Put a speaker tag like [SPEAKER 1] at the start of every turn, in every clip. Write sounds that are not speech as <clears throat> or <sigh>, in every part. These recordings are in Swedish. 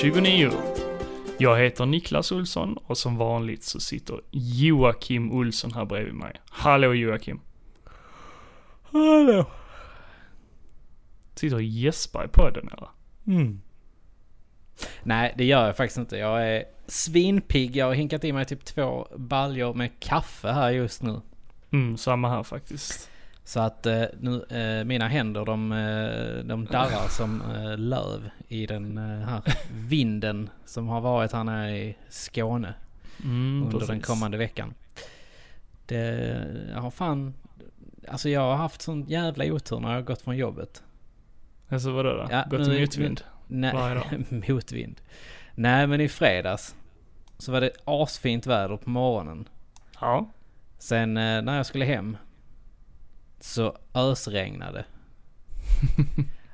[SPEAKER 1] 29. Jag heter Niklas Olsson och som vanligt så sitter Joakim Olsson här bredvid mig. Hallå Joakim.
[SPEAKER 2] Hallå.
[SPEAKER 1] Sitter och gäspar i podden eller?
[SPEAKER 2] Nej, det gör jag faktiskt inte. Jag är svinpigg. Jag har hinkat i mig typ två baljor med kaffe här just nu.
[SPEAKER 1] Mm, samma här faktiskt.
[SPEAKER 2] Så att eh, nu, eh, mina händer de, eh, de
[SPEAKER 1] <laughs>
[SPEAKER 2] darrar som eh, löv i den eh, här vinden som har varit här nere i Skåne
[SPEAKER 1] Mm,
[SPEAKER 2] under den
[SPEAKER 1] precis.
[SPEAKER 2] kommande veckan. Det jag har fan... Alltså jag har haft sån jävla otur när jag har gått från jobbet.
[SPEAKER 1] Alltså vadå då?
[SPEAKER 2] Ja,
[SPEAKER 1] Gått
[SPEAKER 2] nu-
[SPEAKER 1] i motvind? Varje
[SPEAKER 2] Nej,
[SPEAKER 1] dag.
[SPEAKER 2] <laughs> motvind. Nej, men i fredags så var det asfint väder på morgonen.
[SPEAKER 1] Ja.
[SPEAKER 2] Sen eh, när jag skulle hem så
[SPEAKER 1] <laughs>
[SPEAKER 2] ösregnade.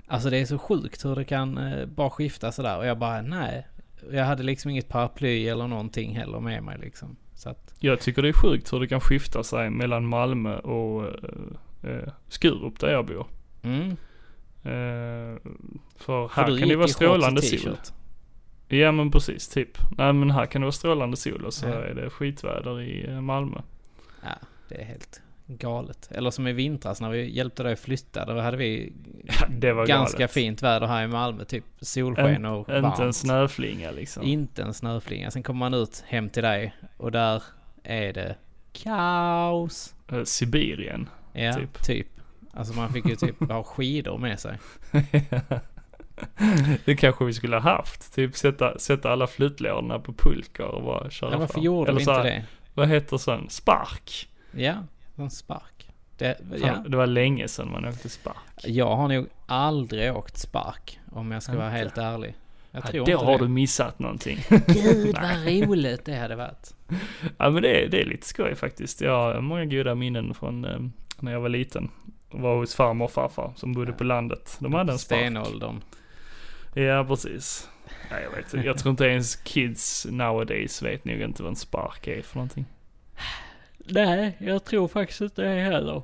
[SPEAKER 2] alltså det är så sjukt hur det kan eh, bara skifta sådär. Och jag bara nej. Jag hade liksom inget paraply eller någonting heller med mig liksom. Så att,
[SPEAKER 1] Jag tycker det är sjukt hur det kan skifta sig mellan Malmö och eh, eh, Skurup där jag bor.
[SPEAKER 2] mm.
[SPEAKER 1] Eh, för
[SPEAKER 2] För
[SPEAKER 1] här kan
[SPEAKER 2] du gick
[SPEAKER 1] det
[SPEAKER 2] i
[SPEAKER 1] vara
[SPEAKER 2] shorts och
[SPEAKER 1] strålande sol.
[SPEAKER 2] t-shirt.
[SPEAKER 1] Ja men precis, typ. Nej men här kan det vara strålande sol och så
[SPEAKER 2] Ja.
[SPEAKER 1] är det skitväder i eh, Malmö.
[SPEAKER 2] Ja, det är helt galet. Eller som i vintras när vi hjälpte dig att flytta. Då hade vi
[SPEAKER 1] Ja, det var
[SPEAKER 2] ganska
[SPEAKER 1] galet.
[SPEAKER 2] fint väder här i Malmö. Typ solsken
[SPEAKER 1] En,
[SPEAKER 2] och varmt.
[SPEAKER 1] inte en snöflinga liksom.
[SPEAKER 2] Inte en snöflinga. Sen kommer man ut hem till dig och där är det kaos.
[SPEAKER 1] Eh, Sibirien. <laughs>
[SPEAKER 2] Ja,
[SPEAKER 1] Typ.
[SPEAKER 2] typ. Alltså man fick
[SPEAKER 1] <laughs>
[SPEAKER 2] ju typ ha skidor med sig.
[SPEAKER 1] det kanske vi skulle ha haft. Typ sätta, sätta alla flyttlådorna på pulkor och bara köra
[SPEAKER 2] Men varför
[SPEAKER 1] fram.
[SPEAKER 2] gjorde
[SPEAKER 1] Eller
[SPEAKER 2] vi
[SPEAKER 1] så
[SPEAKER 2] inte
[SPEAKER 1] här,
[SPEAKER 2] det?
[SPEAKER 1] Vad heter sån? Spark.
[SPEAKER 2] Ja, en spark. Det,
[SPEAKER 1] Fan,
[SPEAKER 2] ja.
[SPEAKER 1] Det var länge sedan man åkte spark.
[SPEAKER 2] Jag har nog aldrig åkt spark om jag ska vara
[SPEAKER 1] Inte.
[SPEAKER 2] helt ärlig. Jag
[SPEAKER 1] Ja,
[SPEAKER 2] tror
[SPEAKER 1] då
[SPEAKER 2] inte
[SPEAKER 1] har
[SPEAKER 2] det.
[SPEAKER 1] du missat någonting.
[SPEAKER 2] <laughs> Gud vad roligt det hade varit.
[SPEAKER 1] ja men det, är- det är lite skoj faktiskt. Jag har många goda minnen från eh, när jag var liten. Jag var hos farmor och farfar som bodde på landet. De hade en spark.
[SPEAKER 2] Stenåldern.
[SPEAKER 1] Ja, precis. Ja, jag, vet, inte. jag tror inte ens kids nowadays vet nog inte vad en spark är för någonting.
[SPEAKER 2] Nej, jag tror faktiskt inte det
[SPEAKER 1] <laughs>
[SPEAKER 2] heller.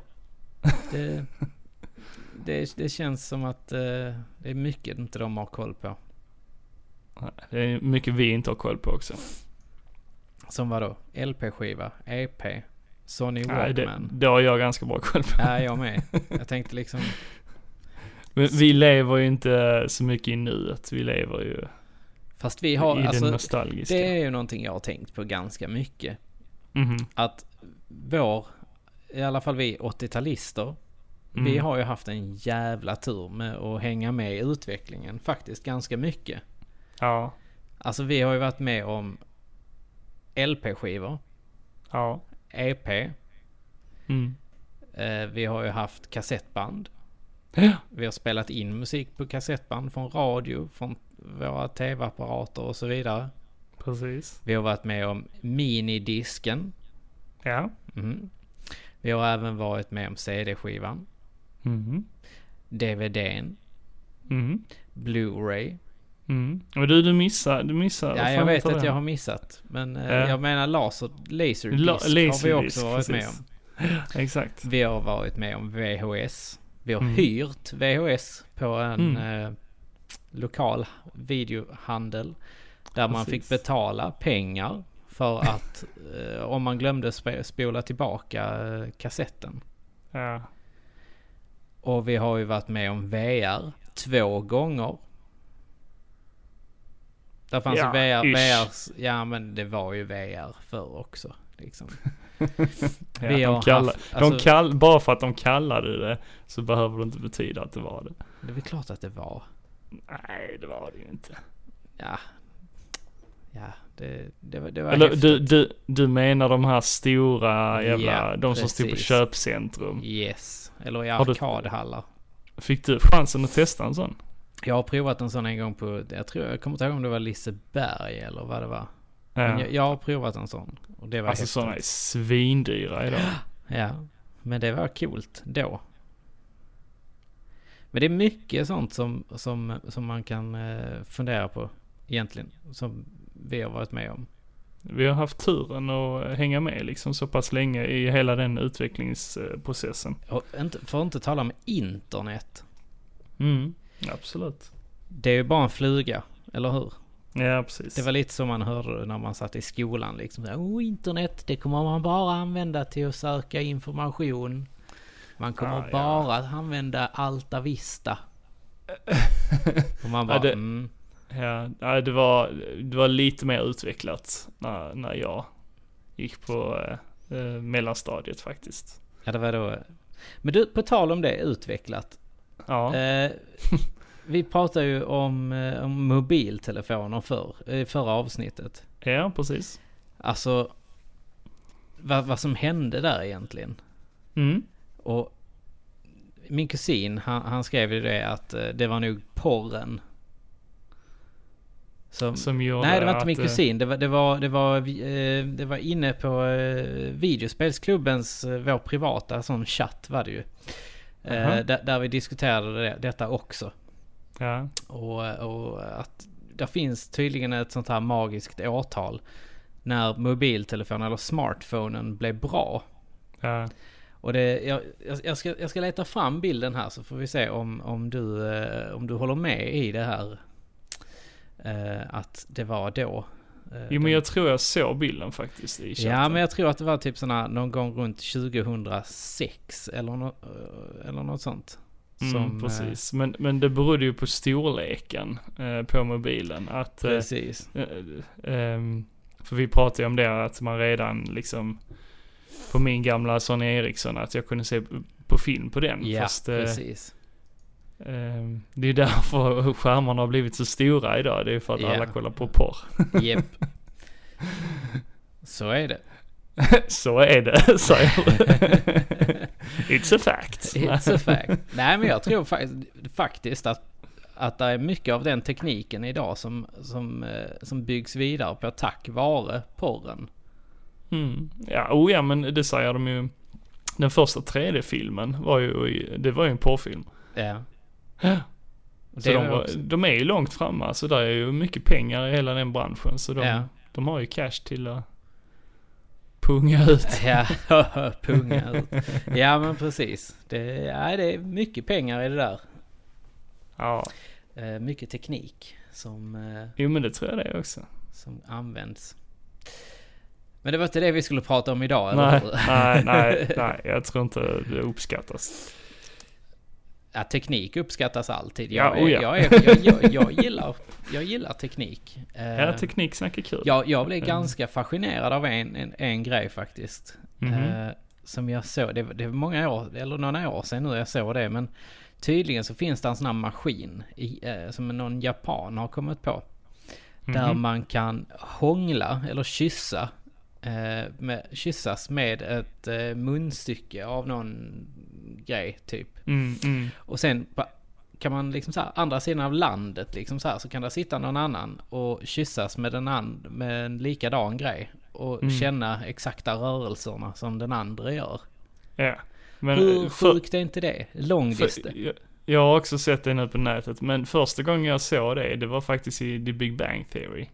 [SPEAKER 2] Det, det, det känns som att eh, det är mycket inte de har koll på.
[SPEAKER 1] Nej, Det är mycket vi inte har koll på också.
[SPEAKER 2] Som var då? LP-skiva, EP, E Sony
[SPEAKER 1] Nej, det,
[SPEAKER 2] Walkman.
[SPEAKER 1] det har jag ganska bra koll på.
[SPEAKER 2] Ja, jag med. Jag tänkte liksom,
[SPEAKER 1] Men vi lever ju inte så mycket i nuet. Vi lever ju
[SPEAKER 2] fast vi har,
[SPEAKER 1] i den
[SPEAKER 2] alltså,
[SPEAKER 1] nostalgiska.
[SPEAKER 2] det är ju någonting jag har tänkt på ganska mycket.
[SPEAKER 1] Mhm.
[SPEAKER 2] Att vår, i alla fall vi 80-talister,
[SPEAKER 1] Mm.
[SPEAKER 2] vi har ju haft en jävla tur med att hänga med i utvecklingen faktiskt ganska mycket.
[SPEAKER 1] Ja,
[SPEAKER 2] Alltså vi har ju varit med om LP-skivor,
[SPEAKER 1] ja.
[SPEAKER 2] EP, <gasps>
[SPEAKER 1] Mm.
[SPEAKER 2] E eh, vi har ju haft kassettband.
[SPEAKER 1] Ja,
[SPEAKER 2] Vi har spelat in musik på kassettband från radio, från våra tv-apparater och så vidare.
[SPEAKER 1] precis.
[SPEAKER 2] Vi har varit med om minidisken.
[SPEAKER 1] Ja.
[SPEAKER 2] Mm. Vi har även varit med om CD-skivan,
[SPEAKER 1] Mhm.
[SPEAKER 2] DVDn,
[SPEAKER 1] Mhm.
[SPEAKER 2] Blu-ray.
[SPEAKER 1] Mm. Men du, du missar, du missar.
[SPEAKER 2] Ja, jag
[SPEAKER 1] fan
[SPEAKER 2] vet
[SPEAKER 1] tar
[SPEAKER 2] att
[SPEAKER 1] den.
[SPEAKER 2] jag har missat. Men eh,
[SPEAKER 1] Ja.
[SPEAKER 2] jag menar laser, laserdisk
[SPEAKER 1] La-
[SPEAKER 2] har vi
[SPEAKER 1] laserdisk,
[SPEAKER 2] också varit med
[SPEAKER 1] precis.
[SPEAKER 2] om.
[SPEAKER 1] Exakt.
[SPEAKER 2] Vi har varit med om VHS. Vi har
[SPEAKER 1] Mm.
[SPEAKER 2] hyrt VHS på en
[SPEAKER 1] Mm.
[SPEAKER 2] eh, lokal videohandel. Där man
[SPEAKER 1] Precis.
[SPEAKER 2] fick betala pengar för att <laughs> eh, om man glömde sp- spola tillbaka eh, kassetten.
[SPEAKER 1] Ja.
[SPEAKER 2] Och vi har ju varit med om VR två gånger. Där fanns
[SPEAKER 1] Ja,
[SPEAKER 2] ju VR,
[SPEAKER 1] ish.
[SPEAKER 2] VR, ja men det var ju VR förr också. Liksom.
[SPEAKER 1] <laughs> Ja,
[SPEAKER 2] Vi har
[SPEAKER 1] de kallar,
[SPEAKER 2] haft-
[SPEAKER 1] de
[SPEAKER 2] alltså-
[SPEAKER 1] kall, bara för att de kallade det så behöver det inte betyda att det var det.
[SPEAKER 2] Det är väl klart att det var.
[SPEAKER 1] Nej, det var det ju inte.
[SPEAKER 2] Ja. Ja, det, det, var- det var
[SPEAKER 1] Eller
[SPEAKER 2] häftigt.
[SPEAKER 1] du, du, du menar de här stora jävla,
[SPEAKER 2] Ja,
[SPEAKER 1] de som stod på
[SPEAKER 2] precis.
[SPEAKER 1] köpcentrum.
[SPEAKER 2] Yes. Eller i
[SPEAKER 1] Har du-
[SPEAKER 2] arkadhallar.
[SPEAKER 1] Fick du chansen att testa en sån?
[SPEAKER 2] Jag har provat en sån en gång på, jag tror, jag kommer inte ihåg om det var Liseberg eller vad det var. Men
[SPEAKER 1] Ja.
[SPEAKER 2] Jag, jag har provat en sån. Och det var
[SPEAKER 1] Alltså
[SPEAKER 2] häftigt.
[SPEAKER 1] sådana är svindyra idag.
[SPEAKER 2] Ja. Men det var coolt då. Men det är mycket sånt som, som, som man kan eh, fundera på egentligen. Som vi har varit med om.
[SPEAKER 1] Vi har haft turen att hänga med liksom så pass länge i hela den utvecklingsprocessen.
[SPEAKER 2] Och inte, för att inte tala om internet.
[SPEAKER 1] Mm. Absolut.
[SPEAKER 2] Det är ju bara en fluga, eller hur?
[SPEAKER 1] Ja, precis.
[SPEAKER 2] Det var lite som man hörde när man satt i skolan liksom. Så här, oh, internet, det kommer man bara använda till att söka information. Man kommer
[SPEAKER 1] Ah, ja.
[SPEAKER 2] bara att använda Alta Vista. Och man
[SPEAKER 1] <laughs>
[SPEAKER 2] bara,
[SPEAKER 1] Ja, det-
[SPEAKER 2] mm,
[SPEAKER 1] Ja, nej, det var, det var lite mer utvecklat när, när jag gick på eh, eh, mellanstadiet faktiskt.
[SPEAKER 2] ja det var då. Men du, på tal om det utvecklat.
[SPEAKER 1] Ja,
[SPEAKER 2] Eh, vi pratade ju om, eh, om mobiltelefoner förr, i förra avsnittet.
[SPEAKER 1] ja precis.
[SPEAKER 2] Alltså, vad, vad som hände där egentligen.
[SPEAKER 1] Mm.
[SPEAKER 2] Och min kusin, han, han skrev ju det att eh, det var nog porren. Som,
[SPEAKER 1] Som gjorde
[SPEAKER 2] nej, det var
[SPEAKER 1] att,
[SPEAKER 2] inte min
[SPEAKER 1] eh,
[SPEAKER 2] kusin. Det var, det var, det var, vi- eh, det var inne på eh, videospelsklubbens, eh, vår privata sån chatt var det ju. Eh,
[SPEAKER 1] Aha.
[SPEAKER 2] där, där vi diskuterade det, detta också.
[SPEAKER 1] Ja,
[SPEAKER 2] Och, och att det finns tydligen ett sånt här magiskt årtal när mobiltelefonen eller smartphonen blev bra.
[SPEAKER 1] ja,
[SPEAKER 2] Och det, jag, jag- jag, ska, jag ska leta fram bilden här så får vi se om, om, du, eh, om du håller med i det här. Eh, att det var då. Eh,
[SPEAKER 1] Jo,
[SPEAKER 2] den-
[SPEAKER 1] men jag tror jag såg bilden faktiskt i chatten.
[SPEAKER 2] ja men jag tror att det var typ såna någon gång runt 2006 eller, nå eh, eller något sånt.
[SPEAKER 1] mm,
[SPEAKER 2] eh,
[SPEAKER 1] precis. Men, men det berodde ju på storleken eh, på mobilen. Att, eh,
[SPEAKER 2] precis.
[SPEAKER 1] Eh, ehm, för vi pratade ju om det att man redan liksom på min gamla Sony Ericsson att jag kunde se på film på den.
[SPEAKER 2] Ja,
[SPEAKER 1] fast eh, <laughs>
[SPEAKER 2] precis.
[SPEAKER 1] ehm, det är ju därför <laughs> skärmarna har blivit så stora idag. Det är ju för att
[SPEAKER 2] Ja.
[SPEAKER 1] alla kollar på
[SPEAKER 2] <laughs>
[SPEAKER 1] porr.
[SPEAKER 2] Japp. Så är det.
[SPEAKER 1] så är det, <laughs>
[SPEAKER 2] <laughs>
[SPEAKER 1] säger It's a fact.
[SPEAKER 2] It's a fact. Nej men jag tror fak- faktiskt att, att det är mycket av den tekniken idag som, som, eh, som byggs vidare på tack vare porren.
[SPEAKER 1] Mm. Ja, oh ja, men det säger de ju. Den första 3D-filmen var ju, det var ju en porrfilm.
[SPEAKER 2] Ja.
[SPEAKER 1] Så
[SPEAKER 2] Det
[SPEAKER 1] de,
[SPEAKER 2] var
[SPEAKER 1] var,
[SPEAKER 2] också,
[SPEAKER 1] de är ju långt framme, så där är ju mycket pengar i hela den branschen. Så de,
[SPEAKER 2] Ja.
[SPEAKER 1] de har ju cash till att punga ut.
[SPEAKER 2] ja, <laughs> punga ut. Ja men precis. Det, ja, det är mycket pengar i det där.
[SPEAKER 1] Ja,
[SPEAKER 2] Eh, Mycket teknik som, eh,
[SPEAKER 1] jo men det tror jag det är också.
[SPEAKER 2] som används. Men det var inte det vi skulle prata om idag, eller
[SPEAKER 1] Nej,
[SPEAKER 2] hur?
[SPEAKER 1] nej,
[SPEAKER 2] <laughs>
[SPEAKER 1] nej, nej, jag tror inte det uppskattas.
[SPEAKER 2] Ja, teknik uppskattas alltid.
[SPEAKER 1] Ja,
[SPEAKER 2] Jag,
[SPEAKER 1] oh
[SPEAKER 2] är,
[SPEAKER 1] ja.
[SPEAKER 2] jag, är, jag, jag, jag, gillar, jag gillar teknik. Eh,
[SPEAKER 1] Ja, tekniksnack är kul.
[SPEAKER 2] jag, jag blev
[SPEAKER 1] Eh.
[SPEAKER 2] ganska fascinerad av en, en, en grej faktiskt.
[SPEAKER 1] Mhm.
[SPEAKER 2] Eh, som jag såg, det, var- det var många år, eller några år sedan nu jag såg det, men tydligen så finns det en sån här maskin i, eh, som någon japan har kommit på. Där
[SPEAKER 1] Mhm.
[SPEAKER 2] man kan hångla eller kyssa, eh, med, kyssas med ett eh, munstycke av någon grej typ.
[SPEAKER 1] Mm, mm.
[SPEAKER 2] Och sen på- kan man liksom så här, andra sidan av landet liksom så här, så kan det sitta någon annan och kyssas med den and, med en likadan grej. Och
[SPEAKER 1] Mm.
[SPEAKER 2] känna exakta rörelserna som den andra gör.
[SPEAKER 1] Ja. Men
[SPEAKER 2] Hur
[SPEAKER 1] eh, för-
[SPEAKER 2] sjukt är inte det? Långdist.
[SPEAKER 1] För, jag, jag har också sett det nu på nätet, men första gången jag såg det, det var faktiskt i The Big Bang Theory.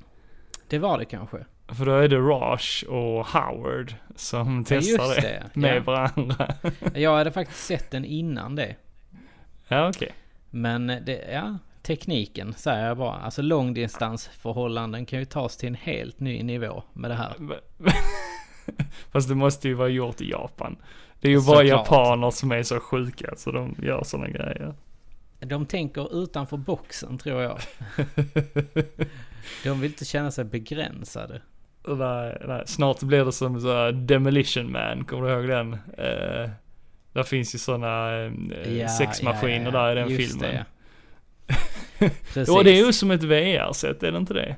[SPEAKER 2] Det var det kanske.
[SPEAKER 1] För då är det Rush och Howard som
[SPEAKER 2] Ja,
[SPEAKER 1] testar
[SPEAKER 2] just
[SPEAKER 1] det,
[SPEAKER 2] det.
[SPEAKER 1] med
[SPEAKER 2] Ja.
[SPEAKER 1] varandra.
[SPEAKER 2] Jag hade faktiskt sett den innan det.
[SPEAKER 1] ja, okej.
[SPEAKER 2] Men eh, det, ja, tekniken säger jag bara. Alltså långdistansförhållanden kan ju tas till en helt ny nivå med det här.
[SPEAKER 1] <laughs> Fast det måste ju vara gjort i Japan. Det är ju bara
[SPEAKER 2] Såklart.
[SPEAKER 1] japaner som är så sjuka så de gör sådana grejer.
[SPEAKER 2] De tänker utanför boxen
[SPEAKER 1] <laughs>
[SPEAKER 2] tror jag. De vill inte känna sig begränsade.
[SPEAKER 1] Nej, nej. Snart blir det som så här Demolition Man, kommer du ihåg den? Eh, där finns ju sådana eh,
[SPEAKER 2] Ja,
[SPEAKER 1] sexmaskiner
[SPEAKER 2] ja, ja.
[SPEAKER 1] där i den
[SPEAKER 2] Just
[SPEAKER 1] filmen.
[SPEAKER 2] Det.
[SPEAKER 1] <laughs>
[SPEAKER 2] Precis.
[SPEAKER 1] Ja, det är ju som ett VR-sätt, är det inte det?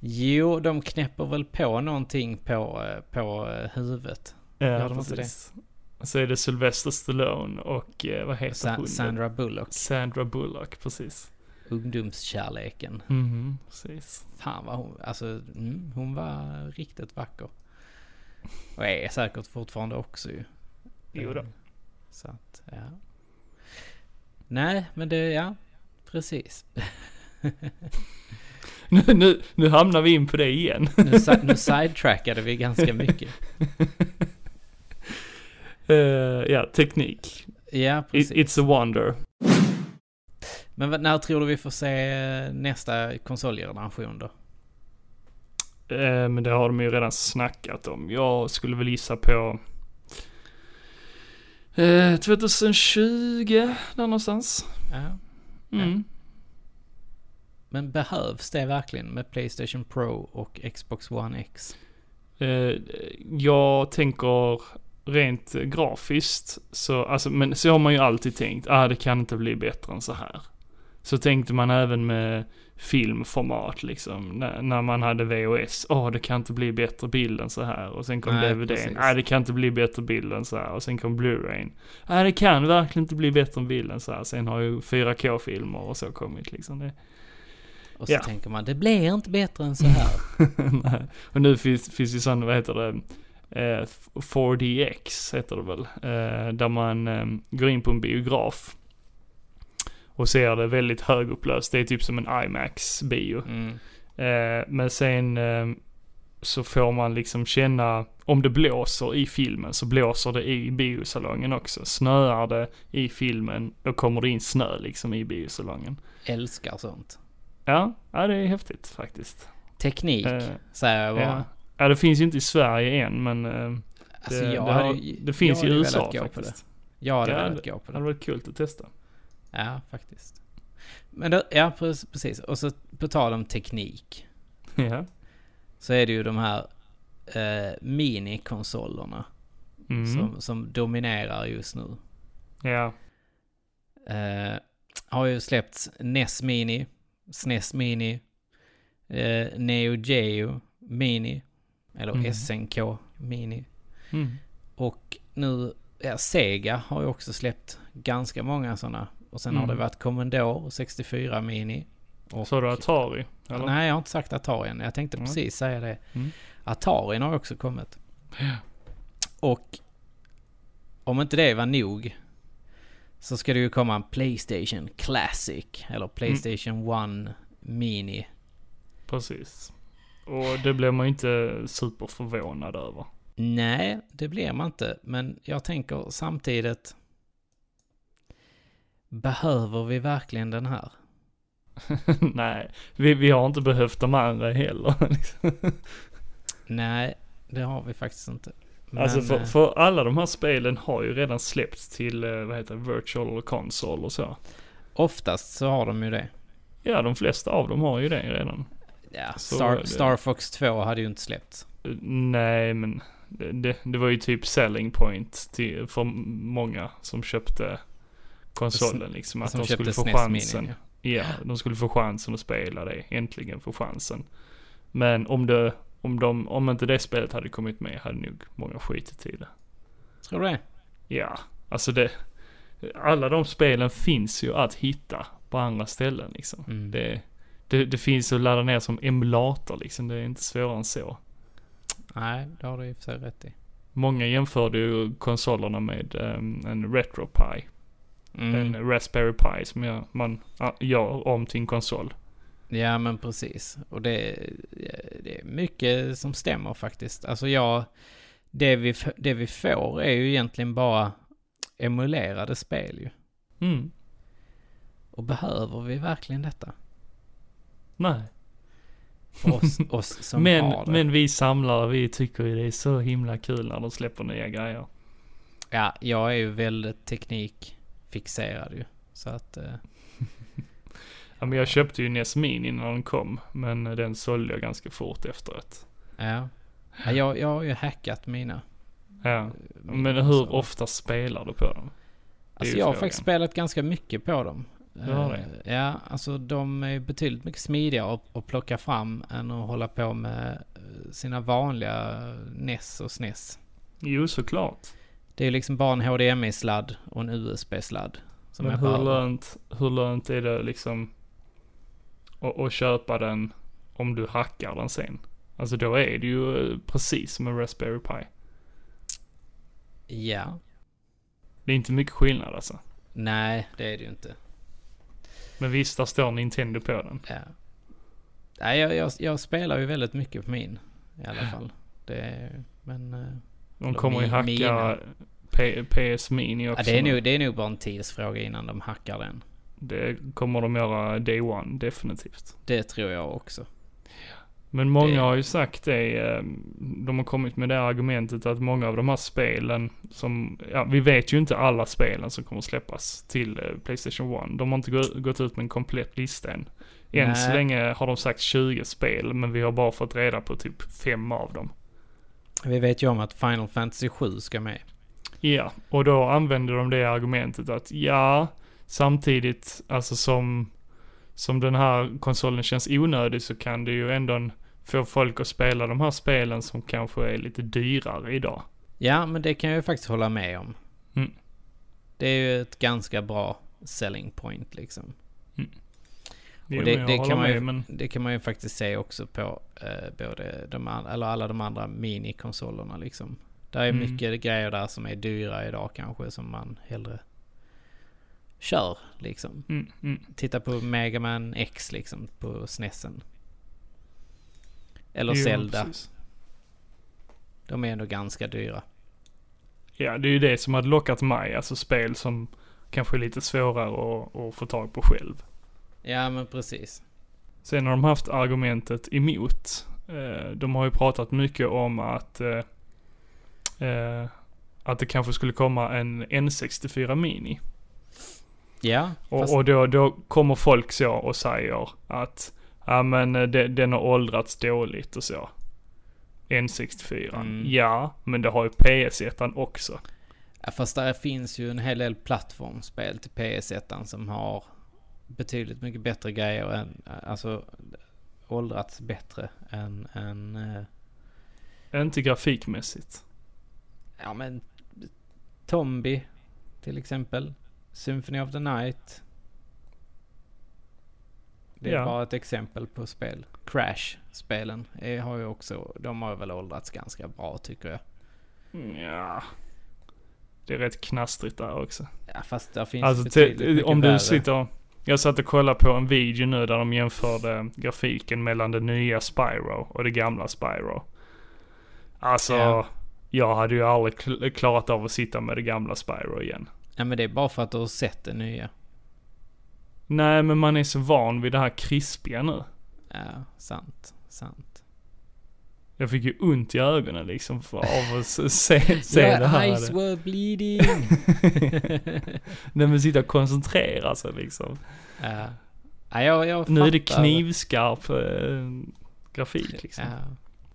[SPEAKER 2] Jo, de knäpper väl på någonting på, eh, på eh, huvudet.
[SPEAKER 1] Ja,
[SPEAKER 2] Gör de inte
[SPEAKER 1] det? Så är det Sylvester Stallone och eh, vad heter
[SPEAKER 2] Sa-
[SPEAKER 1] hon?
[SPEAKER 2] Sandra Bullock,
[SPEAKER 1] Sandra Bullock, precis.
[SPEAKER 2] ungdomskärleken.
[SPEAKER 1] Mhm, precis.
[SPEAKER 2] Fan vad hon, alltså mm, hon var riktigt vacker. Och är säkert fortfarande också ju.
[SPEAKER 1] Jo då. <laughs>
[SPEAKER 2] Eh, Så att, ja. Nej, men det, ja. Precis.
[SPEAKER 1] Nu, nu, nu hamnar vi in på det igen. <laughs>
[SPEAKER 2] Nu, si- nu sidetrackade vi ganska mycket.
[SPEAKER 1] Eh, ja, teknik.
[SPEAKER 2] Ja,
[SPEAKER 1] It,
[SPEAKER 2] precis.
[SPEAKER 1] it's a wonder.
[SPEAKER 2] Men vad- när tror du vi får se eh, nästa konsolgeneration då?
[SPEAKER 1] Eh, men det har de ju redan snackat om. Jag skulle väl gissa på eh, 2020, där någonstans.
[SPEAKER 2] Ja.
[SPEAKER 1] Mm.
[SPEAKER 2] Men behövs det verkligen med Playstation Pro och Xbox One X?
[SPEAKER 1] Eh, jag tänker rent grafiskt, så, alltså, men så har man ju alltid tänkt, ah det kan inte bli bättre än så här. Så tänkte man även med filmformat liksom, när, när man hade VHS, åh det kan inte bli bättre bild än så här. Och sen kom
[SPEAKER 2] Nej,
[SPEAKER 1] DVD,
[SPEAKER 2] precis.
[SPEAKER 1] nej det kan inte bli bättre bild än så här. Och sen kom Blu-ray, nej det kan verkligen inte bli bättre bild än så här. Sen har ju 4K-filmer och så kommit liksom. Det,
[SPEAKER 2] Och så
[SPEAKER 1] Ja.
[SPEAKER 2] tänker man, det blir inte bättre än
[SPEAKER 1] <laughs>
[SPEAKER 2] så här.
[SPEAKER 1] Nej. Och nu finns, finns ju sån, vad heter det, eh, 4DX heter det väl, eh, där man eh, går in på en biograf och ser det väldigt högupplöst. Det är typ som en IMAX-bio.
[SPEAKER 2] Mm.
[SPEAKER 1] Eh, men sen eh, så får man liksom känna, om det blåser i filmen så blåser det i biosalongen också. Snöar det i filmen, då kommer det in snö liksom i biosalongen.
[SPEAKER 2] Älskar sånt.
[SPEAKER 1] Ja, ja det är häftigt faktiskt.
[SPEAKER 2] Teknik,
[SPEAKER 1] Eh,
[SPEAKER 2] säger jag bara.
[SPEAKER 1] Ja. ja, det finns ju inte i Sverige än men eh,
[SPEAKER 2] Alltså,
[SPEAKER 1] det,
[SPEAKER 2] jag
[SPEAKER 1] det,
[SPEAKER 2] hade
[SPEAKER 1] har,
[SPEAKER 2] ju-
[SPEAKER 1] det finns
[SPEAKER 2] jag
[SPEAKER 1] i
[SPEAKER 2] hade
[SPEAKER 1] USA
[SPEAKER 2] velat gå på
[SPEAKER 1] faktiskt.
[SPEAKER 2] det. Jag hade
[SPEAKER 1] Ja,
[SPEAKER 2] velat gå på
[SPEAKER 1] Det
[SPEAKER 2] det.
[SPEAKER 1] hade varit kul att
[SPEAKER 2] <laughs>
[SPEAKER 1] testa.
[SPEAKER 2] Ja, faktiskt. Men då, ja, pre- precis. Och så på tal om teknik.
[SPEAKER 1] Ja.
[SPEAKER 2] Så är det ju de här eh, minikonsolerna
[SPEAKER 1] Mm.
[SPEAKER 2] som, som dominerar just nu.
[SPEAKER 1] Ja.
[SPEAKER 2] Eh, har ju släppts NES Mini, SNES Mini, eh, Neo Geo Mini, eller
[SPEAKER 1] Mm.
[SPEAKER 2] SNK Mini.
[SPEAKER 1] Mm.
[SPEAKER 2] Och nu, ja, Sega har ju också släppt ganska många sådana. Och sen har
[SPEAKER 1] Mm.
[SPEAKER 2] det varit Commodore 64 Mini. Och,
[SPEAKER 1] Sa du Atari? Eller?
[SPEAKER 2] Nej, jag har inte sagt Atari än. Jag tänkte
[SPEAKER 1] Nej.
[SPEAKER 2] precis säga det.
[SPEAKER 1] Mm.
[SPEAKER 2] Atari har också kommit. Och om inte det var nog så ska det ju komma en Playstation Classic eller Playstation One Mini.
[SPEAKER 1] Precis. Och det blev man ju inte superförvånad över. <laughs>
[SPEAKER 2] Nej, det blir man inte. Men jag tänker samtidigt. Behöver vi verkligen den här?
[SPEAKER 1] nej, vi, vi har inte behövt de andra heller. <laughs> liksom.
[SPEAKER 2] Nej, det har vi faktiskt inte. Men,
[SPEAKER 1] alltså för,
[SPEAKER 2] eh,
[SPEAKER 1] för alla de här spelen har ju redan släppts till, eh, vad heter det, virtual console och så.
[SPEAKER 2] Oftast så har de ju det.
[SPEAKER 1] Ja, de flesta av dem har ju det redan.
[SPEAKER 2] Ja,
[SPEAKER 1] Så är
[SPEAKER 2] Star,
[SPEAKER 1] det.
[SPEAKER 2] Star Fox 2 hade ju inte släppts.
[SPEAKER 1] Eh, Nej, men det, det, det var ju typ selling point till, för många som köpte konsolen liksom. Att
[SPEAKER 2] som
[SPEAKER 1] de skulle
[SPEAKER 2] köptes
[SPEAKER 1] få
[SPEAKER 2] SNES Mini,
[SPEAKER 1] chansen.
[SPEAKER 2] ja.
[SPEAKER 1] Ja, de skulle få chansen att spela det. Äntligen få chansen. Men om det, om de, om inte det spelet hade kommit med hade nog många skitit i det.
[SPEAKER 2] Tror du det?
[SPEAKER 1] Ja, alltså det, alla de spelen finns ju att hitta på andra ställen liksom.
[SPEAKER 2] Mm.
[SPEAKER 1] Det, det, det finns att ladda ner som emulator liksom. Det är inte svårare än så.
[SPEAKER 2] Nej, det har du i och för sig rätt i.
[SPEAKER 1] Många jämförde ju konsolerna med ehm, en RetroPie.
[SPEAKER 2] Mm.
[SPEAKER 1] En Raspberry Pi som jag, man ah, gör om till en konsol.
[SPEAKER 2] Ja, men precis. Och det, det är mycket som stämmer faktiskt. Alltså jag, det vi, f- det vi får är ju egentligen bara emulerade spel ju.
[SPEAKER 1] Mm.
[SPEAKER 2] Och behöver vi verkligen detta?
[SPEAKER 1] Nej.
[SPEAKER 2] För Oss,
[SPEAKER 1] <laughs>
[SPEAKER 2] oss som har
[SPEAKER 1] Men,
[SPEAKER 2] det.
[SPEAKER 1] men vi samlare, vi tycker ju det är så himla kul när de släpper nya grejer.
[SPEAKER 2] Ja, jag är ju väldigt teknikfixerad ju. Så att, eh,
[SPEAKER 1] Ja, men jag köpte ju NES Mini innan den kom, men eh, den sålde jag ganska fort efteråt.
[SPEAKER 2] ja. ja jag, jag har ju hackat mina.
[SPEAKER 1] Ja.
[SPEAKER 2] mina
[SPEAKER 1] Men hur
[SPEAKER 2] konsoler.
[SPEAKER 1] ofta spelar du på dem? är
[SPEAKER 2] Alltså
[SPEAKER 1] ju
[SPEAKER 2] jag har
[SPEAKER 1] frågan.
[SPEAKER 2] faktiskt spelat ganska mycket på dem.
[SPEAKER 1] Du har
[SPEAKER 2] Eh, Ja, alltså de är betydligt mycket smidigare att, att plocka fram än att hålla på med eh, sina vanliga eh, NES och SNES.
[SPEAKER 1] Jo, såklart.
[SPEAKER 2] Det är ju liksom bara en HDMI-sladd och en USB-sladd. Som
[SPEAKER 1] Men
[SPEAKER 2] jag
[SPEAKER 1] hur
[SPEAKER 2] behöver.
[SPEAKER 1] lönt, hur lönt är det liksom att, att köpa den om du hackar den sen? Alltså då är det ju eh, precis som en Raspberry Pi.
[SPEAKER 2] Ja.
[SPEAKER 1] Det är inte mycket skillnad alltså.
[SPEAKER 2] Nej, det är det ju inte.
[SPEAKER 1] Men visst, där står Nintendo på den.
[SPEAKER 2] Ja. Nej, jag, jag, jag spelar ju väldigt mycket på min.
[SPEAKER 1] <laughs>
[SPEAKER 2] I alla fall. Det är, men... eh,
[SPEAKER 1] De
[SPEAKER 2] Eller
[SPEAKER 1] kommer ju
[SPEAKER 2] Mi-
[SPEAKER 1] hacka
[SPEAKER 2] Mina.
[SPEAKER 1] P- PS Mini också.
[SPEAKER 2] Ja, det, är
[SPEAKER 1] nu.
[SPEAKER 2] nog, det är nog bara en tidsfråga innan de hackar den.
[SPEAKER 1] Det kommer de göra day one, definitivt.
[SPEAKER 2] Det tror jag också.
[SPEAKER 1] Men många
[SPEAKER 2] Det-
[SPEAKER 1] har ju sagt det, eh, de har kommit med det här argumentet att många av de här spelen som, ja vi vet ju inte alla spelen som kommer släppas till eh, Playstation 1. De har inte gå- gått ut med en komplett lista än. Än så
[SPEAKER 2] Nej.
[SPEAKER 1] länge har de sagt 20 spel, men vi har bara fått reda på typ fem av dem.
[SPEAKER 2] Vi vet ju om att Final Fantasy 7 ska med.
[SPEAKER 1] Ja, och då använder de det argumentet att ja, samtidigt, alltså som, som den här konsolen känns onödig så kan det ju ändå en- få folk att spela de här spelen som kanske är lite dyrare idag.
[SPEAKER 2] Ja, men det kan jag ju faktiskt hålla med om.
[SPEAKER 1] Mm.
[SPEAKER 2] Det är ju ett ganska bra selling point liksom.
[SPEAKER 1] Jo,
[SPEAKER 2] Och det-
[SPEAKER 1] men jag
[SPEAKER 2] det
[SPEAKER 1] håller
[SPEAKER 2] kan man ju-
[SPEAKER 1] med, men
[SPEAKER 2] Det kan man ju faktiskt se också på eh, både de andra, eller alla de andra minikonsolerna liksom. Där är
[SPEAKER 1] Mm.
[SPEAKER 2] mycket grejer där som är dyra idag kanske som man hellre kör liksom.
[SPEAKER 1] mm, mm,
[SPEAKER 2] Titta på Mega Man X liksom på SNESen. Eller
[SPEAKER 1] jo,
[SPEAKER 2] Zelda.
[SPEAKER 1] precis.
[SPEAKER 2] De är ändå ganska dyra.
[SPEAKER 1] Ja, det är ju det som hade lockat mig, alltså spel som kanske är lite svårare att, att få tag på själv.
[SPEAKER 2] Ja men precis.
[SPEAKER 1] Sen har de haft argumentet emot. Eh, De har ju pratat mycket om att, eh, eh, att det kanske skulle komma en N64 Mini.
[SPEAKER 2] Ja, fast,
[SPEAKER 1] Och, och då, då kommer folk så och säger att ja men eh, de, den har åldrats dåligt och så. N64.
[SPEAKER 2] Mm.
[SPEAKER 1] Ja, men det har ju PS1 också.
[SPEAKER 2] ja, fast där finns ju en hel del plattformsspel till PS1 som har betydligt mycket bättre grejer än, alltså åldrats bättre än, än eh,
[SPEAKER 1] Inte grafikmässigt.
[SPEAKER 2] ja men Tombi till exempel. Symphony of the Night. Det är
[SPEAKER 1] Ja.
[SPEAKER 2] bara ett exempel på spel. Crash-spelen är- har ju också, de har väl åldrats ganska bra tycker jag.
[SPEAKER 1] Ja. Det är rätt knastrigt där också.
[SPEAKER 2] Ja, fast där finns
[SPEAKER 1] Alltså
[SPEAKER 2] betydligt
[SPEAKER 1] te-
[SPEAKER 2] mycket
[SPEAKER 1] om du
[SPEAKER 2] värre.
[SPEAKER 1] sitter... Jag satt och kollade på en video nu där de jämförde grafiken mellan det nya Spyro och det gamla Spyro. Alltså,
[SPEAKER 2] Ja.
[SPEAKER 1] jag hade ju aldrig kl- klarat av att sitta med det gamla Spyro igen.
[SPEAKER 2] Ja men det är bara för att du har sett det nya.
[SPEAKER 1] Nej, men man är så van vid det här krispiga nu.
[SPEAKER 2] Ja, sant. Sant.
[SPEAKER 1] Jag fick ju ont i ögonen liksom för, av att se,
[SPEAKER 2] <laughs>
[SPEAKER 1] se, se
[SPEAKER 2] Your
[SPEAKER 1] det här.
[SPEAKER 2] eyes were bleeding.
[SPEAKER 1] <laughs> Nej men sitta och koncentrera sig liksom.
[SPEAKER 2] ja. Ja, jag, jag
[SPEAKER 1] Nu är det
[SPEAKER 2] fattar.
[SPEAKER 1] knivskarp eh, grafik liksom.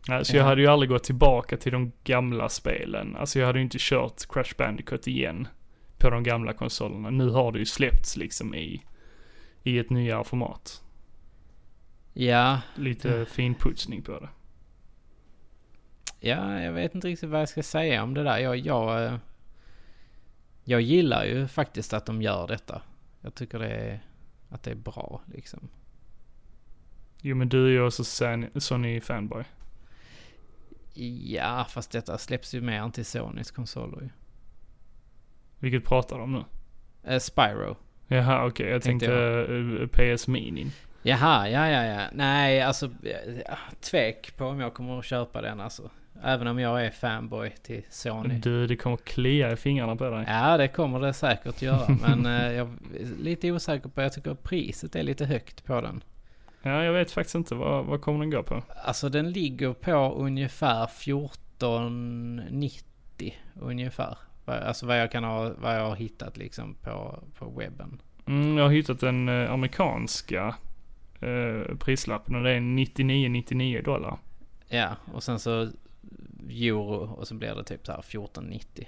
[SPEAKER 2] Ja.
[SPEAKER 1] Alltså jag
[SPEAKER 2] Ja.
[SPEAKER 1] hade ju aldrig gått tillbaka till de gamla spelen. Alltså jag hade ju inte kört Crash Bandicoot igen på de gamla konsolerna. Nu har det ju släppts liksom i, i ett nyare format.
[SPEAKER 2] ja,
[SPEAKER 1] Lite
[SPEAKER 2] Mm.
[SPEAKER 1] finputsning på det.
[SPEAKER 2] ja, jag vet inte riktigt vad jag ska säga om det där. Jag, jag, eh, jag gillar ju faktiskt att de gör detta. Jag tycker det är, att det är bra liksom.
[SPEAKER 1] Jo men du är ju också San- Sony-fanboy.
[SPEAKER 2] Ja, fast detta släpps ju mer än till Sonys konsoler ju.
[SPEAKER 1] Vilket pratar de om nu?
[SPEAKER 2] Eh, Spyro.
[SPEAKER 1] Jaha okej, jag
[SPEAKER 2] Tänkte
[SPEAKER 1] tänkte, eh, PS Mini.
[SPEAKER 2] Jaha, ja, ja, ja. Nej, alltså ja, tvek på om jag kommer att köpa den alltså. Även om jag är fanboy till Sony.
[SPEAKER 1] Du, det kommer klia i fingrarna på dig.
[SPEAKER 2] Ja, det kommer det säkert göra. <laughs> Men eh, jag är lite osäker på, jag tycker att priset är lite högt på den.
[SPEAKER 1] Ja, jag vet faktiskt inte. Vad, vad kommer den gå på?
[SPEAKER 2] Alltså den ligger på ungefär 14,90 ungefär. Va- Alltså vad jag kan ha, vad jag har hittat liksom på, på webben.
[SPEAKER 1] Mm, jag har hittat den eh, amerikanska eh, prislappen och det är 99,99 dollar.
[SPEAKER 2] Ja, och sen så euro och så blir det typ så här 14,90.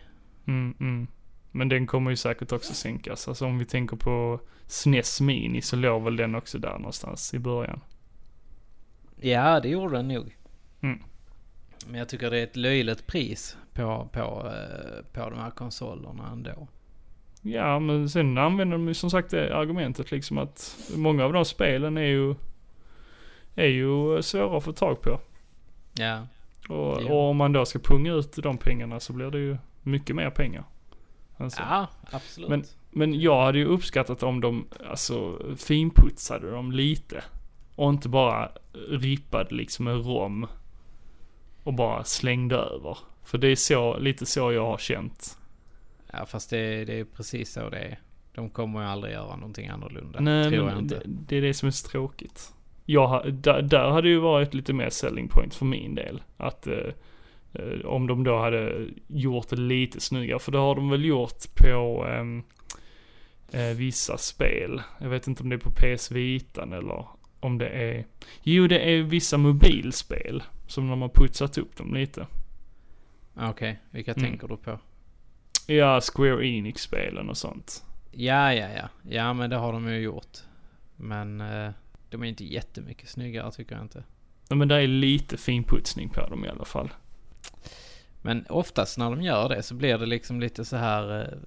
[SPEAKER 1] Mm, mm. Men den kommer ju säkert också sänkas. Alltså om vi tänker på SNES Mini så låg väl den också där någonstans i början.
[SPEAKER 2] Ja, det gjorde den nog.
[SPEAKER 1] Mm.
[SPEAKER 2] Men jag tycker det är ett löjligt pris på, på, eh, på de här konsolerna ändå.
[SPEAKER 1] Ja, men sen använder de ju som sagt det argumentet liksom att många av de spelen är ju, är ju svåra att få tag på.
[SPEAKER 2] Ja,
[SPEAKER 1] Och,
[SPEAKER 2] Ja.
[SPEAKER 1] och om man då ska punga ut de pengarna så blir det ju mycket mer pengar. Alltså.
[SPEAKER 2] ja absolut.
[SPEAKER 1] Men- Men jag hade ju uppskattat om de, alltså, finputsade dem lite. Och inte bara rippade liksom en rom. Och bara slängde över. För det är så, lite så jag har känt.
[SPEAKER 2] Ja fast det, det är precis så det är. De kommer ju aldrig göra någonting annorlunda.
[SPEAKER 1] Nej,
[SPEAKER 2] tror
[SPEAKER 1] men
[SPEAKER 2] jag inte.
[SPEAKER 1] Det, det är det som är så tråkigt. Jag, ha- där, där hade ju varit lite mer selling point för min del. Att eh, eh, om de då hade gjort det lite snyggare. För det har de väl gjort på ehm, eh, vissa spel. Jag vet inte om det är på PS Vitan eller om det är... Jo, det är vissa mobilspel som de har putsat upp dem lite.
[SPEAKER 2] Ah, Okej, vilka
[SPEAKER 1] Mm.
[SPEAKER 2] tänker du på?
[SPEAKER 1] Ja, Square Enix-spelen och sånt.
[SPEAKER 2] Ja, ja, ja. Ja, men det har de ju gjort. Men eh, de är inte jättemycket snyggare tycker jag inte.
[SPEAKER 1] Ja, Men det är lite finputsning på dem i alla fall.
[SPEAKER 2] Men oftast när de gör det så blir det liksom lite så här eh,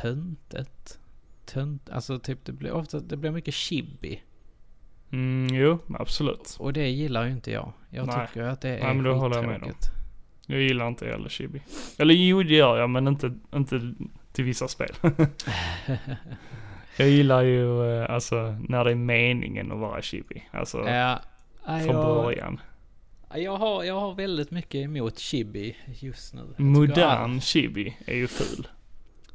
[SPEAKER 2] töntigt. Tönt, alltså typ det blir ofta, det blir mycket chibi.
[SPEAKER 1] Mm, jo, absolut.
[SPEAKER 2] Och det gillar ju inte jag. Jag
[SPEAKER 1] Nej.
[SPEAKER 2] tycker att det är
[SPEAKER 1] Nej, men då håller jag med
[SPEAKER 2] skittråkigt.
[SPEAKER 1] Jag gillar inte heller chibi. Eller jo, det gör jag, men inte, inte till vissa
[SPEAKER 2] <laughs>
[SPEAKER 1] spel. jag gillar ju eh, alltså när det är meningen att vara chibi. Alltså
[SPEAKER 2] Ja, nej,
[SPEAKER 1] från
[SPEAKER 2] jag,
[SPEAKER 1] början.
[SPEAKER 2] jag, har, jag har väldigt mycket emot chibi just nu. Jag tycker all-
[SPEAKER 1] Modern chibi är ju ful.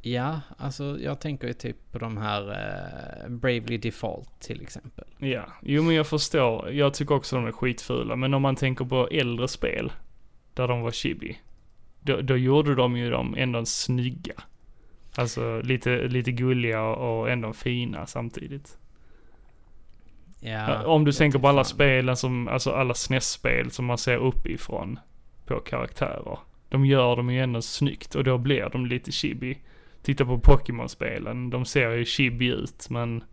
[SPEAKER 2] Ja, alltså jag tänker ju typ på de här eh, Bravely Default till exempel.
[SPEAKER 1] Ja, jo men jag förstår. Jag tycker också de är skitfula. Men om man tänker på äldre spel där de var chibi. Då, då gjorde de ju dem ändå snygga. Alltså lite, lite gulliga och ändå fina samtidigt.
[SPEAKER 2] Ja,
[SPEAKER 1] Eh, Om du
[SPEAKER 2] jag
[SPEAKER 1] tänker
[SPEAKER 2] vet
[SPEAKER 1] på alla
[SPEAKER 2] fan.
[SPEAKER 1] spelen som, alltså alla SNES-spel som man ser uppifrån på karaktärer. De gör dem ju ändå snyggt och då blir de lite chibi. Titta på Pokémon-spelen, de ser ju chibi ut men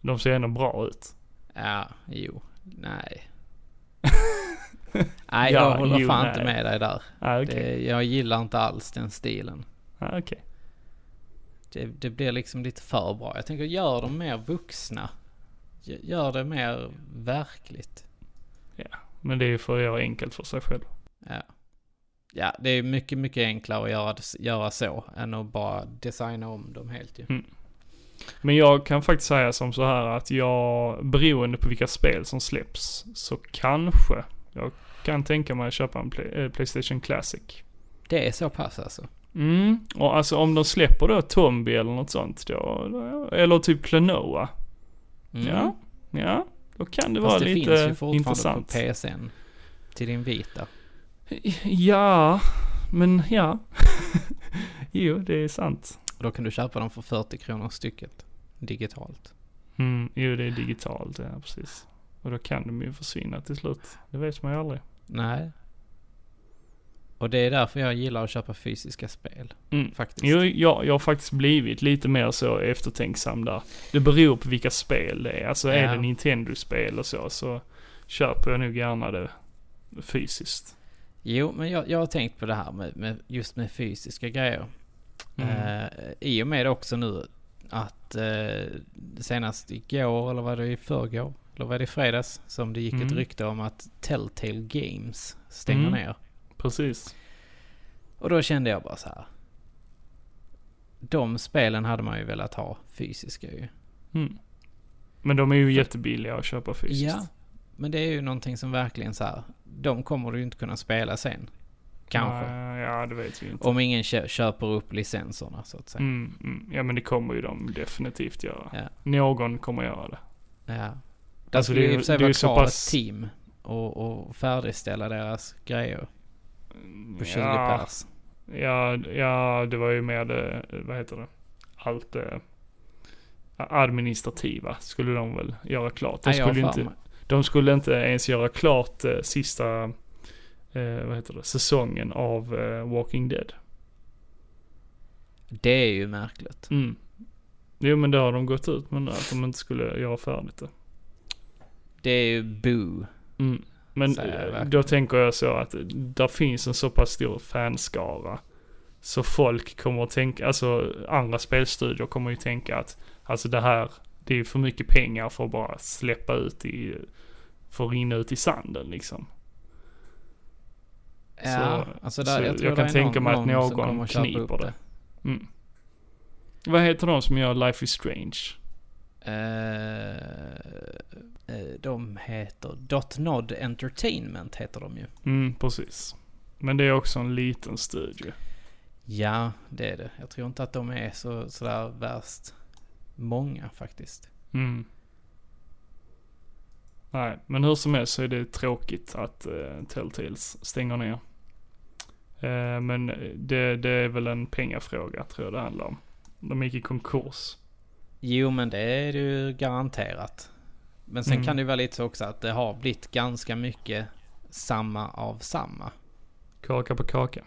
[SPEAKER 1] de ser ändå bra ut.
[SPEAKER 2] Ja, jo,
[SPEAKER 1] <laughs>
[SPEAKER 2] nej. nej,
[SPEAKER 1] Ja,
[SPEAKER 2] jag håller
[SPEAKER 1] jo,
[SPEAKER 2] fan
[SPEAKER 1] nej.
[SPEAKER 2] inte med dig där.
[SPEAKER 1] Ah, okej.
[SPEAKER 2] Det, jag gillar inte alls den stilen.
[SPEAKER 1] Ah, okej.
[SPEAKER 2] Det, det blir liksom lite för bra. Jag tänker, gör dem mer vuxna. G- Gör det mer verkligt.
[SPEAKER 1] Men det är ju för att göra enkelt för sig själv.
[SPEAKER 2] Ja. Ja, det är mycket, mycket enklare att göra, göra så än att bara designa om dem helt ju.
[SPEAKER 1] Men jag kan faktiskt säga som så här att jag, beroende på vilka spel som släpps, så kanske jag kan tänka mig att köpa en Play- eh, Playstation Classic.
[SPEAKER 2] Det är så pass alltså.
[SPEAKER 1] Mm, och alltså om de släpper då Tombi eller något sånt då, då eller typ Klonoa.
[SPEAKER 2] Mm.
[SPEAKER 1] Ja, ja, då kan det
[SPEAKER 2] Fast
[SPEAKER 1] vara
[SPEAKER 2] det finns ju
[SPEAKER 1] lite
[SPEAKER 2] fortfarande
[SPEAKER 1] intressant.
[SPEAKER 2] på PSN. Till din vita.
[SPEAKER 1] Ja, men ja. <laughs> jo, det är sant.
[SPEAKER 2] Och då kan du köpa dem för 40 kronor stycket. Digitalt.
[SPEAKER 1] Mm, jo, det är digitalt, ja precis. Och då kan de ju försvinna till slut. Det vet man ju aldrig.
[SPEAKER 2] Nej. Och det är därför jag gillar att köpa fysiska spel.
[SPEAKER 1] Mm.
[SPEAKER 2] Faktiskt.
[SPEAKER 1] Jo, jag, jag har faktiskt blivit lite mer så eftertänksam där. Det beror på vilka spel det är. Alltså
[SPEAKER 2] Ja.
[SPEAKER 1] är det Nintendo-spel och så, så köper jag nog gärna det fysiskt.
[SPEAKER 2] Jo, men jag, jag har tänkt på det här med, med just med fysiska grejer.
[SPEAKER 1] Mm.
[SPEAKER 2] Eh, I och med också nu att eh, senast igår, eller var det i förrgår, eller var det i fredags, som det gick ett
[SPEAKER 1] Mm.
[SPEAKER 2] rykte om att Telltale Games stänger
[SPEAKER 1] Mm.
[SPEAKER 2] ner.
[SPEAKER 1] Precis.
[SPEAKER 2] Och då kände jag bara så här. De spelen hade man ju velat ha fysiska ju.
[SPEAKER 1] Mm. Men de är ju jättebilliga att köpa fysiskt.
[SPEAKER 2] Ja, men det är ju någonting som verkligen så här. De kommer du ju inte kunna spela sen. Kanske.
[SPEAKER 1] Nej, Eh, ja, det vet vi inte.
[SPEAKER 2] Om ingen kö- köper upp licenserna så att säga.
[SPEAKER 1] Mm, mm. Ja, men det kommer ju de definitivt göra.
[SPEAKER 2] Ja.
[SPEAKER 1] Någon kommer göra det.
[SPEAKER 2] Ja. Där
[SPEAKER 1] Alltså,
[SPEAKER 2] skulle
[SPEAKER 1] det
[SPEAKER 2] ju
[SPEAKER 1] är-
[SPEAKER 2] i och för sig
[SPEAKER 1] det är
[SPEAKER 2] vara
[SPEAKER 1] ju så
[SPEAKER 2] kvar
[SPEAKER 1] pass-
[SPEAKER 2] ett team och, och färdigställa deras grejer på 20
[SPEAKER 1] ja,
[SPEAKER 2] pers.
[SPEAKER 1] ja, ja, det var ju mer det, vad heter det, allt det administrativa skulle de väl göra klart. De
[SPEAKER 2] Nej, jag har
[SPEAKER 1] skulle, ju
[SPEAKER 2] för
[SPEAKER 1] inte,
[SPEAKER 2] mig-
[SPEAKER 1] de skulle inte ens göra klart eh, sista, eh, vad heter det, säsongen av eh, Walking Dead.
[SPEAKER 2] Det är ju märkligt.
[SPEAKER 1] Mm. Jo men det har de gått ut med nu, att de inte skulle göra färdigt det.
[SPEAKER 2] Det är ju boo.
[SPEAKER 1] Mm. Men
[SPEAKER 2] Så är det
[SPEAKER 1] eh,
[SPEAKER 2] verkligen.
[SPEAKER 1] då tänker jag så att där finns en så pass stor fanskara. Så folk kommer att tänka, alltså andra spelstudior kommer ju tänka att alltså det här, det är för mycket pengar för att bara släppa ut i, för att rinna ut i sanden liksom.
[SPEAKER 2] Ja,
[SPEAKER 1] Så-
[SPEAKER 2] alltså där,
[SPEAKER 1] så
[SPEAKER 2] jag tror
[SPEAKER 1] jag
[SPEAKER 2] det
[SPEAKER 1] kan
[SPEAKER 2] är
[SPEAKER 1] tänka
[SPEAKER 2] någon,
[SPEAKER 1] mig att
[SPEAKER 2] någon som
[SPEAKER 1] någon
[SPEAKER 2] kommer att köpa
[SPEAKER 1] kniper
[SPEAKER 2] upp
[SPEAKER 1] det. Mm. Vad heter de som gör Life is Strange?
[SPEAKER 2] Eh, eh, de heter Dotnod Entertainment heter de ju.
[SPEAKER 1] Mm, precis. Men det är också en liten studio.
[SPEAKER 2] Ja, det är det. Jag tror inte att de är så, sådär värst många faktiskt.
[SPEAKER 1] Mm. Nej, men hur som helst så är det tråkigt att eh, Telltales stänger ner. Eh, men det, det är väl en pengafråga tror jag det handlar om. De gick i konkurs.
[SPEAKER 2] Jo, men det är det ju garanterat. Men sen
[SPEAKER 1] Mm.
[SPEAKER 2] kan det ju vara lite så också att det har blivit ganska mycket samma av samma.
[SPEAKER 1] Kaka på kaka.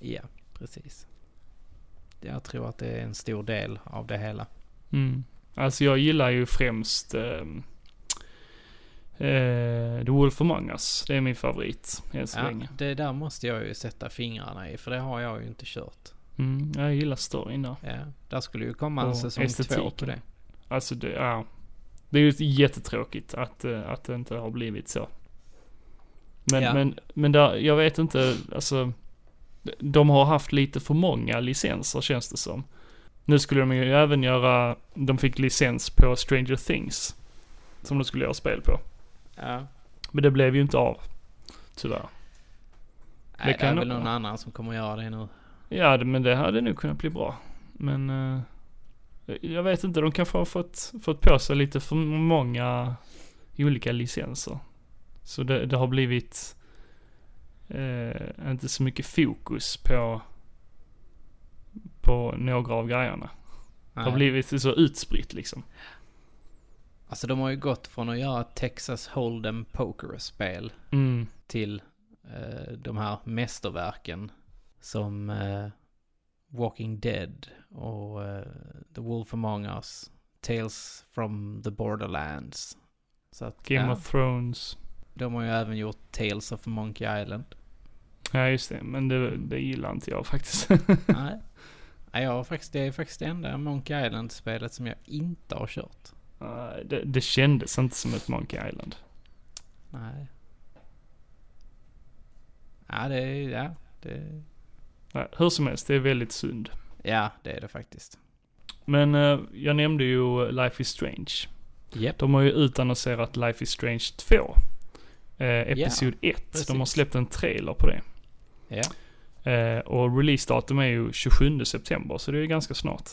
[SPEAKER 2] Ja, precis. Jag tror att det är en stor del av det hela.
[SPEAKER 1] Mm. Alltså jag gillar ju främst ehm, eh, The Wolf Among Us. Det är min favorit än så
[SPEAKER 2] Ja,
[SPEAKER 1] länge.
[SPEAKER 2] det där måste jag ju sätta fingrarna i, för det har jag ju inte kört.
[SPEAKER 1] Mm, jag gillar storyn där.
[SPEAKER 2] Ja, där skulle ju komma en
[SPEAKER 1] Och
[SPEAKER 2] säsong två på
[SPEAKER 1] estetiken.
[SPEAKER 2] det.
[SPEAKER 1] Alltså det, ja. Det är ju jättetråkigt att, eh, att det inte har blivit så. Men,
[SPEAKER 2] Ja.
[SPEAKER 1] men, men där, jag vet inte, alltså. De har haft lite för många licenser känns det som. Nu skulle de ju även göra, de fick licens på Stranger Things. Som de skulle göra spel på.
[SPEAKER 2] Ja.
[SPEAKER 1] Men det blev ju inte av. Tyvärr.
[SPEAKER 2] Nej, det,
[SPEAKER 1] kan
[SPEAKER 2] är väl
[SPEAKER 1] nog-
[SPEAKER 2] någon annan som kommer göra det nu.
[SPEAKER 1] Ja, det- men det hade nog kunnat bli bra. Men eh, jag vet inte, de kanske har fått, fått på sig lite för många olika licenser. Så det, det har blivit eh, inte så mycket fokus på, på några av grejerna. Det har
[SPEAKER 2] Nej.
[SPEAKER 1] blivit så utspritt liksom.
[SPEAKER 2] Alltså de har ju gått från att göra ett Texas Hold'em pokerspel
[SPEAKER 1] Mm,
[SPEAKER 2] till eh, de här mästerverken som eh, Walking Dead och eh, The Wolf Among Us, Tales from the Borderlands. Så att,
[SPEAKER 1] Game
[SPEAKER 2] ja,
[SPEAKER 1] of Thrones.
[SPEAKER 2] de har ju även gjort Tales of Monkey Island.
[SPEAKER 1] <laughs> Ja, just det. Men det, det gillar inte jag faktiskt. <laughs>
[SPEAKER 2] Nej. Nej, jag har faktiskt, det är faktiskt det enda Monkey Island-spelet som jag inte har kört.
[SPEAKER 1] Eh, det, det kändes inte som ett Monkey Island.
[SPEAKER 2] Nej. Ja, det är... Ja, det,
[SPEAKER 1] Nej, hur som helst, det är väldigt synd.
[SPEAKER 2] ja, det är det faktiskt.
[SPEAKER 1] Men eh, jag nämnde ju Life is Strange.
[SPEAKER 2] Japp.
[SPEAKER 1] De har ju utannonserat Life is Strange 2. Eh, Episod 1. De har
[SPEAKER 2] precis.
[SPEAKER 1] släppt en trailer på det.
[SPEAKER 2] Ja.
[SPEAKER 1] Eh, och releasedatum är ju 27 september, så det är ju ganska snart.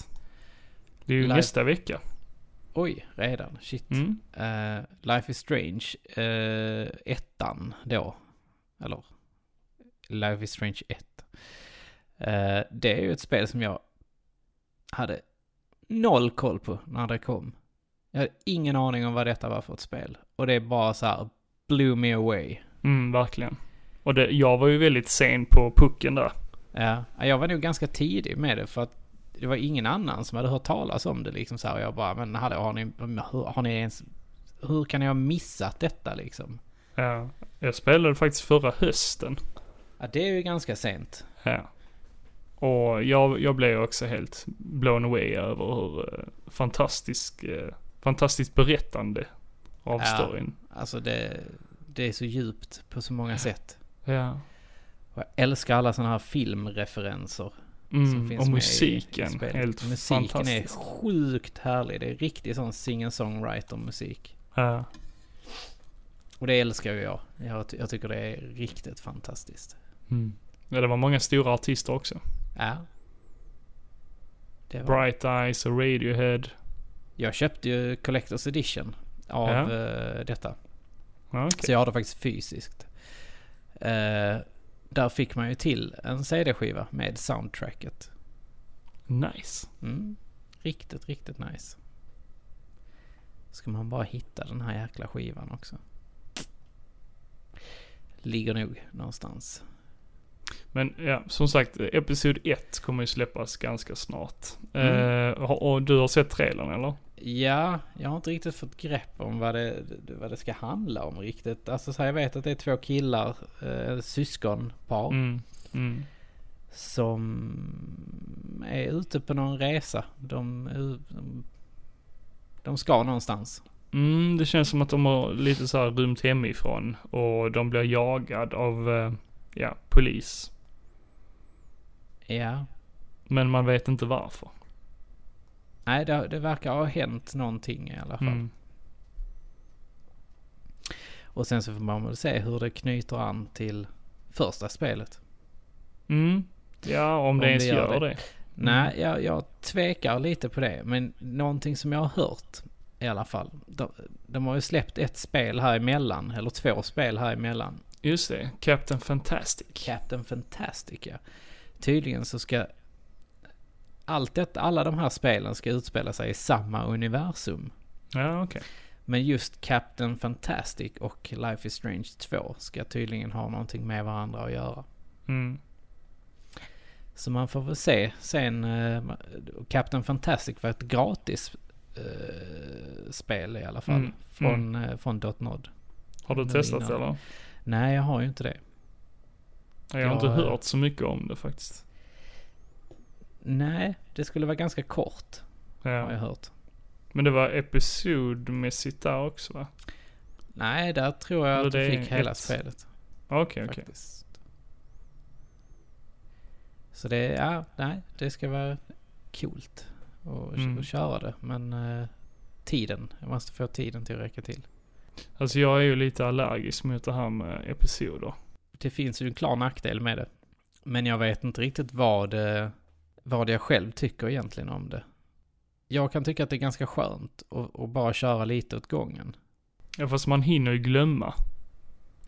[SPEAKER 1] Det är ju
[SPEAKER 2] Life-
[SPEAKER 1] nästa vecka.
[SPEAKER 2] Oj, redan. Shit.
[SPEAKER 1] Mm.
[SPEAKER 2] Eh, Life is Strange, eh, ettan då. Eller, Life is Strange 1. Eh, det är ju ett spel som jag hade noll koll på när det kom. Jag hade ingen aning om vad detta var för ett spel. Och det är bara så här, blew me away.
[SPEAKER 1] Mm, verkligen. Och det, jag var ju väldigt sen på pucken där.
[SPEAKER 2] Ja, jag var nog ganska tidig med det för att det var ingen annan som hade hört talas om det liksom så här. Och jag bara, men hallå, har ni, hur, har ni ens, hur kan jag ha missat detta liksom?
[SPEAKER 1] Ja. Eh, Jag spelade faktiskt förra hösten.
[SPEAKER 2] Ja, det är ju ganska sent.
[SPEAKER 1] Ja. Och jag, jag blev också helt blown away över hur eh, fantastisk, eh, fantastiskt berättande av
[SPEAKER 2] Ja.
[SPEAKER 1] storyn.
[SPEAKER 2] Alltså det, det är så djupt på så många sätt.
[SPEAKER 1] Ja.
[SPEAKER 2] Och jag älskar alla sådana här filmreferenser som
[SPEAKER 1] Mm,
[SPEAKER 2] finns
[SPEAKER 1] och
[SPEAKER 2] med i- i
[SPEAKER 1] musiken,
[SPEAKER 2] spelet.
[SPEAKER 1] helt
[SPEAKER 2] Musiken är
[SPEAKER 1] fantastisk.
[SPEAKER 2] sjukt härlig. Det är riktigt sån singer-songwriter-musik.
[SPEAKER 1] Ja.
[SPEAKER 2] Och det älskar ju jag. jag. ty- Jag tycker det är riktigt fantastiskt.
[SPEAKER 1] Mm. ja, det var många stora artister också.
[SPEAKER 2] Ja. Det var
[SPEAKER 1] Bright Eyes och Radiohead.
[SPEAKER 2] Jag köpte ju Collector's Edition av
[SPEAKER 1] Ja.
[SPEAKER 2] eh, detta.
[SPEAKER 1] Ja, okej.
[SPEAKER 2] Så jag har det faktiskt fysiskt. Eh, där fick man ju till en CD-skiva med soundtracket.
[SPEAKER 1] Nice.
[SPEAKER 2] Mm. Riktigt, riktigt nice. Ska man bara hitta den här jäkla skivan också. Ligger nog någonstans.
[SPEAKER 1] Men ja, som sagt, eh, Episod 1 kommer ju släppas ganska snart.
[SPEAKER 2] Mm.
[SPEAKER 1] Eh, och, och du har sett trailern eller?
[SPEAKER 2] Ja, jag har inte riktigt fått grepp om vad det, vad det ska handla om riktigt. Alltså så här, jag vet att det är två killar, eh, syskonpar.
[SPEAKER 1] Mm. Mm.
[SPEAKER 2] som är ute på någon resa. De, är u- de, de ska någonstans.
[SPEAKER 1] Mm, det känns som att de har lite så här rymt hemifrån och de blir jagad av, eh, ja, polis.
[SPEAKER 2] Ja.
[SPEAKER 1] Men man vet inte varför.
[SPEAKER 2] Nej, det, det verkar ha hänt någonting i alla fall.
[SPEAKER 1] Mm.
[SPEAKER 2] Och sen så får man väl se hur det knyter an till första spelet.
[SPEAKER 1] Mm. Ja, om, det ens gör, det.
[SPEAKER 2] Nej, jag, jag tvekar lite på det. Men någonting som jag har hört i alla fall. De, de har ju släppt ett spel här emellan, eller två spel här emellan.
[SPEAKER 1] Just det, Captain Fantastic.
[SPEAKER 2] Captain Fantastic, ja. Tydligen så ska allt detta, alla de här spelen ska utspela sig i samma universum.
[SPEAKER 1] Ja, okej.
[SPEAKER 2] Men just Captain Fantastic och Life is Strange 2 ska tydligen ha någonting med varandra att göra.
[SPEAKER 1] Mm.
[SPEAKER 2] Så man får väl se. Sen, eh, Captain Fantastic var ett gratis eh, spel i alla fall.
[SPEAKER 1] Mm,
[SPEAKER 2] Från, eh, från Dotnod.
[SPEAKER 1] Har du
[SPEAKER 2] Nu
[SPEAKER 1] testat
[SPEAKER 2] innan.
[SPEAKER 1] det eller?
[SPEAKER 2] Nej, jag har ju inte det.
[SPEAKER 1] Jag har
[SPEAKER 2] Ja,
[SPEAKER 1] inte
[SPEAKER 2] eh.
[SPEAKER 1] hört så mycket om det faktiskt.
[SPEAKER 2] Nej, det skulle vara ganska kort har jag
[SPEAKER 1] Ja.
[SPEAKER 2] hört.
[SPEAKER 1] Men det var episodmässigt där också va?
[SPEAKER 2] Nej, där tror jag
[SPEAKER 1] Eller
[SPEAKER 2] att
[SPEAKER 1] det
[SPEAKER 2] du
[SPEAKER 1] är
[SPEAKER 2] fick hela
[SPEAKER 1] ett-
[SPEAKER 2] spelet
[SPEAKER 1] Okej, okej.
[SPEAKER 2] faktiskt. Så det, ja, nej, det ska vara coolt att
[SPEAKER 1] Mm.
[SPEAKER 2] att köra det. Men eh, tiden, jag måste få tiden till att räcka till.
[SPEAKER 1] Alltså jag är ju lite allergisk mot det här med episoder.
[SPEAKER 2] Det finns ju en klar nackdel med det. Men jag vet inte riktigt vad, eh, vad jag själv tycker egentligen om det. Jag kan tycka att det är ganska skönt att, att bara köra lite åt gången.
[SPEAKER 1] Ja, fast man hinner ju glömma.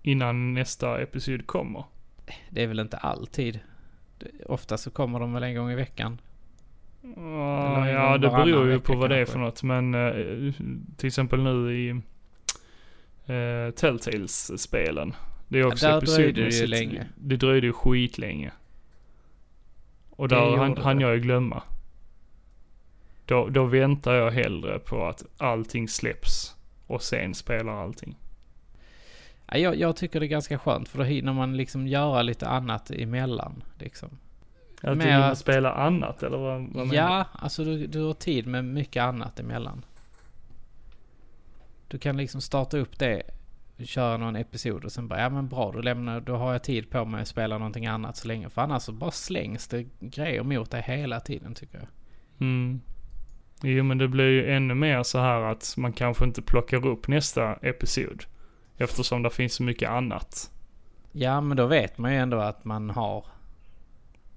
[SPEAKER 1] Innan nästa episod kommer.
[SPEAKER 2] Det är väl inte alltid. Det- Ofta så kommer de väl en gång i veckan.
[SPEAKER 1] Ja,
[SPEAKER 2] en
[SPEAKER 1] ja
[SPEAKER 2] gång
[SPEAKER 1] det
[SPEAKER 2] varannan
[SPEAKER 1] beror ju
[SPEAKER 2] vecka
[SPEAKER 1] på vad det är
[SPEAKER 2] kanske.
[SPEAKER 1] för något. Men eh, till exempel nu i eh, Telltales-spelen. Det är också
[SPEAKER 2] där dröjde det ju
[SPEAKER 1] episodmässigt.
[SPEAKER 2] länge.
[SPEAKER 1] Det dröjde ju skitlänge. Och
[SPEAKER 2] Det
[SPEAKER 1] där
[SPEAKER 2] gjorde
[SPEAKER 1] hann
[SPEAKER 2] det.
[SPEAKER 1] han jag ju glömma. Då, då väntar jag hellre på att allting släpps och sen spelar allting.
[SPEAKER 2] Ja, Jag, jag tycker det är ganska skönt för då hinner man liksom göra lite annat emellan. Liksom.
[SPEAKER 1] Att
[SPEAKER 2] Mer
[SPEAKER 1] du hinner
[SPEAKER 2] att-
[SPEAKER 1] spela annat eller vad, vad menar du?
[SPEAKER 2] Ja, alltså du, du har tid med mycket annat emellan. Du kan liksom starta upp det, köra någon episod och sen bara, ja men bra, då, lämnar, då har jag tid på mig att spela någonting annat så länge. För annars så bara slängs det grejer mot dig hela tiden tycker jag.
[SPEAKER 1] Mm. Jo men det blir ju ännu mer så här att man kanske inte plockar upp nästa episod. Eftersom det finns så mycket annat.
[SPEAKER 2] Ja, men då vet man ju ändå att man har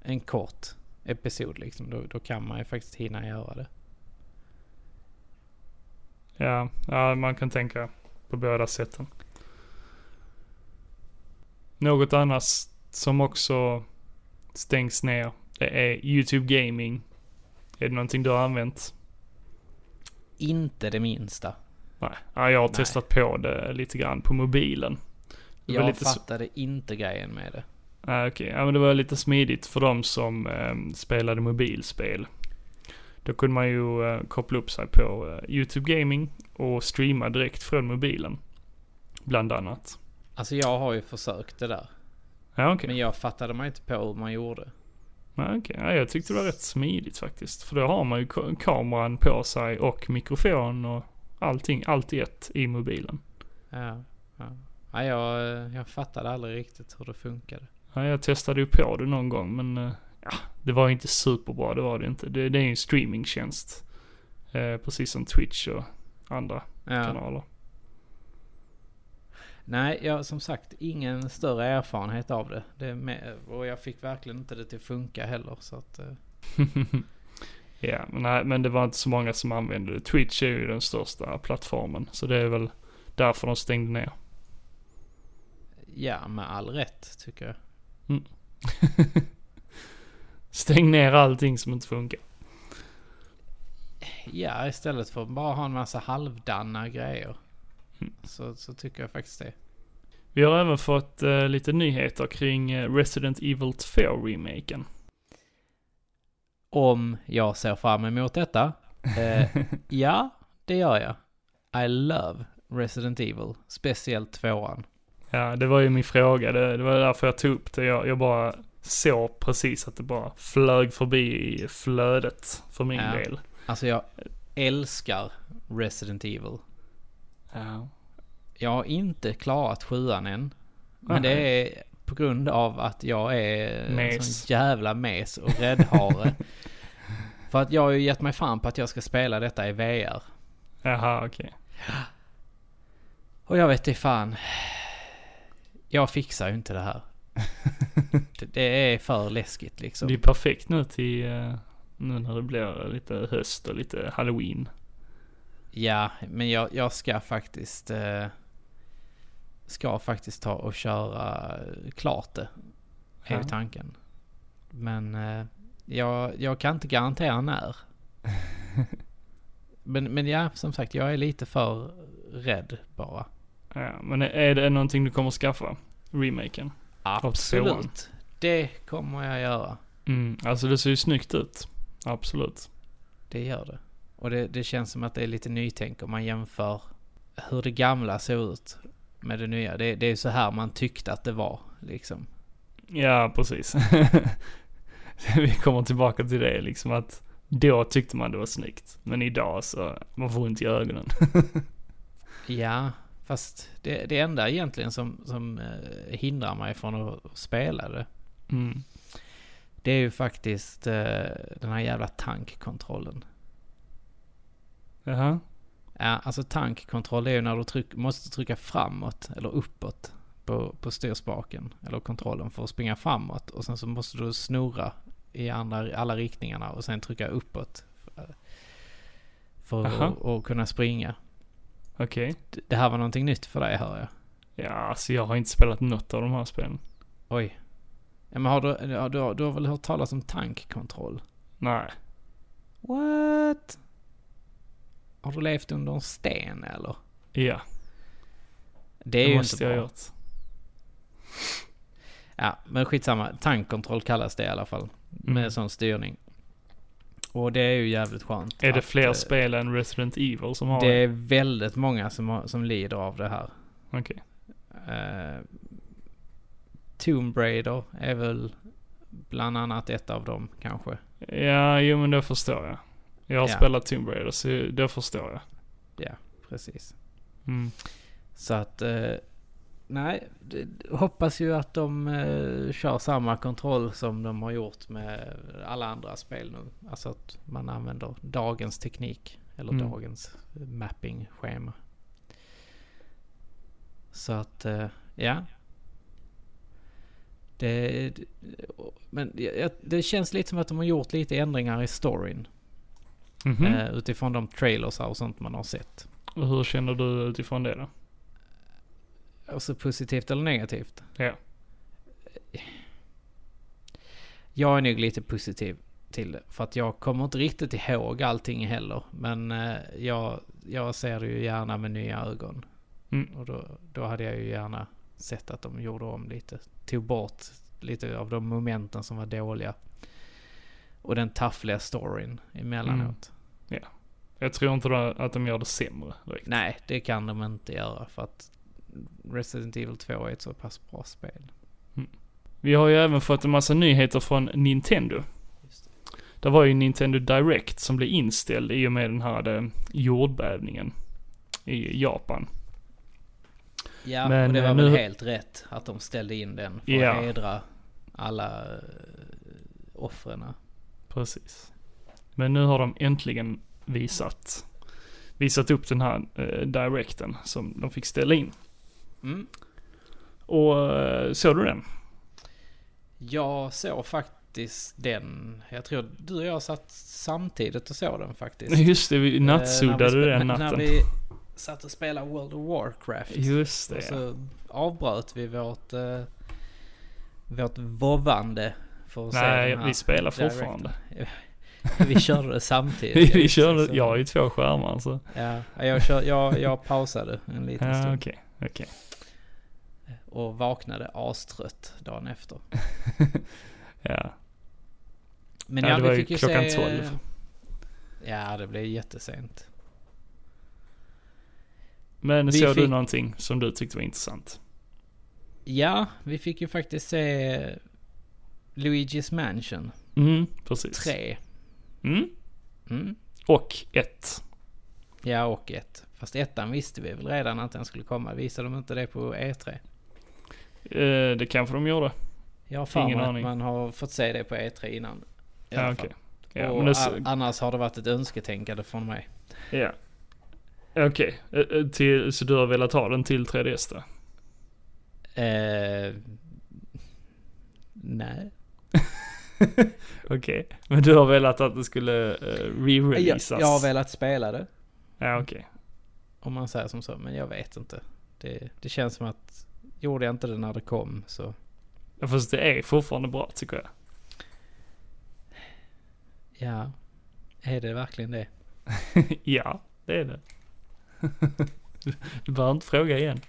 [SPEAKER 2] en kort episod liksom. Då, då kan man ju faktiskt hinna göra det.
[SPEAKER 1] Ja, ja man kan tänka på båda sätten. Något annat som också stängs ner det är YouTube Gaming. Är det någonting du har använt?
[SPEAKER 2] Inte det minsta.
[SPEAKER 1] Nej, ja, jag har
[SPEAKER 2] Nej.
[SPEAKER 1] testat på det lite grann på mobilen. Det var
[SPEAKER 2] Jag
[SPEAKER 1] lite så-
[SPEAKER 2] fattade inte grejen med det.
[SPEAKER 1] Ah, Okej, ja, men det var lite smidigt för de som ehm, spelade mobilspel. Då kunde man ju eh, koppla upp sig på eh, YouTube Gaming och streama direkt från mobilen. Bland annat.
[SPEAKER 2] Alltså jag har ju försökt det där.
[SPEAKER 1] Ja, okej.
[SPEAKER 2] Men jag fattade mig inte på hur man gjorde.
[SPEAKER 1] Ja, okej. ja, jag tyckte det var rätt smidigt faktiskt. För då har man ju ka- kameran på sig och mikrofon och allting, allt i ett i mobilen.
[SPEAKER 2] Ja, ja. ja jag, eh, jag fattade aldrig riktigt hur det funkade.
[SPEAKER 1] Ja, jag testade ju på det någon gång men eh, ja, det var ju inte superbra, det var det inte. Det, det är ju en streamingtjänst. Eh, precis som Twitch och andra
[SPEAKER 2] Ja.
[SPEAKER 1] kanaler.
[SPEAKER 2] Nej, jag har som sagt ingen större erfarenhet av det. det är med, och jag fick verkligen inte det till att funka heller. Så att, eh,
[SPEAKER 1] Ja, men, nej, men det var inte så många som använde det. Twitch är ju den största plattformen, så det är väl därför de stängde ner. <laughs>
[SPEAKER 2] ja, med all rätt tycker jag.
[SPEAKER 1] Stäng ner allting som inte funkar.
[SPEAKER 2] Ja, istället för att bara ha en massa halvdanna grejer.
[SPEAKER 1] Mm.
[SPEAKER 2] Så, så tycker jag faktiskt det.
[SPEAKER 1] Vi har även fått eh, lite nyheter kring eh, Resident Evil 2-remaken.
[SPEAKER 2] Om jag ser fram emot detta. Eh,
[SPEAKER 1] <laughs>
[SPEAKER 2] ja, det gör jag. I love Resident Evil. Speciellt tvåan.
[SPEAKER 1] Ja, det var ju min fråga. Det, det var därför jag tog upp det. Jag, jag bara såg precis att det bara flög förbi i flödet för min
[SPEAKER 2] Ja.
[SPEAKER 1] del.
[SPEAKER 2] Alltså jag älskar Resident Evil.
[SPEAKER 1] Ja.
[SPEAKER 2] Jag har inte klarat sjuan än. Men
[SPEAKER 1] Nej.
[SPEAKER 2] det är på grund av att jag är en
[SPEAKER 1] Mes.
[SPEAKER 2] sån jävla mes
[SPEAKER 1] <laughs>
[SPEAKER 2] och räddhare. För att jag har ju gett mig fan på att jag ska spela detta i VR.
[SPEAKER 1] Jaha, okej. <laughs>
[SPEAKER 2] Och jag vet inte fan. Jag fixar ju inte det här. Det, det är för läskigt liksom.
[SPEAKER 1] Det är perfekt nu till, eh, nu när det blir lite höst och lite halloween.
[SPEAKER 2] Ja, men jag, jag ska faktiskt... Eh, ska faktiskt ta och köra eh, klart det. Är ju
[SPEAKER 1] Ja.
[SPEAKER 2] tanken. Men eh, jag, jag kan inte garantera när.
[SPEAKER 1] <laughs>
[SPEAKER 2] men, men ja, som sagt, jag är lite för rädd bara.
[SPEAKER 1] Ja, Eh, men är det någonting du kommer skaffa? Remaken? tvåan.
[SPEAKER 2] Absolut. Det kommer jag göra.
[SPEAKER 1] Mm, alltså det ser ju snyggt ut. Absolut.
[SPEAKER 2] Det gör det. Och det, det känns som att det är lite nytänk om man jämför hur det gamla såg ut med det nya. Det, det är ju så här man tyckte att det var liksom.
[SPEAKER 1] Ja, precis. <laughs> Vi kommer tillbaka till det liksom att då tyckte man det var snyggt. Men idag så, man får ont i ögonen.
[SPEAKER 2] Ja, fast det, det enda egentligen som, som eh, hindrar mig från att spela det,
[SPEAKER 1] Mm.
[SPEAKER 2] det är ju faktiskt eh, den här jävla tankkontrollen.
[SPEAKER 1] Jaha.
[SPEAKER 2] Ja, alltså tankkontroll är ju när du tryck, måste trycka framåt eller uppåt på, på styrspaken eller kontrollen för att springa framåt och sen så måste du snurra i andra, alla riktningarna och sen trycka uppåt för, för
[SPEAKER 1] Aha.
[SPEAKER 2] att, att kunna springa.
[SPEAKER 1] Okej.
[SPEAKER 2] D- Det här var någonting nytt för dig hör jag.
[SPEAKER 1] Ja, alltså jag har inte spelat något av de här spelen.
[SPEAKER 2] Oj. Ja, men har du, ja, du, har, du har väl hört talas om tankkontroll?
[SPEAKER 1] Nej.
[SPEAKER 2] What? Har du levt under en sten eller?
[SPEAKER 1] Ja,
[SPEAKER 2] Det
[SPEAKER 1] det
[SPEAKER 2] är ju
[SPEAKER 1] måste
[SPEAKER 2] inte bra.
[SPEAKER 1] jag ha gjort.
[SPEAKER 2] Ja, men skitsamma. Tankkontroll kallas det i alla fall.
[SPEAKER 1] Mm.
[SPEAKER 2] Med sån styrning. Och det är ju jävligt skönt.
[SPEAKER 1] Är det
[SPEAKER 2] att,
[SPEAKER 1] fler
[SPEAKER 2] eh,
[SPEAKER 1] spel än Resident Evil som har
[SPEAKER 2] Det är väldigt många som, har, som lider av det här.
[SPEAKER 1] Okej.
[SPEAKER 2] Eh, Tomb Raider är väl bland annat ett av dem kanske.
[SPEAKER 1] Ja, jo men det förstår jag. Jag har
[SPEAKER 2] Ja.
[SPEAKER 1] spelat Tomb Raider så det förstår jag.
[SPEAKER 2] Precis.
[SPEAKER 1] Mm.
[SPEAKER 2] Så att, eh, nej, det, hoppas ju att de eh, kör samma kontroll som de har gjort med alla andra spel nu. Alltså att man använder dagens teknik eller
[SPEAKER 1] Mm.
[SPEAKER 2] dagens mapping-schema. Så att, eh, ja. Det, det- men jag- jag- det känns lite som att de har gjort lite ändringar i storyn.
[SPEAKER 1] Mhm.
[SPEAKER 2] Eh, utifrån de trailers och sånt man har sett.
[SPEAKER 1] Och hur känner du utifrån det då?
[SPEAKER 2] Alltså positivt eller negativt?
[SPEAKER 1] Ja.
[SPEAKER 2] Jag är nog lite positiv till det. För att jag kommer inte riktigt ihåg allting heller. Men eh, jag, jag ser det ju gärna med nya ögon.
[SPEAKER 1] Mm.
[SPEAKER 2] Och då, då hade jag ju gärna sett att de gjorde om lite. Tog bort lite av de momenten som var dåliga. Och den taffliga storyn emellanåt.
[SPEAKER 1] Jag tror inte då att de gör det sämre direkt.
[SPEAKER 2] Nej, det kan de inte göra. För att Resident Evil 2 är ett så pass bra spel.
[SPEAKER 1] Vi har ju även fått en massa nyheter från Nintendo. Det var ju Nintendo Direct som blev inställd i och med den här eh, jordbävningen i Japan.
[SPEAKER 2] Ja,
[SPEAKER 1] Men,
[SPEAKER 2] och det var
[SPEAKER 1] eh,
[SPEAKER 2] väl
[SPEAKER 1] nu-
[SPEAKER 2] helt rätt att de ställde in den för
[SPEAKER 1] Ja.
[SPEAKER 2] att hedra alla eh, offren.
[SPEAKER 1] Precis. Men nu har de äntligen visat, visat upp den här eh, Directen som de fick ställa in.
[SPEAKER 2] Mm.
[SPEAKER 1] Och eh, såg du den?
[SPEAKER 2] Jag såg faktiskt den, jag tror du och jag satt samtidigt och såg den faktiskt.
[SPEAKER 1] Just det, vi
[SPEAKER 2] Eh, när
[SPEAKER 1] nattsuddade
[SPEAKER 2] vi spe-
[SPEAKER 1] den
[SPEAKER 2] när-
[SPEAKER 1] natten.
[SPEAKER 2] När vi satt och spelade World of Warcraft.
[SPEAKER 1] Just
[SPEAKER 2] och
[SPEAKER 1] det. ja.
[SPEAKER 2] så avbröt vi vårt, eh, vårt vovvande för att se
[SPEAKER 1] Nej,
[SPEAKER 2] den här.
[SPEAKER 1] vi spelar
[SPEAKER 2] Directen.
[SPEAKER 1] fortfarande.
[SPEAKER 2] <laughs> Vi körde det samtidigt.
[SPEAKER 1] Vi, <laughs> vi
[SPEAKER 2] Just det,
[SPEAKER 1] körde,
[SPEAKER 2] så-
[SPEAKER 1] jag har ju två skärmar så.
[SPEAKER 2] Ja, jag, kör, jag, jag pausade en liten
[SPEAKER 1] Ja,
[SPEAKER 2] stund.
[SPEAKER 1] okej. okej.
[SPEAKER 2] Och vaknade astrött dagen efter.
[SPEAKER 1] Ja.
[SPEAKER 2] Men
[SPEAKER 1] Ja, det var
[SPEAKER 2] vi
[SPEAKER 1] ju
[SPEAKER 2] fick
[SPEAKER 1] klockan
[SPEAKER 2] se-
[SPEAKER 1] 12.
[SPEAKER 2] Ja, det blev jättesent.
[SPEAKER 1] Men
[SPEAKER 2] Vi
[SPEAKER 1] såg du
[SPEAKER 2] fick-
[SPEAKER 1] någonting som du tyckte var intressant?
[SPEAKER 2] Ja, vi fick ju faktiskt se Luigi's Mansion Mhm,
[SPEAKER 1] Mm, precis.
[SPEAKER 2] 3.
[SPEAKER 1] Mm.
[SPEAKER 2] Mm.
[SPEAKER 1] Och ett.
[SPEAKER 2] Ja, och ett. Fast ettan visste vi väl redan att den skulle komma. Visade de inte det på E E3?
[SPEAKER 1] Eh, det kanske de gjorde.
[SPEAKER 2] Jag har för
[SPEAKER 1] Ingen
[SPEAKER 2] mig att
[SPEAKER 1] aning.
[SPEAKER 2] man har fått se det på E3 innan. I
[SPEAKER 1] Ja,
[SPEAKER 2] alla
[SPEAKER 1] okej.
[SPEAKER 2] fall.
[SPEAKER 1] Ja,
[SPEAKER 2] och
[SPEAKER 1] men det, s-
[SPEAKER 2] a- annars har det varit ett önsketänkande från mig.
[SPEAKER 1] ja. Okej, eh, eh, till- så du har velat ha den till 3DS då?
[SPEAKER 2] Eh, Nej.
[SPEAKER 1] Okej, men du har velat att det skulle eh,
[SPEAKER 2] Jag,
[SPEAKER 1] re-releasas?
[SPEAKER 2] jag har velat spela det.
[SPEAKER 1] Ja, okej.
[SPEAKER 2] Om man säger som så. Men jag vet inte. Det, det känns som att gjorde jag inte det när det kom så.
[SPEAKER 1] Okay. Fast det är fortfarande bra tycker jag. <laughs>
[SPEAKER 2] Ja. Är det verkligen det?
[SPEAKER 1] ja, det är det. <laughs> du behöver inte fråga igen.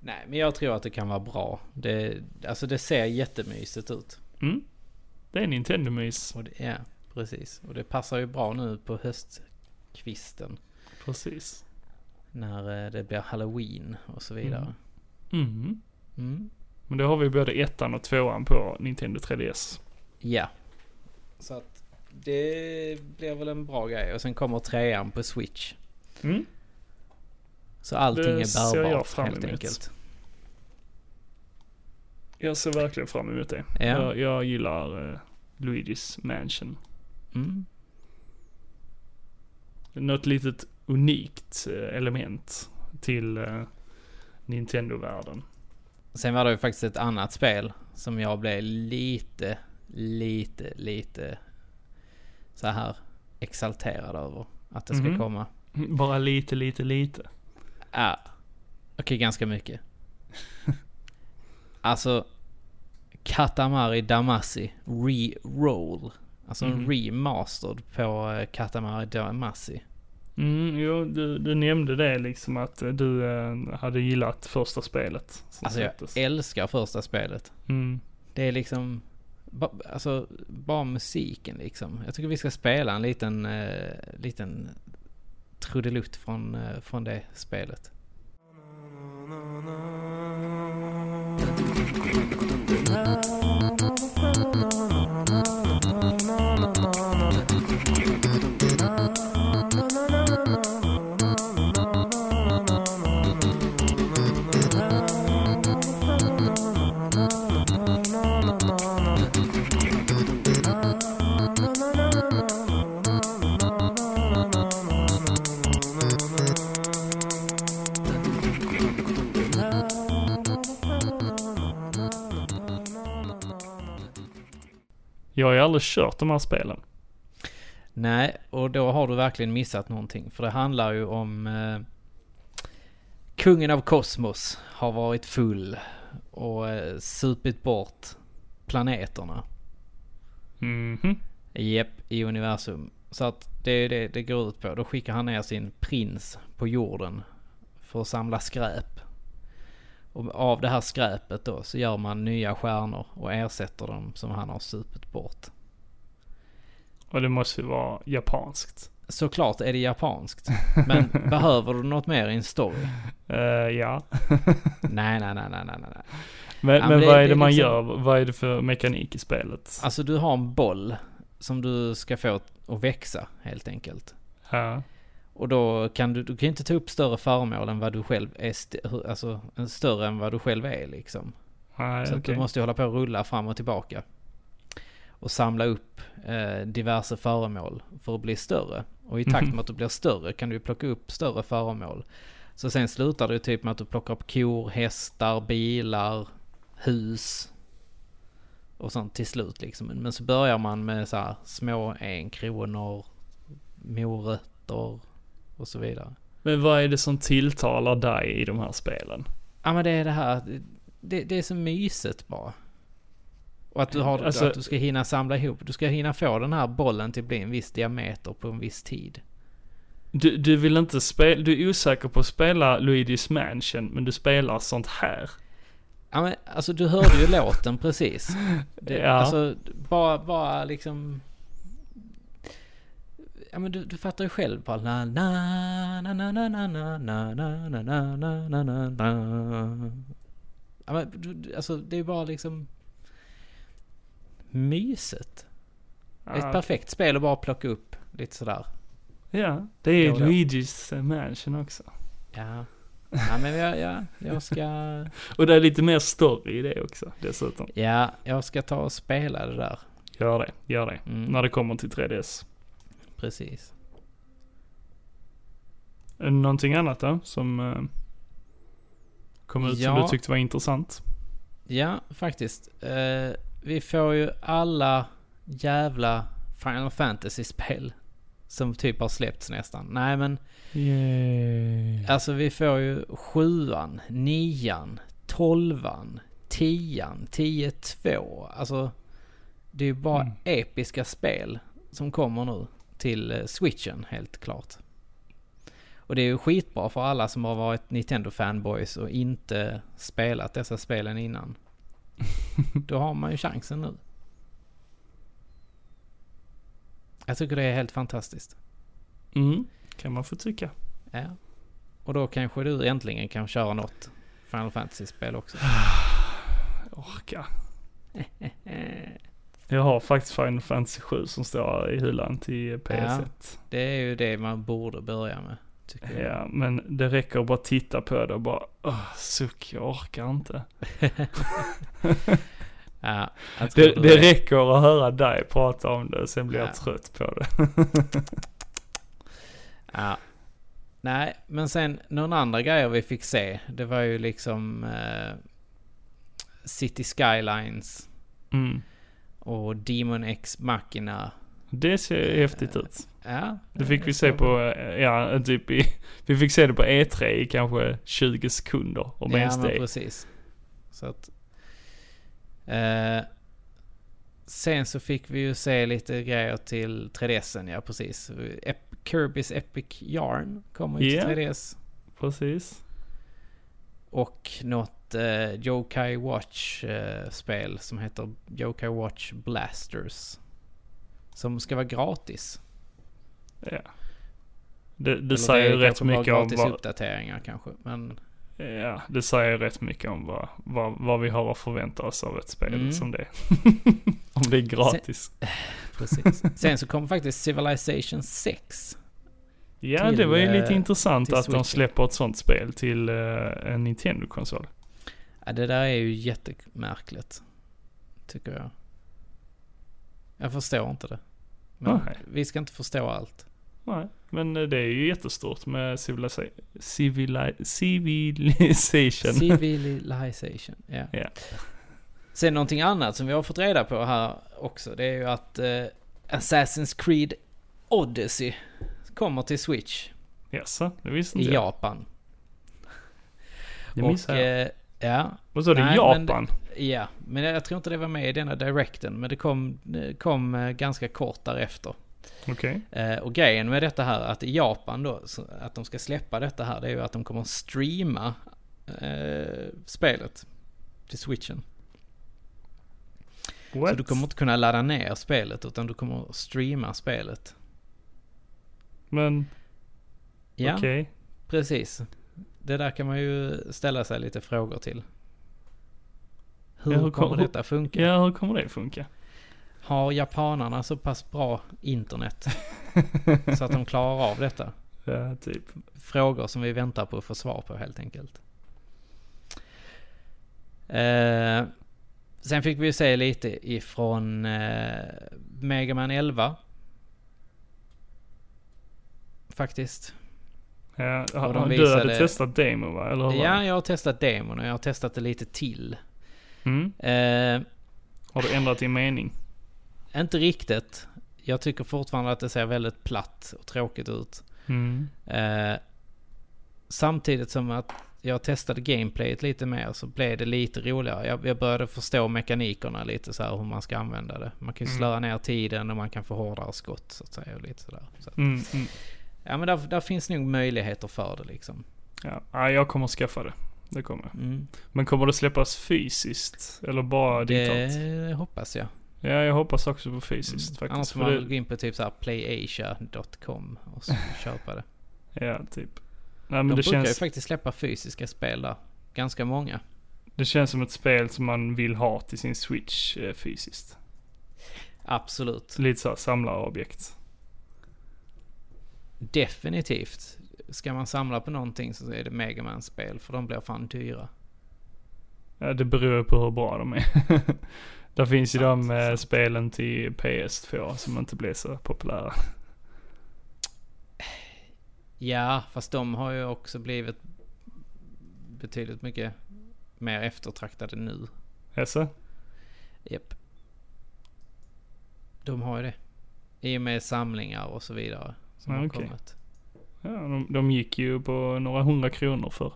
[SPEAKER 2] Nej men jag tror att det kan vara bra. Det, alltså det ser jättemysigt ut.
[SPEAKER 1] Mm? Det är Nintendo-mys.
[SPEAKER 2] Och det, ja precis. Och det passar ju bra nu på höstkvisten.
[SPEAKER 1] Precis.
[SPEAKER 2] När eh, det blir halloween och så vidare.
[SPEAKER 1] Mm.
[SPEAKER 2] Mm.
[SPEAKER 1] Men då har vi både ettan och tvåan på Nintendo 3DS.
[SPEAKER 2] Ja. Så att det blir väl en bra grej. Och sen kommer trean på Switch.
[SPEAKER 1] Mm.
[SPEAKER 2] Så allting
[SPEAKER 1] Det
[SPEAKER 2] är
[SPEAKER 1] ser jag
[SPEAKER 2] bärbart
[SPEAKER 1] fram
[SPEAKER 2] helt
[SPEAKER 1] emot.
[SPEAKER 2] enkelt.
[SPEAKER 1] Jag ser verkligen fram emot det.
[SPEAKER 2] Ja.
[SPEAKER 1] Jag, jag gillar eh, Luigi's Mansion.
[SPEAKER 2] Mm.
[SPEAKER 1] Något litet unikt eh, element till eh, Nintendo-världen.
[SPEAKER 2] Sen var det ju faktiskt ett annat spel som jag blev lite, lite, lite så här exalterad över att det ska
[SPEAKER 1] Mhm.
[SPEAKER 2] komma.
[SPEAKER 1] Bara lite, lite, lite.
[SPEAKER 2] Ja, okej
[SPEAKER 1] <laughs>
[SPEAKER 2] ganska mycket. alltså, Katamari Damacy re-roll. Alltså en
[SPEAKER 1] Mhm.
[SPEAKER 2] remastered på eh, Katamari Damacy.
[SPEAKER 1] Mm, jo, du, du nämnde det liksom att eh, du eh, hade gillat första spelet. Som
[SPEAKER 2] Alltså jag
[SPEAKER 1] släpptes.
[SPEAKER 2] älskar första spelet.
[SPEAKER 1] mm.
[SPEAKER 2] Det är liksom, ba, alltså bara musiken liksom. Jag tycker vi ska spela en liten, eh, liten trudelutt från, eh, från det spelet.
[SPEAKER 1] Jag har ju aldrig kört de här spelen.
[SPEAKER 2] Nej, och då har du verkligen missat någonting. För det handlar ju om eh, kungen av kosmos har varit full och eh, supit bort planeterna.
[SPEAKER 1] Mhm.
[SPEAKER 2] Jep, i universum. Så att det är det det går ut på. Då skickar han ner sin prins på jorden för att samla skräp. Och av det här skräpet då så gör man nya stjärnor och ersätter dem som han har supit bort.
[SPEAKER 1] Och det måste ju vara japanskt.
[SPEAKER 2] Såklart är det japanskt. Men behöver du något mer i en story?
[SPEAKER 1] Eh, ja.
[SPEAKER 2] Nej, nej, nej, nej, nej, nej.
[SPEAKER 1] Men,
[SPEAKER 2] Ja, men
[SPEAKER 1] men
[SPEAKER 2] det-
[SPEAKER 1] vad är
[SPEAKER 2] det
[SPEAKER 1] det,
[SPEAKER 2] är
[SPEAKER 1] man
[SPEAKER 2] liksom-
[SPEAKER 1] gör? Vad är det för mekanik i spelet?
[SPEAKER 2] Alltså du har en boll som du ska få att växa helt enkelt.
[SPEAKER 1] Ja.
[SPEAKER 2] Och då kan du, du kan ju inte ta upp större föremål än vad du själv är, st- hur- alltså en större än vad du själv är liksom.
[SPEAKER 1] Nej,
[SPEAKER 2] Så att
[SPEAKER 1] okej.
[SPEAKER 2] du måste ju hålla på och rulla fram och tillbaka. Och samla upp eh, diverse föremål för att bli större. Och i takt med att du blir större kan du ju plocka upp större föremål. Så sen slutar det ju typ med att du plockar upp kor, hästar, bilar, hus. Och sånt till slut liksom. Men så börjar man med så här små enkronor, morötter och så vidare.
[SPEAKER 1] Men vad är det som tilltalar dig i de här spelen?
[SPEAKER 2] Ja men det är det här, det, det är så mysigt bara. Och att du, har,
[SPEAKER 1] Alltså-
[SPEAKER 2] att du ska hinna samla ihop, du ska hinna få den här bollen till att bli en viss diameter på en viss tid.
[SPEAKER 1] Du, du vill inte spela, du är osäker på att spela Luigi's Mansion, men du spelar sånt här.
[SPEAKER 2] Ja men alltså du hörde ju <laughs> låten precis. Det,
[SPEAKER 1] Ja.
[SPEAKER 2] Alltså bara, bara liksom... Ja men du, du fattar ju själv bara na na na na na na na na na na na na na na Ja men du- du, alltså det är bara liksom... Mysigt. Ett
[SPEAKER 1] Ja,
[SPEAKER 2] perfekt spel att bara plocka upp lite sådär.
[SPEAKER 1] Ja, det är
[SPEAKER 2] Då och då.
[SPEAKER 1] Luigi's eh, Mansion också.
[SPEAKER 2] Ja. Ja men jag, ja, jag ska...
[SPEAKER 1] Och det är lite mer story i det också, dessutom.
[SPEAKER 2] Ja, jag ska ta och spela det där.
[SPEAKER 1] Gör det, gör det.
[SPEAKER 2] Mm.
[SPEAKER 1] När det kommer till 3DS.
[SPEAKER 2] Precis.
[SPEAKER 1] Är det Någonting annat då, som eh, kom ut
[SPEAKER 2] Ja.
[SPEAKER 1] som du tyckte var intressant?
[SPEAKER 2] Ja, faktiskt. Eh, vi får ju alla jävla Final Fantasy-spel. Som typ har släppts nästan. Nej men,
[SPEAKER 1] Yay.
[SPEAKER 2] alltså vi får ju sjuan, nian, tolvan, tian, tio två. Alltså, det är ju bara
[SPEAKER 1] Mm.
[SPEAKER 2] episka spel som kommer nu till eh, switchen helt klart. Och det är ju skitbra för alla som har varit Nintendo-fanboys och inte spelat dessa spelen innan. Då har man ju chansen nu. Jag tycker det är helt fantastiskt.
[SPEAKER 1] Mm, kan man få tycka.
[SPEAKER 2] Ja. Och då kanske du äntligen kan köra något Final Fantasy-spel också.
[SPEAKER 1] Orka. Eh. Jag har faktiskt Final Fantasy 7 som står i hyllan till PS1.
[SPEAKER 2] Det är ju det man borde börja med. Tycker
[SPEAKER 1] Ja.
[SPEAKER 2] jag.
[SPEAKER 1] men det räcker att bara titta på det och bara, åh, suck, jag orkar inte.
[SPEAKER 2] <laughs> Ja, jag tror
[SPEAKER 1] Det,
[SPEAKER 2] du
[SPEAKER 1] det
[SPEAKER 2] är-
[SPEAKER 1] räcker att höra dig prata om det, sen blir
[SPEAKER 2] Ja.
[SPEAKER 1] jag trött på det.
[SPEAKER 2] Ja. Nej, men sen någon andra grejer vi fick se. Det var ju liksom eh, City Skylines
[SPEAKER 1] Mm.
[SPEAKER 2] och Demon X Machina.
[SPEAKER 1] Det ser häftigt ut.
[SPEAKER 2] Ja,
[SPEAKER 1] Det fick vi se på, eh, ja, typ i, <laughs> vi fick se det på E3 i kanske 20 sekunder, om
[SPEAKER 2] ja,
[SPEAKER 1] ens
[SPEAKER 2] men
[SPEAKER 1] det.
[SPEAKER 2] precis. Så att, eh, sen så fick vi ju se lite grejer till 3DSen, ja precis. Ep- Kirby's Epic Yarn kommer ju
[SPEAKER 1] Ja.
[SPEAKER 2] till 3DS.
[SPEAKER 1] Precis.
[SPEAKER 2] Och något eh, Yokai Watch-spel som heter Yokai Watch Blasters. Som ska vara gratis.
[SPEAKER 1] Ja. Det, det
[SPEAKER 2] Eller
[SPEAKER 1] säger
[SPEAKER 2] är
[SPEAKER 1] ju rätt
[SPEAKER 2] kanske bara
[SPEAKER 1] mycket om
[SPEAKER 2] gratis
[SPEAKER 1] vad,
[SPEAKER 2] uppdateringar kanske. Men
[SPEAKER 1] Ja, det säger rätt mycket om vad, vad, vad vi har att förvänta oss av ett spel
[SPEAKER 2] Mm.
[SPEAKER 1] som det. <laughs> om det är gratis.
[SPEAKER 2] precis. Sen så kom faktiskt Civilization 6.
[SPEAKER 1] ja, det
[SPEAKER 2] till,
[SPEAKER 1] var ju lite
[SPEAKER 2] eh,
[SPEAKER 1] intressant
[SPEAKER 2] till
[SPEAKER 1] att de
[SPEAKER 2] Switchen.
[SPEAKER 1] släpper ett sånt spel till eh, en Nintendo-konsol.
[SPEAKER 2] Ja, det där är ju jättemärkligt. Tycker jag. Jag förstår inte det. Men
[SPEAKER 1] Nej.
[SPEAKER 2] vi ska inte förstå allt.
[SPEAKER 1] Nej, men eh, det är ju jättestort med civilisa- civili- <laughs> Civilization.
[SPEAKER 2] Civilization, ja.
[SPEAKER 1] Ja.
[SPEAKER 2] Sen någonting annat som vi har fått reda på här också, det är ju att eh, Assassin's Creed Odyssey kommer till Switch
[SPEAKER 1] Jaså, det visste
[SPEAKER 2] i
[SPEAKER 1] inte jag.
[SPEAKER 2] Japan.
[SPEAKER 1] Det
[SPEAKER 2] Och,
[SPEAKER 1] missade jag.
[SPEAKER 2] eh, ja,
[SPEAKER 1] Vad sa du?
[SPEAKER 2] nej, men-
[SPEAKER 1] Japan?
[SPEAKER 2] ja, men jag tror inte det var med i denna directen, men det kom, det kom eh, ganska kort därefter.
[SPEAKER 1] Okej.
[SPEAKER 2] Eh, och grejen med detta här, att i Japan då, så att de ska släppa detta här, det är ju att de kommer streama eh, spelet till switchen. Så du
[SPEAKER 1] What?
[SPEAKER 2] kommer inte kunna ladda ner spelet utan du kommer streama spelet.
[SPEAKER 1] Men
[SPEAKER 2] Ja,
[SPEAKER 1] okej.
[SPEAKER 2] precis. Det där kan man ju ställa sig lite frågor till. Hur,
[SPEAKER 1] Ja, hur kom-
[SPEAKER 2] kommer detta funka?
[SPEAKER 1] Ja, hur kommer det funka?
[SPEAKER 2] Har japanarna så pass bra
[SPEAKER 1] <laughs>
[SPEAKER 2] internet så att de klarar av detta?
[SPEAKER 1] Ja, typ.
[SPEAKER 2] Frågor som vi väntar på att få svar på helt enkelt. Eh, sen fick vi ju se lite ifrån eh, Mega Man 11. Faktiskt.
[SPEAKER 1] Ja,
[SPEAKER 2] Och de
[SPEAKER 1] du hade
[SPEAKER 2] visade-
[SPEAKER 1] testat demo va? Eller hur var
[SPEAKER 2] Ja,
[SPEAKER 1] det?
[SPEAKER 2] jag har testat demon och jag har testat det lite till.
[SPEAKER 1] Mm.
[SPEAKER 2] Eh,
[SPEAKER 1] Har du ändrat din mening?
[SPEAKER 2] inte riktigt. Jag tycker fortfarande att det ser väldigt platt och tråkigt ut.
[SPEAKER 1] Mm.
[SPEAKER 2] Eh, samtidigt som att jag testade gameplayet lite mer så blev det lite roligare. Jag, jag började förstå mekanikerna lite så här hur man ska använda det. Man kan ju
[SPEAKER 1] Mm.
[SPEAKER 2] slöa ner tiden och man kan få hårdare skott så att säga. Och lite sådär. Så, att-
[SPEAKER 1] Mm, mm.
[SPEAKER 2] ja men där, där finns nog möjligheter för det liksom.
[SPEAKER 1] Ja. ja, jag kommer skaffa det. Det kommer jag.
[SPEAKER 2] Mm.
[SPEAKER 1] Men kommer det släppas fysiskt? Eller bara digitalt?
[SPEAKER 2] Det hoppas jag.
[SPEAKER 1] Ja, jag hoppas också på fysiskt
[SPEAKER 2] Mm, Annars
[SPEAKER 1] faktiskt.
[SPEAKER 2] får man
[SPEAKER 1] För
[SPEAKER 2] väl gå
[SPEAKER 1] det,
[SPEAKER 2] in på typ såhär playasia.com och så
[SPEAKER 1] <laughs>
[SPEAKER 2] köpa det.
[SPEAKER 1] ja, typ. Nej,
[SPEAKER 2] De
[SPEAKER 1] men det
[SPEAKER 2] brukar ju
[SPEAKER 1] känns,
[SPEAKER 2] faktiskt släppa fysiska spel där. Ganska många.
[SPEAKER 1] det känns som ett spel som man vill ha till sin Switch eh, fysiskt.
[SPEAKER 2] Absolut.
[SPEAKER 1] Lite såhär samlarobjekt.
[SPEAKER 2] Definitivt. Ska man samla på någonting så är det Megaman-spel för de blir fan dyra.
[SPEAKER 1] Ja, det beror ju på hur bra de är. <laughs> Där finns ju
[SPEAKER 2] Sant,
[SPEAKER 1] de eh,
[SPEAKER 2] sant.
[SPEAKER 1] spelen till PS2 som inte blev så populära.
[SPEAKER 2] Ja, fast de har ju också blivit betydligt mycket mer eftertraktade nu
[SPEAKER 1] Jaså?
[SPEAKER 2] Japp. De har ju det. I och med samlingar och så vidare. Som
[SPEAKER 1] Ja,
[SPEAKER 2] har
[SPEAKER 1] okej.
[SPEAKER 2] kommit.
[SPEAKER 1] Ja, de, de gick ju på några hundra kronor för.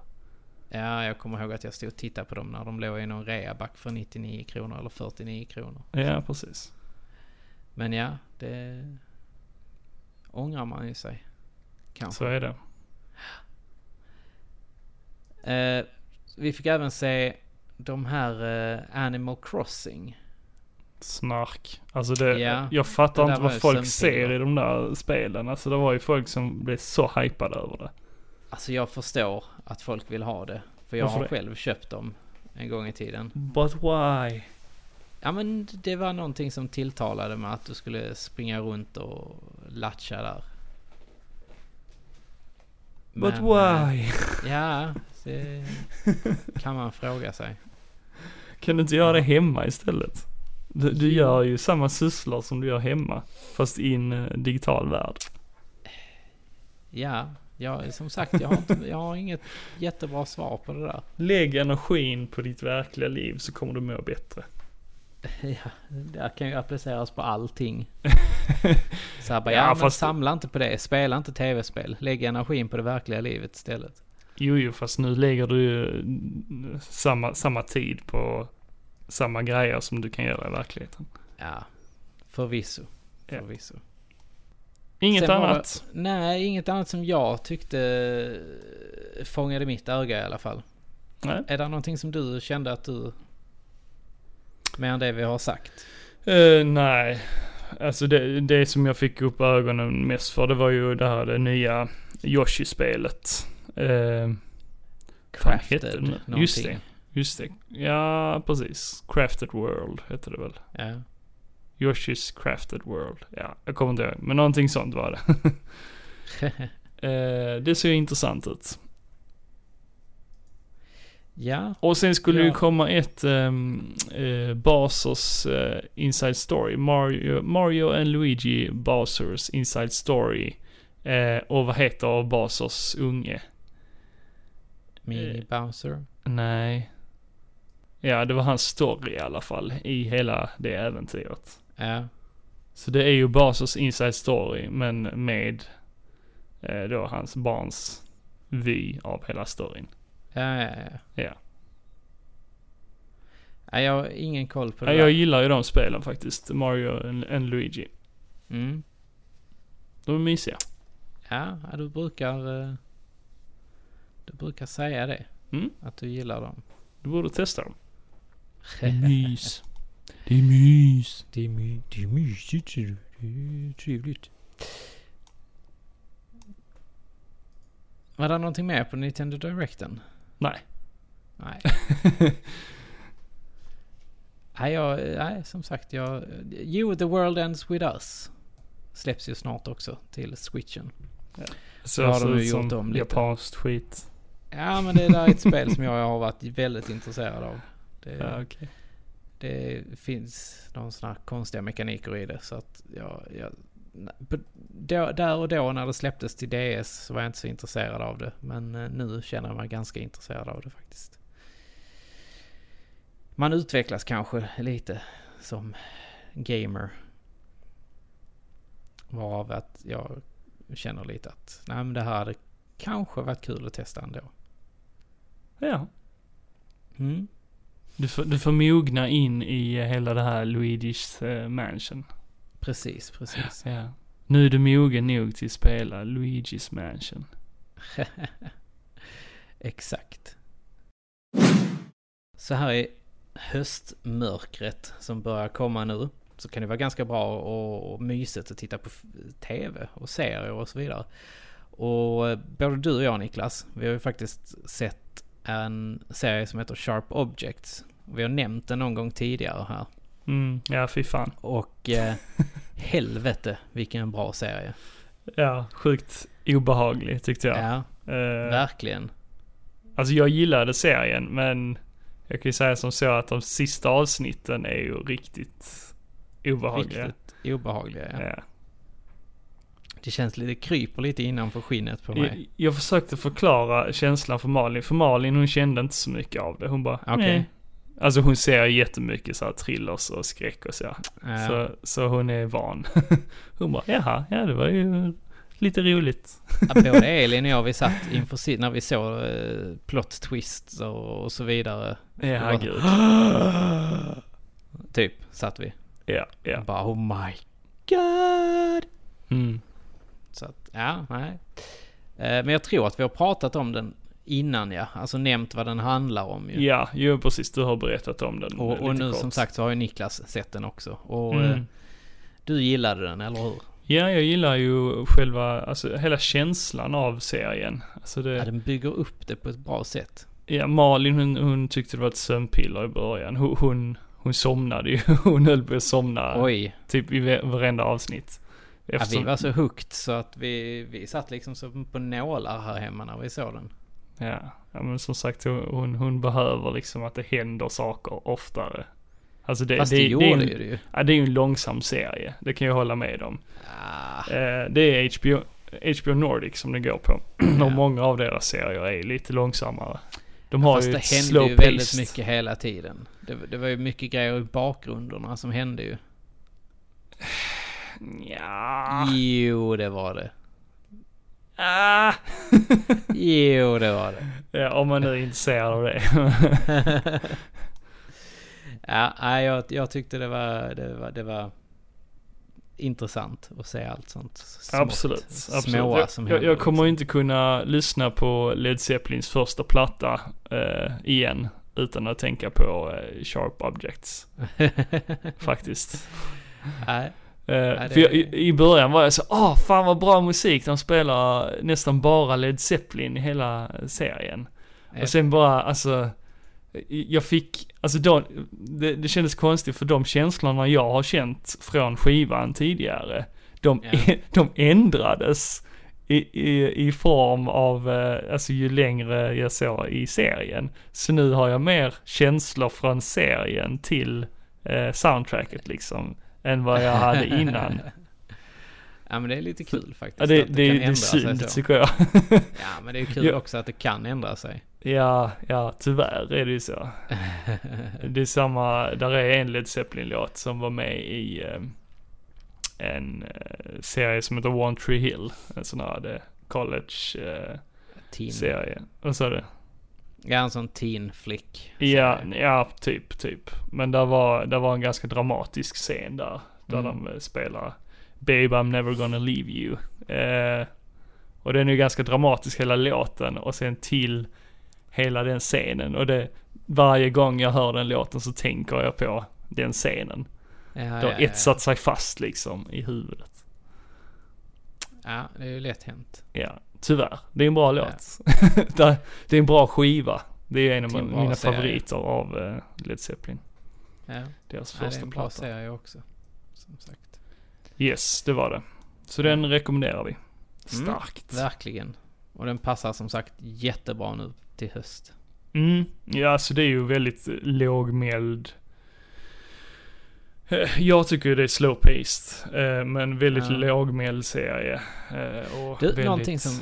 [SPEAKER 2] Ja, jag kommer ihåg att jag stod och tittade på dem när de låg i någon reaback för 99 kronor eller 49 kronor.
[SPEAKER 1] Ja, precis.
[SPEAKER 2] Men ja, det ångrar man ju sig.
[SPEAKER 1] Så
[SPEAKER 2] Kanske.
[SPEAKER 1] är det.
[SPEAKER 2] Eh, vi fick även se de här eh, Animal Crossing.
[SPEAKER 1] Snark. Alltså det,
[SPEAKER 2] Ja,
[SPEAKER 1] jag fattar
[SPEAKER 2] det där
[SPEAKER 1] inte
[SPEAKER 2] var ju
[SPEAKER 1] vad folk
[SPEAKER 2] sömnpiller.
[SPEAKER 1] ser i de där spelen. Alltså det var ju folk som blev så hypade över det.
[SPEAKER 2] Alltså jag förstår att folk vill ha det. För jag
[SPEAKER 1] Varför
[SPEAKER 2] har
[SPEAKER 1] det?
[SPEAKER 2] själv köpt dem en gång i tiden.
[SPEAKER 1] But why?
[SPEAKER 2] Ja men det var någonting som tilltalade mig att du skulle springa runt och latcha där.
[SPEAKER 1] But
[SPEAKER 2] Men, eh,
[SPEAKER 1] why?
[SPEAKER 2] Ja, det kan man fråga sig.
[SPEAKER 1] Kan du inte göra det hemma istället? Du, du gör ju samma sysslor som du gör hemma. Fast i en eh, digital värld.
[SPEAKER 2] Ja, jag, som sagt jag har, inte, jag har inget jättebra svar på det där.
[SPEAKER 1] Lägg energin på ditt verkliga liv så kommer du må bättre.
[SPEAKER 2] Ja, det här kan ju appliceras
[SPEAKER 1] <laughs>
[SPEAKER 2] på allting. Så här bara, ja,
[SPEAKER 1] Ja,
[SPEAKER 2] men
[SPEAKER 1] fast-
[SPEAKER 2] samla inte på det, spela inte tv-spel, lägg energin på det verkliga livet istället.
[SPEAKER 1] Jo, jo, fast nu lägger du ju eh, samma, samma tid på samma grejer som du kan göra i verkligheten.
[SPEAKER 2] Ja, förvisso.
[SPEAKER 1] Ja.
[SPEAKER 2] Förvisso.
[SPEAKER 1] Inget
[SPEAKER 2] Sen var det-
[SPEAKER 1] annat.
[SPEAKER 2] Nej, inget annat som jag tyckte fångade mitt öga i alla fall.
[SPEAKER 1] Nej.
[SPEAKER 2] Är det någonting som du kände att du... Mer än det vi har sagt?
[SPEAKER 1] Eh, nej, alltså det, det som jag fick upp ögonen mest för det var ju det här det nya Yoshi-spelet. Eh, Fan, hette det
[SPEAKER 2] Crafted
[SPEAKER 1] nu?
[SPEAKER 2] någonting?
[SPEAKER 1] Just det. just det, ja precis. Crafted World heter det väl.
[SPEAKER 2] Ja.
[SPEAKER 1] Yoshi's Crafted World. Ja, jag kommer inte ihåg. Men någonting sånt var det. Eh, det ser ju intressant ut.
[SPEAKER 2] ja,
[SPEAKER 1] Och sen skulle
[SPEAKER 2] Ja.
[SPEAKER 1] ju komma ett um, Basers eh, Inside Story. Mario, Mario and Luigi Basers Inside Story. Eh, och vad heter Basers unge? Eh.
[SPEAKER 2] Mini Bouncer.
[SPEAKER 1] Nej. Ja, det var hans story i alla fall i hela det äventyret.
[SPEAKER 2] Ja.
[SPEAKER 1] Så det är ju Basers Inside Story men med eh, då hans barns vy av hela storyn.
[SPEAKER 2] Ja, ja, ja.
[SPEAKER 1] Ja.
[SPEAKER 2] Nej, jag har ingen koll på det
[SPEAKER 1] Ja, jag
[SPEAKER 2] där.
[SPEAKER 1] gillar ju de spelen faktiskt, Mario and, and Luigi.
[SPEAKER 2] Mm.
[SPEAKER 1] De är mysiga.
[SPEAKER 2] Ja, ja, du brukar... eh, Du brukar säga det.
[SPEAKER 1] Mm.
[SPEAKER 2] Att du gillar dem.
[SPEAKER 1] Du borde testa <laughs> dem. Det är mys. Det är mys.
[SPEAKER 2] Det är, my, det är mysigt ser du. Det är trevligt. Var det någonting mer på Nintendo Directen?
[SPEAKER 1] Nej. <laughs>
[SPEAKER 2] Nej. nej, jag, nej, som sagt. Jag, eh, jo, The World Ends With Us. Släpps ju snart också till switchen.
[SPEAKER 1] Så
[SPEAKER 2] Då har
[SPEAKER 1] ser
[SPEAKER 2] de ju
[SPEAKER 1] ut som
[SPEAKER 2] gjort om lite.
[SPEAKER 1] Japanskt skit.
[SPEAKER 2] Ja, men det där är ett spel som jag har varit väldigt intresserad av. Det,
[SPEAKER 1] Ja, okej.
[SPEAKER 2] det finns någon sån här konstiga mekaniker i det. Så att jag, jag, på- då, där och då när det släpptes till DS så var jag inte så intresserad av det. Men eh, nu känner jag mig ganska intresserad av det faktiskt. Man utvecklas kanske lite som gamer. Varav att jag känner lite att nej men det här hade kanske varit kul att testa ändå.
[SPEAKER 1] Ja.
[SPEAKER 2] Mm.
[SPEAKER 1] Du får, du får mogna in i hela det här Luigi's eh, Mansion.
[SPEAKER 2] Precis, precis.
[SPEAKER 1] Ja. Nu är du mogen nog till att spela Luigi's Mansion.
[SPEAKER 2] Exakt. Så här i höstmörkret som börjar komma nu så kan det vara ganska bra och, och mysigt att titta på f- tv och serier och så vidare. Och eh, både du och jag Niklas, vi har ju faktiskt sett en serie som heter Sharp Objects. Vi har nämnt den någon gång tidigare här.
[SPEAKER 1] Mm, ja fy fan.
[SPEAKER 2] Och eh, helvete vilken bra serie.
[SPEAKER 1] Ja, sjukt obehaglig tyckte jag.
[SPEAKER 2] Ja,
[SPEAKER 1] Eh,
[SPEAKER 2] verkligen.
[SPEAKER 1] alltså jag gillade serien men jag kan ju säga som så att de sista avsnitten är ju riktigt obehagliga.
[SPEAKER 2] Riktigt obehagliga. Ja.
[SPEAKER 1] Ja.
[SPEAKER 2] Det känns lite, det kryper lite innanför skinnet på mig.
[SPEAKER 1] Jag, jag försökte förklara känslan för Malin, för Malin hon kände inte så mycket av det. Hon bara,
[SPEAKER 2] Okej.
[SPEAKER 1] nej, Alltså hon ser jättemycket så här thrillers och skräck och så. här.
[SPEAKER 2] Eh,
[SPEAKER 1] Så, så hon är van. <laughs> hon bara, jaha, ja det var ju lite roligt.
[SPEAKER 2] Ja, Både Elin och jag, vi satt inför si- när vi såg eh, plot twists och, och så vidare.
[SPEAKER 1] Ja,
[SPEAKER 2] var-
[SPEAKER 1] gud.
[SPEAKER 2] <gasps> Typ, satt vi.
[SPEAKER 1] Ja, ja.
[SPEAKER 2] Bara oh my god.
[SPEAKER 1] Mm.
[SPEAKER 2] Så att, ja, nej. Eh, Men jag tror att vi har pratat om den innan ja. Alltså nämnt vad den handlar om ju.
[SPEAKER 1] Ja, jo precis. Du har berättat om den
[SPEAKER 2] och
[SPEAKER 1] lite
[SPEAKER 2] och nu
[SPEAKER 1] kort.
[SPEAKER 2] som sagt så har ju Niklas sett den också. Och
[SPEAKER 1] Mm. Eh.
[SPEAKER 2] eh, du gillade den, eller hur?
[SPEAKER 1] Ja, jag gillar ju själva, alltså hela känslan av serien. Alltså
[SPEAKER 2] Ja,
[SPEAKER 1] det,
[SPEAKER 2] den bygger upp det på ett bra sätt.
[SPEAKER 1] ja, Malin hon, hon tyckte det var ett sömnpiller i början. Hon, hon, hon somnade ju. <laughs> Hon höll på att somna
[SPEAKER 2] Oj,
[SPEAKER 1] typ i ve- varenda avsnitt.
[SPEAKER 2] ja, vi
[SPEAKER 1] Eftersom,
[SPEAKER 2] var så hooked så att vi, vi satt liksom så på nålar här hemma när vi såg den.
[SPEAKER 1] Eh, ja, ja, men som sagt hon, hon, hon behöver liksom att det händer saker oftare. Alltså det,
[SPEAKER 2] Fast det,
[SPEAKER 1] det, det,
[SPEAKER 2] gjorde
[SPEAKER 1] är
[SPEAKER 2] ju
[SPEAKER 1] ju,
[SPEAKER 2] det ju.
[SPEAKER 1] ja, det är ju en långsam serie. Det kan jag hålla med om.
[SPEAKER 2] Ah,
[SPEAKER 1] Eh, det är HBO, HBO Nordic som det går på. <clears throat>
[SPEAKER 2] Ja.
[SPEAKER 1] Och många av deras serier är lite långsammare. De har
[SPEAKER 2] fast
[SPEAKER 1] ju
[SPEAKER 2] det
[SPEAKER 1] ett
[SPEAKER 2] hände ju
[SPEAKER 1] slow
[SPEAKER 2] väldigt
[SPEAKER 1] pace.
[SPEAKER 2] mycket hela tiden. Det, det var ju mycket grejer i bakgrunderna som hände ju.
[SPEAKER 1] Ja.
[SPEAKER 2] Jo, det var det.
[SPEAKER 1] Ah.
[SPEAKER 2] Jo, det var det. <laughs>
[SPEAKER 1] ja, om man nu är intresserad av det.
[SPEAKER 2] ja, nej, jag, jag tyckte det var, det var, det var intressant att se allt sånt. Smått,
[SPEAKER 1] absolut.
[SPEAKER 2] Småa
[SPEAKER 1] absolut.
[SPEAKER 2] som
[SPEAKER 1] Jag, jag,
[SPEAKER 2] händer,
[SPEAKER 1] jag kommer
[SPEAKER 2] liksom.
[SPEAKER 1] inte kunna lyssna på Led Zeppelins första platta eh, igen utan att tänka på eh, Sharp Objects, faktiskt.
[SPEAKER 2] liksom. <laughs> nej,
[SPEAKER 1] Eh,
[SPEAKER 2] Ja, det-
[SPEAKER 1] För jag, i, I början var jag så åh fan vad bra musik, de spelar nästan bara Led Zeppelin i hela serien.
[SPEAKER 2] Ja.
[SPEAKER 1] Och sen bara, alltså, i- jag fick, alltså då, det, det kändes konstigt för de känslorna jag har känt från skivan tidigare, de,
[SPEAKER 2] Ja.
[SPEAKER 1] <laughs> de ändrades i, i, i form av, eh, alltså ju längre jag såg i serien. Så nu har jag mer känslor från serien till eh, soundtracket liksom, än vad jag
[SPEAKER 2] <laughs>
[SPEAKER 1] hade innan.
[SPEAKER 2] ja, men det är lite kul faktiskt.
[SPEAKER 1] Ja, det,
[SPEAKER 2] att
[SPEAKER 1] det, det,
[SPEAKER 2] kan
[SPEAKER 1] det är
[SPEAKER 2] ändra sig
[SPEAKER 1] synd
[SPEAKER 2] så.
[SPEAKER 1] tycker jag. <laughs>
[SPEAKER 2] Ja, men det är kul
[SPEAKER 1] Ja.
[SPEAKER 2] också att det kan
[SPEAKER 1] <laughs>
[SPEAKER 2] ändra sig.
[SPEAKER 1] Ja, ja, tyvärr är det ju så. Det är samma, där är en Led Zeppelin-låt som var med i eh, en eh, serie som heter One Tree Hill. En sån här eh, college-serie.
[SPEAKER 2] Teen.
[SPEAKER 1] Vad sa du?
[SPEAKER 2] Ja, en sån teen flick.
[SPEAKER 1] Ja, ja, typ, typ. Men där var, där var en ganska dramatisk scen där. Där
[SPEAKER 2] Mm.
[SPEAKER 1] de eh, spelar Babe I'm never gonna leave you. Eh, och den är ju ganska dramatisk hela låten och sen till hela den scenen. Och det, varje gång jag hör den låten så tänker jag på den scenen.
[SPEAKER 2] Ja, ja,
[SPEAKER 1] Det
[SPEAKER 2] ja,
[SPEAKER 1] har etsat sig fast liksom i huvudet.
[SPEAKER 2] Ja, det är ju lätt hänt.
[SPEAKER 1] Ja, tyvärr. Det är en bra låt. Det- det är en bra skiva. Det är en av
[SPEAKER 2] Det är en bra
[SPEAKER 1] mina
[SPEAKER 2] serie.
[SPEAKER 1] favoriter av eh, Led Zeppelin.
[SPEAKER 2] Ja.
[SPEAKER 1] Deras
[SPEAKER 2] Ja, det är
[SPEAKER 1] första
[SPEAKER 2] en bra
[SPEAKER 1] platta.
[SPEAKER 2] serie också. Som sagt.
[SPEAKER 1] Yes, det var det. Så
[SPEAKER 2] Mm.
[SPEAKER 1] den rekommenderar vi. Starkt.
[SPEAKER 2] Verkligen. Och den passar som sagt jättebra nu till höst.
[SPEAKER 1] Mm. Ja, så det är ju väldigt eh, lågmäld. Eh, Jag tycker det är slow paced, eh, men väldigt
[SPEAKER 2] Ja.
[SPEAKER 1] lågmäld serie. eh, Och
[SPEAKER 2] Du,
[SPEAKER 1] väldigt,
[SPEAKER 2] någonting som...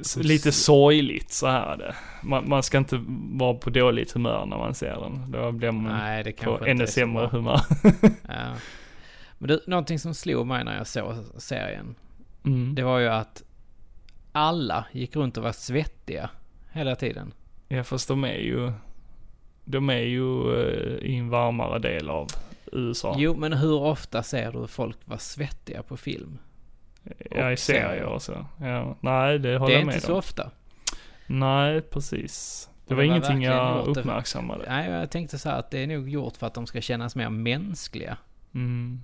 [SPEAKER 1] s- Lite sorgligt så här är det. Man, man ska inte vara på dåligt humör när man ser den. Då blir man
[SPEAKER 2] Nej, det
[SPEAKER 1] på
[SPEAKER 2] kanske inte
[SPEAKER 1] ännu
[SPEAKER 2] är så
[SPEAKER 1] sämre
[SPEAKER 2] bra.
[SPEAKER 1] humör. <laughs>
[SPEAKER 2] Ja. Men du, någonting som slog mig när jag såg serien.
[SPEAKER 1] Mm.
[SPEAKER 2] Det var ju att alla gick runt och var svettiga hela tiden.
[SPEAKER 1] Ja, fast de är ju... De är ju eh, i en varmare del av USA.
[SPEAKER 2] Jo, men hur ofta ser du folk vara svettiga på film?
[SPEAKER 1] Ja, i serier
[SPEAKER 2] och serier.
[SPEAKER 1] och så. Ja. Nej, det håller jag
[SPEAKER 2] det är inte
[SPEAKER 1] med
[SPEAKER 2] så
[SPEAKER 1] om.
[SPEAKER 2] ofta.
[SPEAKER 1] Nej, precis. Det
[SPEAKER 2] Och
[SPEAKER 1] var
[SPEAKER 2] det var
[SPEAKER 1] ingenting jag
[SPEAKER 2] verkligen åter-
[SPEAKER 1] uppmärksammade.
[SPEAKER 2] Nej, jag tänkte så här att det är nog gjort för att de ska kännas mer mänskliga.
[SPEAKER 1] Mm.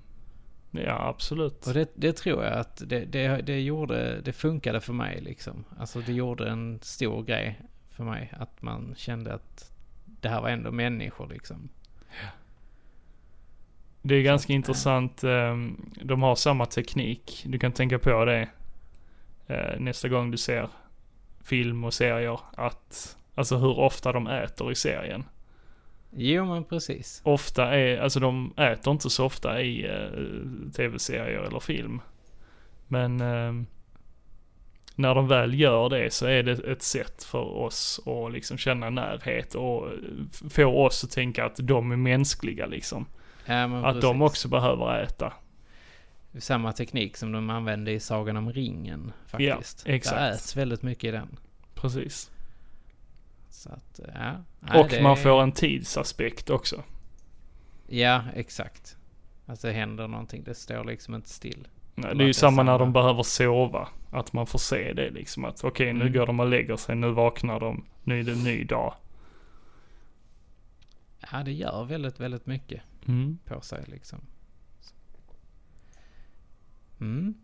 [SPEAKER 1] Ja, absolut.
[SPEAKER 2] Och det, det tror jag att det, det, det gjorde, det funkade för mig liksom. Alltså det gjorde en stor grej för mig. Att man kände att det här var ändå människor liksom.
[SPEAKER 1] Det är ganska intressant. ehm, De har samma teknik. Du kan tänka på det eh, nästa gång du ser film och serier. Att, alltså hur ofta de äter i serien.
[SPEAKER 2] Jo men precis.
[SPEAKER 1] Ofta är, alltså de äter inte så ofta i eh, tv-serier eller film. Men ehm, när de väl gör det så är det ett sätt för oss att liksom känna närhet och f- få oss att tänka att de är mänskliga liksom.
[SPEAKER 2] Ja, men
[SPEAKER 1] Att de
[SPEAKER 2] precis.
[SPEAKER 1] också behöver äta.
[SPEAKER 2] Samma teknik som de använde i Sagan om ringen faktiskt.
[SPEAKER 1] exakt.
[SPEAKER 2] Det äts väldigt mycket i den.
[SPEAKER 1] Precis.
[SPEAKER 2] Så att, eh, ja. Nej,
[SPEAKER 1] och
[SPEAKER 2] det
[SPEAKER 1] man
[SPEAKER 2] är-
[SPEAKER 1] får en tidsaspekt också.
[SPEAKER 2] Ja, exakt. Att det händer någonting. Det står liksom inte still.
[SPEAKER 1] Nej,
[SPEAKER 2] Eller
[SPEAKER 1] det är ju
[SPEAKER 2] att det är
[SPEAKER 1] samma när
[SPEAKER 2] samma.
[SPEAKER 1] de behöver sova. Att man får se det liksom. Att okej, nu
[SPEAKER 2] Mm.
[SPEAKER 1] går de och lägger sig, nu vaknar de, nu är det en ny dag.
[SPEAKER 2] Ja, det gör väldigt, väldigt mycket på sig liksom. Så. Mm.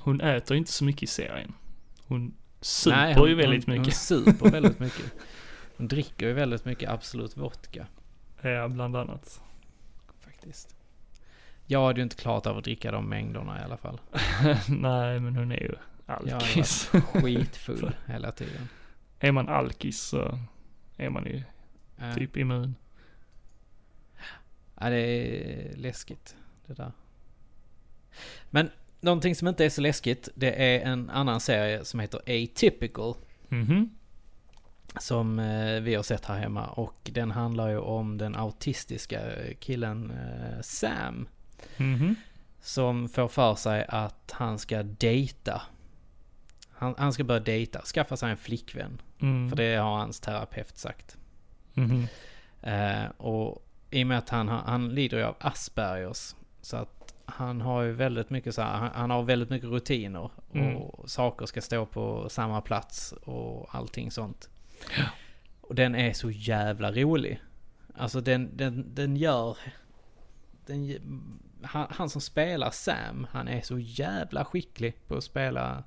[SPEAKER 1] Hon äter inte så mycket i serien. Hon super
[SPEAKER 2] Nej,
[SPEAKER 1] ju väldigt
[SPEAKER 2] hon, Hon
[SPEAKER 1] mycket.
[SPEAKER 2] super väldigt mycket. Hon dricker ju väldigt mycket Absolut Vodka
[SPEAKER 1] Ja, bland
[SPEAKER 2] <laughs>
[SPEAKER 1] annat.
[SPEAKER 2] faktiskt. Jag hade ju inte klarat av att dricka de mängderna i
[SPEAKER 1] <laughs>
[SPEAKER 2] alla fall.
[SPEAKER 1] Nej, men hon är ju
[SPEAKER 2] Jag hade
[SPEAKER 1] alkis.
[SPEAKER 2] varit skitfull hela tiden.
[SPEAKER 1] <laughs> är man alkis så är man ju
[SPEAKER 2] Ja.
[SPEAKER 1] typ immun.
[SPEAKER 2] Ja, det är läskigt det där. Men någonting som inte är så läskigt, det är en annan serie som heter Atypical.
[SPEAKER 1] Mhm.
[SPEAKER 2] Som eh, vi har sett här hemma och den handlar ju om den autistiska eh, killen eh, Sam.
[SPEAKER 1] Mhm.
[SPEAKER 2] Som får för sig att han ska dejta. Han, han ska börja dejta, skaffa sig en flickvän.
[SPEAKER 1] Mm.
[SPEAKER 2] För det har hans terapeut sagt.
[SPEAKER 1] Mhm.
[SPEAKER 2] Eh, och i och med att han, har- han lider ju av Aspergers. Så att han har ju väldigt mycket så här, han, han har väldigt mycket rutiner. Och
[SPEAKER 1] Mm.
[SPEAKER 2] saker ska stå på samma plats och allting sånt. Och den är så jävla rolig. Alltså den, den, den gör... Den, ge- han, han som spelar Sam, han är så jävla skicklig på att spela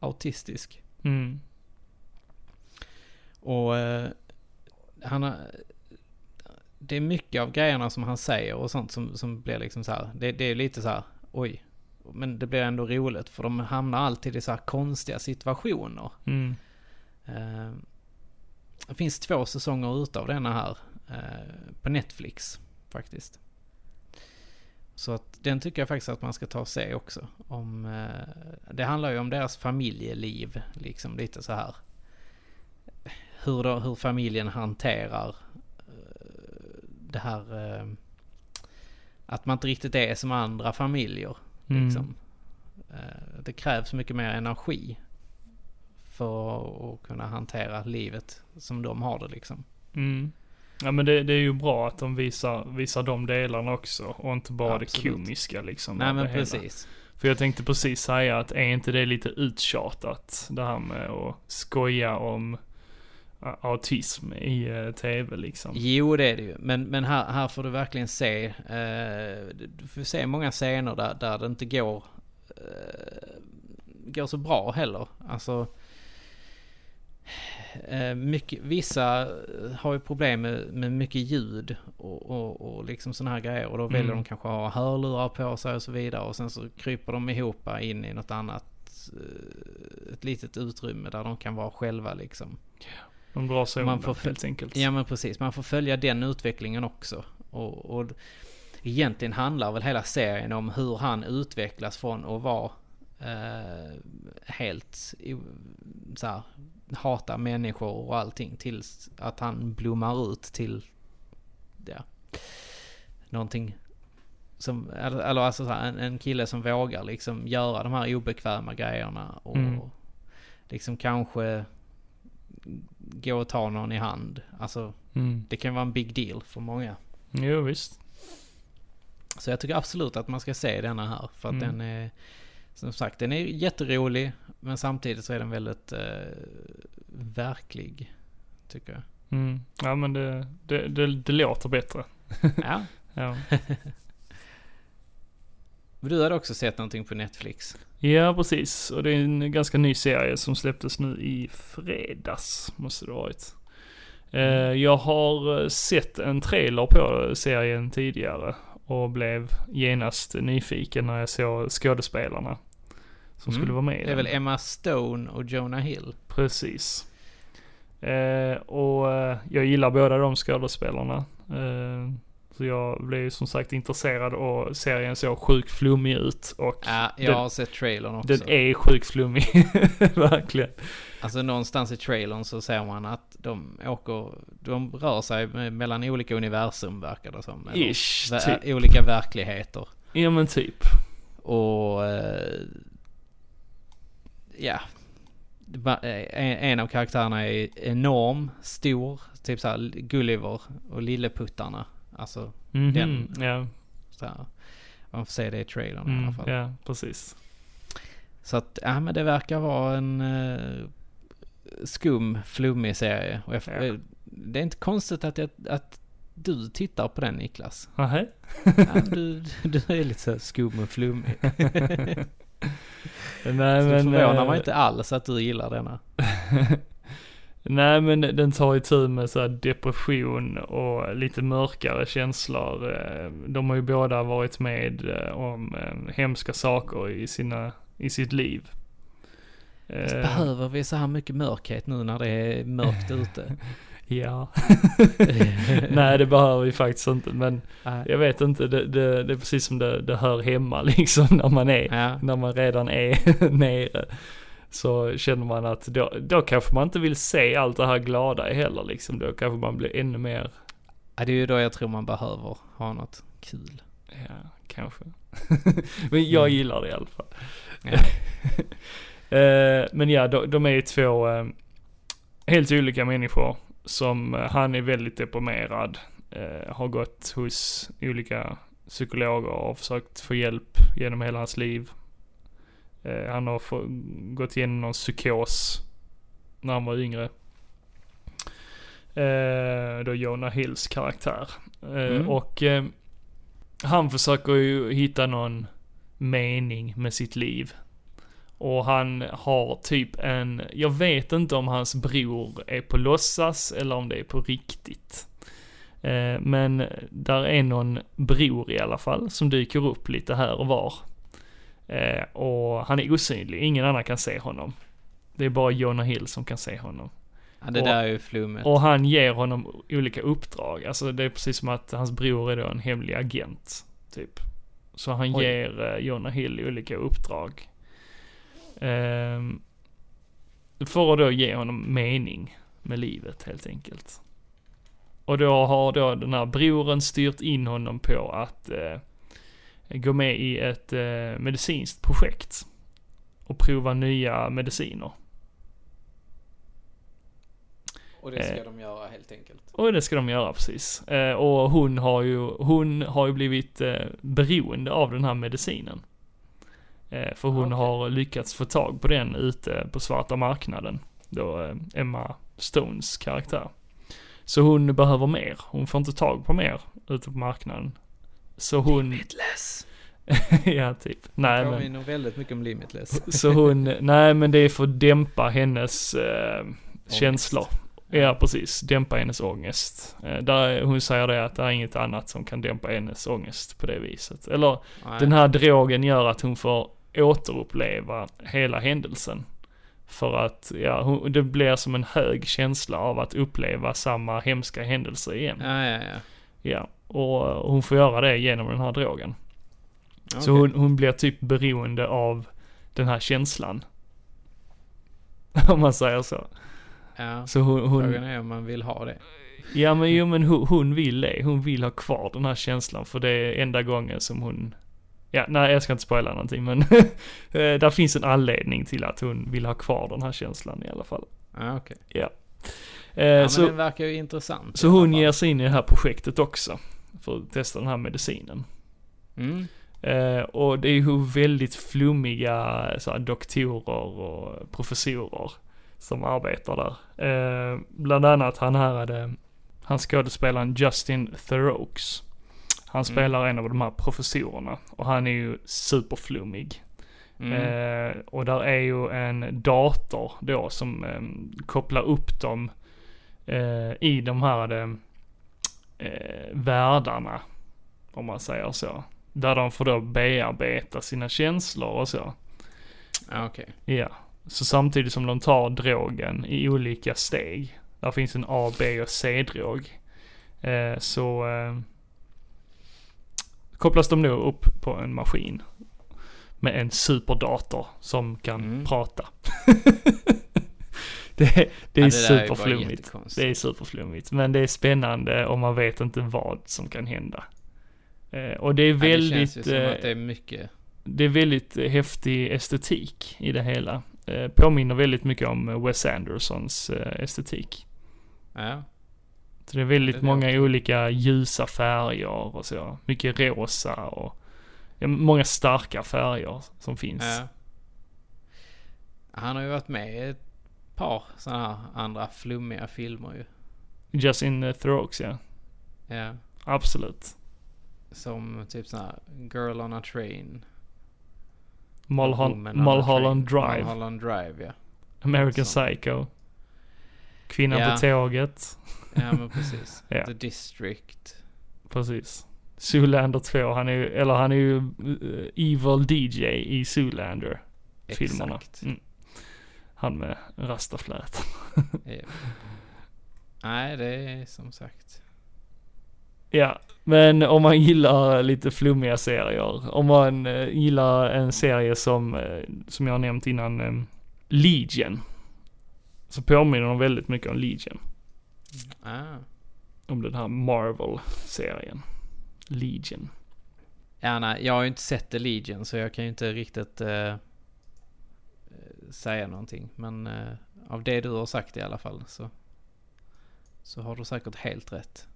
[SPEAKER 2] autistisk.
[SPEAKER 1] Mm.
[SPEAKER 2] Och eh, han har, Det är mycket av grejerna som han säger och sånt som, som blir liksom så här. Det, det är lite så här, oj. Men det blir ändå roligt för de hamnar alltid i så här konstiga situationer.
[SPEAKER 1] Mm.
[SPEAKER 2] Eh, det finns två säsonger utav denna här eh, på Netflix faktiskt. Så att den tycker jag faktiskt att man ska ta och se också. Om, eh, det handlar ju om deras familjeliv, liksom lite så här. Hur, då, hur familjen hanterar eh, det här eh, att man inte riktigt är som andra familjer.
[SPEAKER 1] Mm.
[SPEAKER 2] Liksom. Eh, Det krävs mycket mer energi för att kunna hantera livet som de har det liksom.
[SPEAKER 1] Mm. Ja men det, det är ju bra att de visar, visar de delarna också och inte bara
[SPEAKER 2] Absolut.
[SPEAKER 1] det komiska liksom.
[SPEAKER 2] Nej
[SPEAKER 1] av
[SPEAKER 2] men
[SPEAKER 1] det hela.
[SPEAKER 2] precis.
[SPEAKER 1] För jag tänkte precis säga att är inte det lite uttjatat det här med att skoja om ä, autism i eh, tv liksom?
[SPEAKER 2] Jo det är det ju. Men, men här, här får du verkligen se. Eh, du får se många scener där, där det inte går, eh, går så bra heller. Alltså eh, mycket, vissa eh, har ju problem med, med mycket ljud och, och, och liksom sådana här grejer. Och då väljer
[SPEAKER 1] Mm.
[SPEAKER 2] de kanske att ha hörlurar på sig och så vidare. Och sen så kryper de ihop in i något annat, eh, ett litet utrymme där de kan vara själva liksom.
[SPEAKER 1] De drar sig
[SPEAKER 2] Man
[SPEAKER 1] undan
[SPEAKER 2] får-
[SPEAKER 1] helt enkelt.
[SPEAKER 2] Ja men precis, man får följa den utvecklingen också. Och, och egentligen handlar väl hela serien om hur han utvecklas från att vara eh, helt i- så här, hata människor och allting tills att han blommar ut till ja, någonting som, eller eller alltså så här, en, en kille som vågar liksom göra de här obekväma grejerna och
[SPEAKER 1] Mm.
[SPEAKER 2] liksom kanske gå och ta någon i hand. Alltså
[SPEAKER 1] Mm.
[SPEAKER 2] det kan vara en big deal för många.
[SPEAKER 1] Jo visst.
[SPEAKER 2] Så jag tycker absolut att man ska se denna här. För att
[SPEAKER 1] Mm.
[SPEAKER 2] den är, som sagt, den är jätterolig. Men samtidigt så är den väldigt eh, verklig.
[SPEAKER 1] <laughs>
[SPEAKER 2] Tycker jag.
[SPEAKER 1] Mm. Ja men det, det, det, det låter bättre.
[SPEAKER 2] Ja.
[SPEAKER 1] Ja.
[SPEAKER 2] Men Du hade också sett någonting på Netflix.
[SPEAKER 1] ja precis. Och det är en ganska ny serie som släpptes nu i fredags. Måste det ha varit. Eh,
[SPEAKER 2] Mm.
[SPEAKER 1] Jag har eh, sett en trailer på serien tidigare. Och blev genast nyfiken när jag såg skådespelarna. Som
[SPEAKER 2] Mm.
[SPEAKER 1] skulle vara med i
[SPEAKER 2] Det
[SPEAKER 1] den.
[SPEAKER 2] är väl Emma Stone och Jonah Hill.
[SPEAKER 1] Precis. Eh, och eh, jag gillar båda de skådespelarna. Eh, Så jag blev ju som sagt intresserad och serien såg sjukt flummig ut och
[SPEAKER 2] Ja, jag
[SPEAKER 1] Den-
[SPEAKER 2] har sett trailern också.
[SPEAKER 1] den är sjukt flummig. <laughs> Verkligen.
[SPEAKER 2] Alltså någonstans i trailern så ser man att de åker, de rör sig me- mellan olika universum verkar det som. Eller
[SPEAKER 1] Ish,
[SPEAKER 2] ver-
[SPEAKER 1] typ.
[SPEAKER 2] olika verkligheter.
[SPEAKER 1] Ja men typ.
[SPEAKER 2] Och... eh, Ja. Det ba- eh, En en av karaktärerna är enorm, stor, typ såhär Gulliver och Lilleputtarna. Alltså,
[SPEAKER 1] Mhm,
[SPEAKER 2] Den-
[SPEAKER 1] Ja,
[SPEAKER 2] såhär. Man får se det i trailern i
[SPEAKER 1] mm,
[SPEAKER 2] alla fall.
[SPEAKER 1] ja, precis.
[SPEAKER 2] Så att, ja men det verkar vara en eh, skum, flummig serie. Och jag,
[SPEAKER 1] Ja.
[SPEAKER 2] eh, Det är inte konstigt att, jag, att du tittar på
[SPEAKER 1] <laughs>
[SPEAKER 2] den Niklas.
[SPEAKER 1] Nähä?
[SPEAKER 2] Ja, du, du är lite så här skum
[SPEAKER 1] <laughs>
[SPEAKER 2] och flummig.
[SPEAKER 1] Nej,
[SPEAKER 2] Så det förvånar
[SPEAKER 1] eh,
[SPEAKER 2] mig inte alls att du gillar denna.
[SPEAKER 1] <laughs> Nej men den tar ju tur med så här depression och lite mörkare känslor. Eh, De har ju båda varit med eh, om eh, hemska saker i, sina, i sitt liv.
[SPEAKER 2] Visst
[SPEAKER 1] Eh,
[SPEAKER 2] behöver vi så här mycket mörkhet nu när det
[SPEAKER 1] <laughs>
[SPEAKER 2] är mörkt ute?
[SPEAKER 1] Ja. <laughs> Nej det behöver vi faktiskt inte men
[SPEAKER 2] Nej.
[SPEAKER 1] jag vet inte, det, det, det är precis som det, det hör hemma <laughs> liksom när man är,
[SPEAKER 2] Ja.
[SPEAKER 1] när man redan är <laughs> nere. Så känner man att då, då kanske man inte vill se allt det här glada heller liksom. Då kanske man blir ännu mer
[SPEAKER 2] Ja, det är ju då jag tror man behöver ha något kul.
[SPEAKER 1] Ja, kanske. <laughs> men jag gillar det i alla fall.
[SPEAKER 2] Ja.
[SPEAKER 1] <laughs> Eh, men ja, de, de är ju två eh, helt olika människor. Som, eh, han är väldigt deprimerad. Eh, har gått hos olika psykologer och försökt få hjälp genom hela hans liv. Eh, han har få, gått igenom någon psykos när han var yngre. Eh, då Jonah Hills karaktär. Eh,
[SPEAKER 2] Mm.
[SPEAKER 1] Och eh, han försöker ju hitta någon mening med sitt liv. Och han har typ en, jag vet inte om hans bror är på låtsas eller om det är på riktigt. Eh, Men där är någon bror i alla fall som dyker upp lite här och var. Eh, Och han är osynlig, ingen annan kan se honom. Det är bara Jonah Hill som kan se honom.
[SPEAKER 2] Ja, det
[SPEAKER 1] Och-
[SPEAKER 2] där är ju flummet.
[SPEAKER 1] Och han ger honom olika uppdrag. Alltså det är precis som att hans bror är då en hemlig agent. Typ. Så han
[SPEAKER 2] Oj.
[SPEAKER 1] ger eh, Jonah Hill olika uppdrag. Ehm, för att då ge honom mening med livet helt enkelt. Och då har då den här broren styrt in honom på att eh, gå med i ett eh, medicinskt projekt. Och prova nya mediciner.
[SPEAKER 2] Och
[SPEAKER 1] det ska
[SPEAKER 2] de göra helt enkelt.
[SPEAKER 1] Och det ska de göra precis. Eh, och hon har ju, hon har ju blivit eh, beroende av den här medicinen. Eh, för hon
[SPEAKER 2] Ah, okej.
[SPEAKER 1] har lyckats få tag på den ute på svarta marknaden. Då eh, Emma Stones karaktär. Så hon behöver mer. Hon får inte tag på mer ute på marknaden. Så hon,
[SPEAKER 2] Limitless.
[SPEAKER 1] <laughs> ja typ. Nej men.
[SPEAKER 2] Påminner väldigt mycket om Limitless.
[SPEAKER 1] Så hon, nej men det är för att dämpa hennes eh, känslor. Ja precis, dämpa hennes ångest. Eh, där, hon säger det att det är inget annat som kan dämpa hennes ångest på det viset. Eller
[SPEAKER 2] Nej.
[SPEAKER 1] den här drogen gör att hon får återuppleva hela händelsen. För att, ja, hon, det blir som en hög känsla av att uppleva samma hemska händelse igen.
[SPEAKER 2] Ja, ja, ja.
[SPEAKER 1] Ja, och hon får göra det genom den här drogen. Så
[SPEAKER 2] Okej.
[SPEAKER 1] hon, hon blir typ beroende av den här känslan. <laughs> Om man säger så.
[SPEAKER 2] Ja.
[SPEAKER 1] Så hon,
[SPEAKER 2] Frågan
[SPEAKER 1] hon
[SPEAKER 2] är om man vill ha det.
[SPEAKER 1] ja men jo men hon, hon vill det. Hon vill ha kvar den här känslan för det är enda gången som hon, ja nej jag ska inte spoila någonting men <laughs> eh, där finns en anledning till att hon vill ha kvar den här känslan i alla fall.
[SPEAKER 2] Ja, okej.
[SPEAKER 1] Eh,
[SPEAKER 2] Ja, men
[SPEAKER 1] så,
[SPEAKER 2] den verkar ju intressant. i
[SPEAKER 1] så
[SPEAKER 2] alla
[SPEAKER 1] hon
[SPEAKER 2] fall.
[SPEAKER 1] ger sig in i det här projektet också. För att testa den här medicinen.
[SPEAKER 2] Mm.
[SPEAKER 1] Eh, och det är ju väldigt flummiga så här, doktorer och professorer som arbetar där. Eh, bland annat han här hade, han skådespelaren Justin Theroux. Han spelar en av de här professorerna och han är ju superflummig.
[SPEAKER 2] Mm.
[SPEAKER 1] Eh, och där är ju en dator då som eh, kopplar upp dem eh, i de här eh, världarna, om man säger så. Där de får då bearbeta sina känslor och så.
[SPEAKER 2] Ja, okej.
[SPEAKER 1] Ja. Så samtidigt som de tar drogen i olika steg. Där finns en A, B och C-drog. Eh, så eh, kopplas de då upp på en maskin med en superdator som kan
[SPEAKER 2] Mm.
[SPEAKER 1] prata. <laughs> det, är- det är
[SPEAKER 2] Ja, där ju bara
[SPEAKER 1] superflummigt.
[SPEAKER 2] jättekonstigt.
[SPEAKER 1] Det är superflummigt, men det är spännande och man vet inte vad som kan hända. Eh, och det är
[SPEAKER 2] Ja,
[SPEAKER 1] väldigt...
[SPEAKER 2] Det känns ju som att
[SPEAKER 1] eh,
[SPEAKER 2] det är mycket.
[SPEAKER 1] det är väldigt eh, häftig estetik i det hela. Eh, Påminner väldigt mycket om eh, Wes Andersons eh, estetik.
[SPEAKER 2] Ja.
[SPEAKER 1] Så det är väldigt
[SPEAKER 2] Det är det
[SPEAKER 1] många olika ljusa färger och så. Mycket rosa och ja, många starka färger som finns.
[SPEAKER 2] ja. Han har ju varit med i ett par sådana här andra flummiga filmer ju.
[SPEAKER 1] Justin eh, Theroux, ja.
[SPEAKER 2] Ja.
[SPEAKER 1] Absolut.
[SPEAKER 2] Som typ sån här Girl on a Train.
[SPEAKER 1] Mulholland,
[SPEAKER 2] Woman on a
[SPEAKER 1] Mulholland
[SPEAKER 2] Train.
[SPEAKER 1] Drive,
[SPEAKER 2] Mulholland Drive
[SPEAKER 1] <laughs>
[SPEAKER 2] ja.
[SPEAKER 1] American
[SPEAKER 2] Så.
[SPEAKER 1] Psycho, Kvinnan
[SPEAKER 2] Ja.
[SPEAKER 1] på tåget.
[SPEAKER 2] Ja men precis.
[SPEAKER 1] Ja.
[SPEAKER 2] The District.
[SPEAKER 1] Precis. Zoolander 2, han är ju, eller han är ju eh, Evil DJ i Zoolander. filmerna.
[SPEAKER 2] Exakt.
[SPEAKER 1] Mm. Han med rastaflät.
[SPEAKER 2] Ja. Nej det är som sagt.
[SPEAKER 1] ja, men om man gillar lite flummiga serier. Om man eh, gillar en serie som, eh, som jag har nämnt innan, eh, Legion. Så påminner de väldigt mycket om Legion.
[SPEAKER 2] Ah.
[SPEAKER 1] Om den här Marvel-serien. Legion.
[SPEAKER 2] Ja, nej, jag har ju inte sett The Legion så jag kan ju inte riktigt eh, eh, säga någonting. Men eh, av det du har sagt i alla fall så, så har du säkert helt rätt.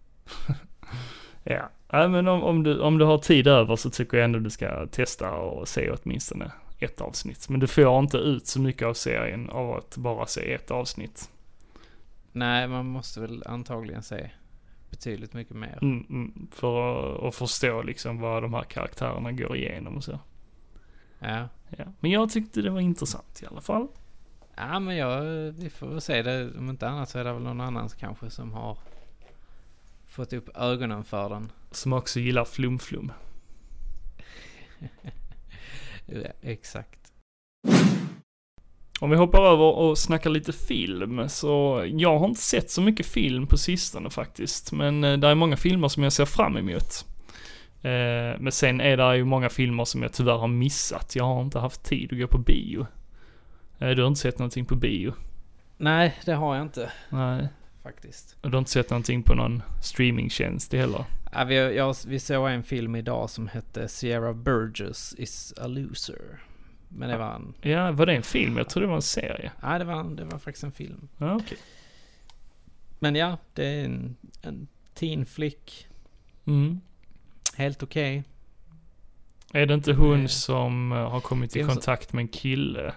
[SPEAKER 1] Ja, Nej, men om, om, du, om du har tid över så tycker jag ändå du ska testa och se åtminstone ett avsnitt. Men du får inte ut så mycket av serien av att bara se ett avsnitt.
[SPEAKER 2] Nej, man måste väl antagligen se betydligt mycket mer.
[SPEAKER 1] Mm, mm, för att, att förstå liksom vad de här karaktärerna går igenom och så.
[SPEAKER 2] Ja.
[SPEAKER 1] Ja. Men jag tyckte det var intressant i alla fall.
[SPEAKER 2] ja, men jag, vi får väl se det. Om inte annat så är det väl någon annan kanske som har fått upp ögonen för den. <laughs>
[SPEAKER 1] Som också gillar flumflum.
[SPEAKER 2] Ja, exakt.
[SPEAKER 1] Om vi hoppar över och snackar lite film så jag har inte sett så mycket film på sistone faktiskt. Men eh, det är många filmer som jag ser fram emot. Eh, men sen är det ju många filmer som jag tyvärr har missat. Jag har inte haft tid att gå på bio. Eh, du har inte sett någonting på bio?
[SPEAKER 2] Nej, det har jag inte
[SPEAKER 1] Nej.
[SPEAKER 2] faktiskt.
[SPEAKER 1] Och du har inte sett någonting på någon streamingtjänst heller?
[SPEAKER 2] Ja, vi, jag, vi såg en film idag som hette Sierra Burgess is a loser. Men det var en...
[SPEAKER 1] Ja, var det en film? Jag trodde det var en serie.
[SPEAKER 2] Nej, det var, en- det var faktiskt en film.
[SPEAKER 1] Ja, okej.
[SPEAKER 2] Men ja, det är en, en teen flick.
[SPEAKER 1] Mm.
[SPEAKER 2] Helt okej.
[SPEAKER 1] Är det inte hon
[SPEAKER 2] Eh,
[SPEAKER 1] som eh, har kommit i
[SPEAKER 2] film som-
[SPEAKER 1] kontakt med en kille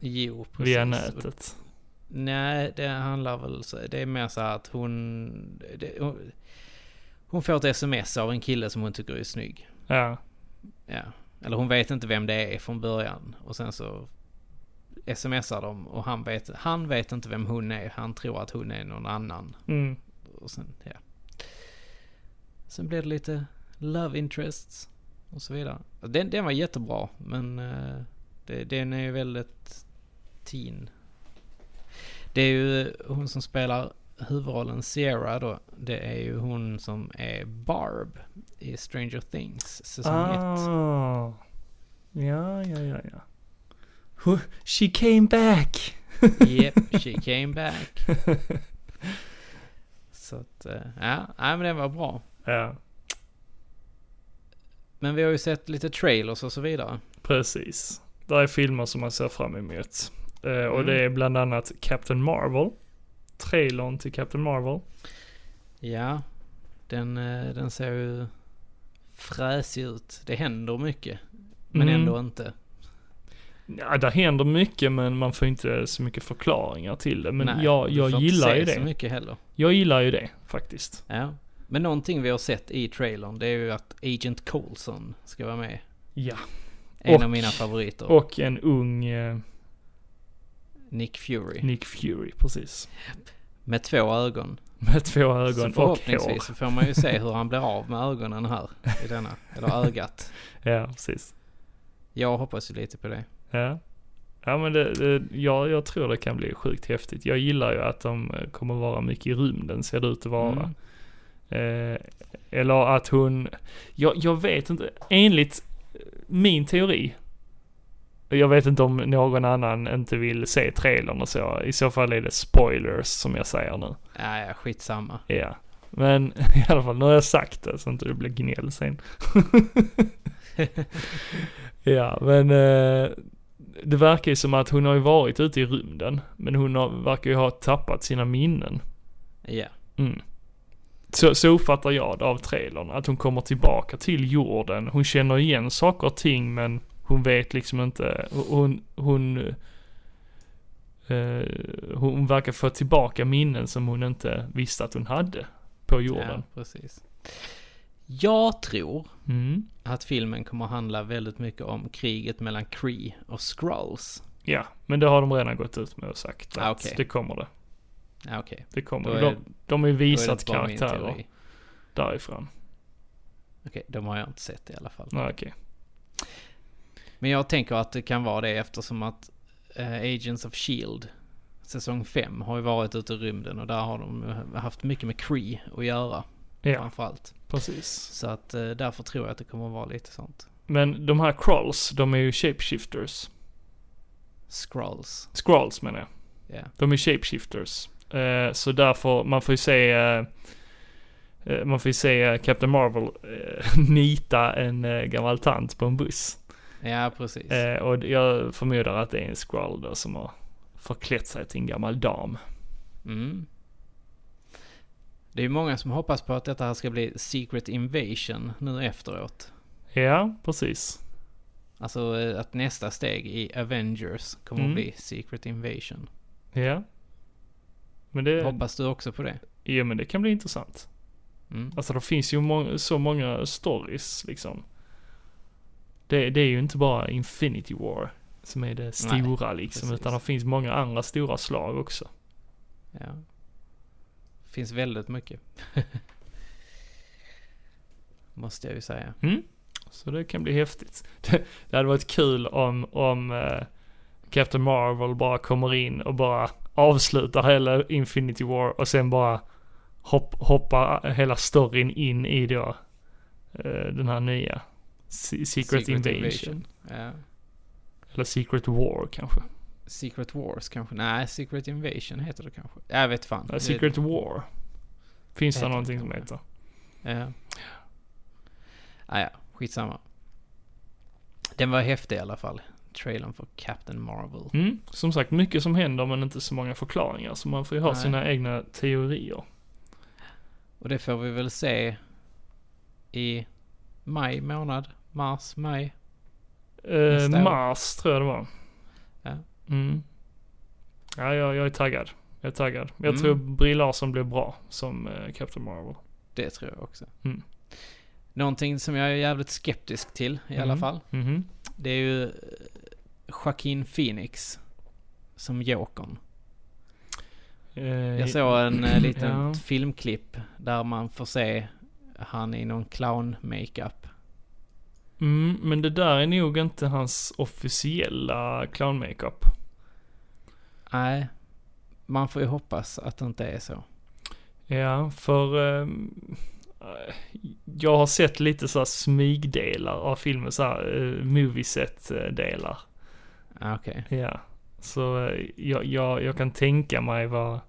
[SPEAKER 2] Jo, precis.
[SPEAKER 1] via
[SPEAKER 2] Och-
[SPEAKER 1] nätet?
[SPEAKER 2] Nej, det handlar väl så. Det är mer så här att hon... Det, hon, hon får ett sms av en kille som hon tycker är snygg.
[SPEAKER 1] Ja,
[SPEAKER 2] Ja. Eller hon vet inte vem det är från början. Och sen så smsar de och han vet, han vet inte vem hon är. Han tror att hon är någon annan.
[SPEAKER 1] mm.
[SPEAKER 2] Och sen, ja. Sen blev det lite love interests och så vidare. Och Den, den var jättebra, men eh, det, den är ju väldigt teen. Det är ju hon som spelar huvudrollen Sierra då. Det är ju hon som är Barb i Stranger Things säsong 1.
[SPEAKER 1] Ah. Ja, ja, ja, ja. Who- She came back!
[SPEAKER 2] Yep, she came back.
[SPEAKER 1] <laughs>
[SPEAKER 2] Så att, eh, ja, nej, men den var bra.
[SPEAKER 1] Ja,
[SPEAKER 2] Men vi har ju sett lite trailers och så vidare.
[SPEAKER 1] precis. Det är filmer som man ser fram emot. Eh, och
[SPEAKER 2] Mm.
[SPEAKER 1] det är bland annat Captain Marvel. Trailern till Captain Marvel.
[SPEAKER 2] Ja, den, eh, den ser ju fräsig ut. Det händer mycket, men
[SPEAKER 1] Mm.
[SPEAKER 2] ändå inte.
[SPEAKER 1] Ja, det händer mycket men man får inte så mycket förklaringar till det. Men
[SPEAKER 2] Nej,
[SPEAKER 1] jag,
[SPEAKER 2] du
[SPEAKER 1] jag
[SPEAKER 2] får inte
[SPEAKER 1] gillar
[SPEAKER 2] se
[SPEAKER 1] ju
[SPEAKER 2] så
[SPEAKER 1] det.
[SPEAKER 2] mycket heller.
[SPEAKER 1] Jag gillar ju det faktiskt.
[SPEAKER 2] Ja. Men någonting vi har sett i trailern, det är ju att Agent Coulson ska vara med.
[SPEAKER 1] Ja.
[SPEAKER 2] En
[SPEAKER 1] Och-
[SPEAKER 2] av mina favoriter.
[SPEAKER 1] Och en ung eh,
[SPEAKER 2] Nick Fury.
[SPEAKER 1] Nick Fury, precis.
[SPEAKER 2] Med två ögon.
[SPEAKER 1] Med två
[SPEAKER 2] så
[SPEAKER 1] ögon och hår.
[SPEAKER 2] förhoppningsvis så får man ju se hur han blir av med ögonen här. I denna. Eller ögat.
[SPEAKER 1] Ja, precis.
[SPEAKER 2] Jag hoppas ju lite på det.
[SPEAKER 1] Ja. Ja men det, det, ja, jag tror det kan bli sjukt häftigt. Jag gillar ju att de eh, kommer vara mycket i rymden ser det ut att vara.
[SPEAKER 2] Mm.
[SPEAKER 1] Eh, Eller att hon, jag, jag vet inte, enligt min teori. Jag vet inte om någon annan inte vill se trailern och så. I så fall är det spoilers som jag säger nu.
[SPEAKER 2] Ja, ja, skitsamma.
[SPEAKER 1] Ja. Men <laughs> i alla fall, nu har jag sagt det så inte det blir gnäll sen. <laughs> ja, men eh, det verkar ju som att hon har ju varit ute i rymden. Men hon har, verkar ju ha tappat sina minnen.
[SPEAKER 2] Ja.
[SPEAKER 1] Mm. Så, så uppfattar jag det av trailern, att hon kommer tillbaka till jorden. Hon känner igen saker och ting men hon vet liksom inte, hon, hon, eh, hon verkar få tillbaka minnen som hon inte visste att hon hade på
[SPEAKER 2] ja,
[SPEAKER 1] jorden.
[SPEAKER 2] precis. Jag tror
[SPEAKER 1] Mm.
[SPEAKER 2] att filmen kommer handla väldigt mycket om kriget mellan Kree och Skrulls.
[SPEAKER 1] Ja, men det har de redan gått ut med och sagt att
[SPEAKER 2] Ah, okej.
[SPEAKER 1] det kommer det.
[SPEAKER 2] Ja, okej.
[SPEAKER 1] Det kommer
[SPEAKER 2] Då
[SPEAKER 1] det.
[SPEAKER 2] är-
[SPEAKER 1] De, de har ju
[SPEAKER 2] Då är det
[SPEAKER 1] visat
[SPEAKER 2] inte bara min
[SPEAKER 1] karaktärer
[SPEAKER 2] teori.
[SPEAKER 1] därifrån.
[SPEAKER 2] Okej, de har jag inte sett i alla fall.
[SPEAKER 1] Nej, okej.
[SPEAKER 2] Men jag tänker att det kan vara det eftersom att eh, Agents of Shield säsong 5 har ju varit ute i rymden och där har de eh, haft mycket med Kree att göra
[SPEAKER 1] Ja,
[SPEAKER 2] framförallt.
[SPEAKER 1] precis.
[SPEAKER 2] Så att eh, därför tror jag att det kommer att vara lite sånt.
[SPEAKER 1] Men de här crawls, de är ju shapeshifters.
[SPEAKER 2] Scrolls.
[SPEAKER 1] Scrolls menar jag.
[SPEAKER 2] Ja.
[SPEAKER 1] De är shapeshifters. Eh, så därför, man får ju se... eh, eh, man får ju se Captain Marvel eh, <laughs> nita en eh, gammal tant på en buss.
[SPEAKER 2] Ja, precis.
[SPEAKER 1] Eh, och jag förmodar att det är en scroll då som har förklätt sig till en gammal dam.
[SPEAKER 2] Mm. Det är ju många som hoppas på att detta här ska bli Secret Invasion nu efteråt.
[SPEAKER 1] Ja, precis.
[SPEAKER 2] Alltså eh, att nästa steg i Avengers kommer
[SPEAKER 1] Mm.
[SPEAKER 2] att bli Secret Invasion.
[SPEAKER 1] Ja. Men det,
[SPEAKER 2] Hoppas du också på det?
[SPEAKER 1] ja, men det kan bli intressant.
[SPEAKER 2] Mm.
[SPEAKER 1] Alltså det finns ju må- så många stories liksom. Det, det är ju inte bara Infinity War som är det stora liksom,
[SPEAKER 2] precis.
[SPEAKER 1] utan det finns många andra stora slag också.
[SPEAKER 2] Ja. Finns väldigt mycket. <laughs> Måste jag ju säga.
[SPEAKER 1] Mm. Så det kan bli häftigt. <laughs> Det, det hade varit kul om, om eh, Captain Marvel bara kommer in och bara avslutar hela Infinity War och sen bara hopp, hoppar hela storyn in i då eh, den här nya Se- Secret, Invasion.
[SPEAKER 2] Ja.
[SPEAKER 1] Eller Secret War kanske.
[SPEAKER 2] Secret Wars kanske? Nej, Secret Invasion heter det kanske. Jag vet fan.
[SPEAKER 1] Ja, Secret War. Finns det
[SPEAKER 2] Heter det
[SPEAKER 1] någonting som
[SPEAKER 2] kanske?
[SPEAKER 1] heter?
[SPEAKER 2] Ja. eh. Ah, ja, skitsamma. Den var häftig i alla fall. Trailern för Captain Marvel.
[SPEAKER 1] Mm. Som sagt, mycket som händer men inte så många förklaringar. Så man får ju ha
[SPEAKER 2] Nej.
[SPEAKER 1] sina egna teorier.
[SPEAKER 2] Och det får vi väl se i maj månad. Mars, maj.
[SPEAKER 1] Eh,
[SPEAKER 2] Nästa år.
[SPEAKER 1] mars tror jag det var.
[SPEAKER 2] Ja.
[SPEAKER 1] Mm. Ja, jag, jag är taggad. Jag är taggad. Jag
[SPEAKER 2] Mm.
[SPEAKER 1] tror Brie Larson blir bra som eh, Captain Marvel.
[SPEAKER 2] Det tror jag också.
[SPEAKER 1] Mm.
[SPEAKER 2] Någonting som jag är jävligt skeptisk till i alla
[SPEAKER 1] Mm.
[SPEAKER 2] fall.
[SPEAKER 1] Mhm.
[SPEAKER 2] Det är ju eh, Joaquin Phoenix som Jokern.
[SPEAKER 1] Eh,
[SPEAKER 2] Jag såg en eh, liten
[SPEAKER 1] <clears throat> Ja.
[SPEAKER 2] filmklipp där man får se han i någon clown-makeup.
[SPEAKER 1] mm, men det där är nog inte hans officiella clown-makeup.
[SPEAKER 2] Nej, man får ju hoppas att det inte är så.
[SPEAKER 1] Ja, för ehm, eh, jag har sett lite så här smygdelar av filmen, så här eh, movieset-delar.
[SPEAKER 2] Ah, Okej.
[SPEAKER 1] Ja, så eh, jag, jag, jag kan tänka mig vad,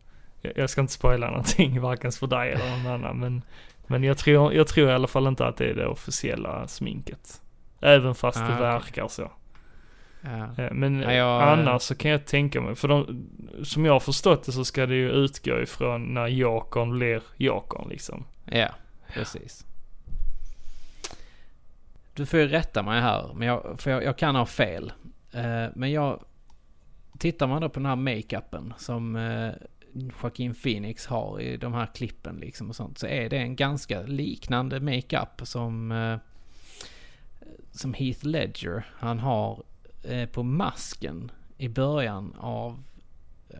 [SPEAKER 1] jag jag ska inte spoila någonting <laughs> varken för dig eller någon annan, men, men jag, tror, jag tror i alla fall inte att det är det officiella sminket. Även fast
[SPEAKER 2] Ah,
[SPEAKER 1] det
[SPEAKER 2] okej.
[SPEAKER 1] verkar så.
[SPEAKER 2] Ja.
[SPEAKER 1] Eh, Men
[SPEAKER 2] Ja, jag-
[SPEAKER 1] annars så kan jag tänka mig, för de, som jag har förstått det så ska det ju utgå ifrån när Jokern blir Jokern liksom.
[SPEAKER 2] ja, precis. Du får ju rätta mig här, men jag, för jag, jag kan ha fel. Eh, men jag... Tittar man då på den här makeupen som uh, Joaquin Phoenix har i de här klippen liksom och sånt, så är det en ganska liknande makeup som, eh, som Heath Ledger han har eh, på masken i början av eh,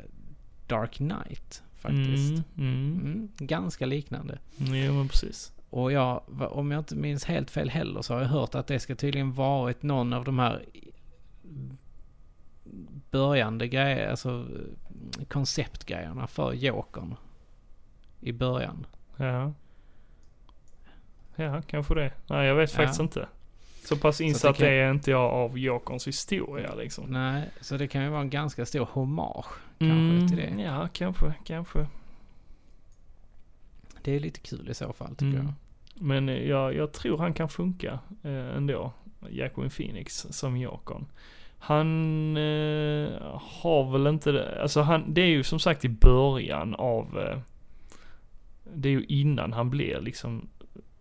[SPEAKER 2] Dark Knight faktiskt.
[SPEAKER 1] Mm, mm.
[SPEAKER 2] Mm, ganska liknande.
[SPEAKER 1] Jo men precis.
[SPEAKER 2] Och jag, va- om jag inte minns helt fel heller så har jag hört att det ska tydligen varit någon av de här i- börjande grejer, alltså eh, konceptgrejerna för Jokern. I början.
[SPEAKER 1] Ja. Ja, kanske det. Nej, jag vet
[SPEAKER 2] Ja.
[SPEAKER 1] faktiskt inte. Så pass insatt
[SPEAKER 2] kan-
[SPEAKER 1] är inte jag av Jokerns historia liksom.
[SPEAKER 2] Nej, så det kan ju vara en ganska stor hommage.
[SPEAKER 1] Mm,
[SPEAKER 2] till det.
[SPEAKER 1] Ja, kanske, kanske.
[SPEAKER 2] Det är lite kul i så fall tycker
[SPEAKER 1] Mm.
[SPEAKER 2] jag.
[SPEAKER 1] Men eh, jag, jag tror han kan funka eh, ändå. Jacqueline Phoenix som Jokern. Han eh, har väl inte det. Alltså han, det är ju som sagt i början av. Eh, det är ju innan han blir liksom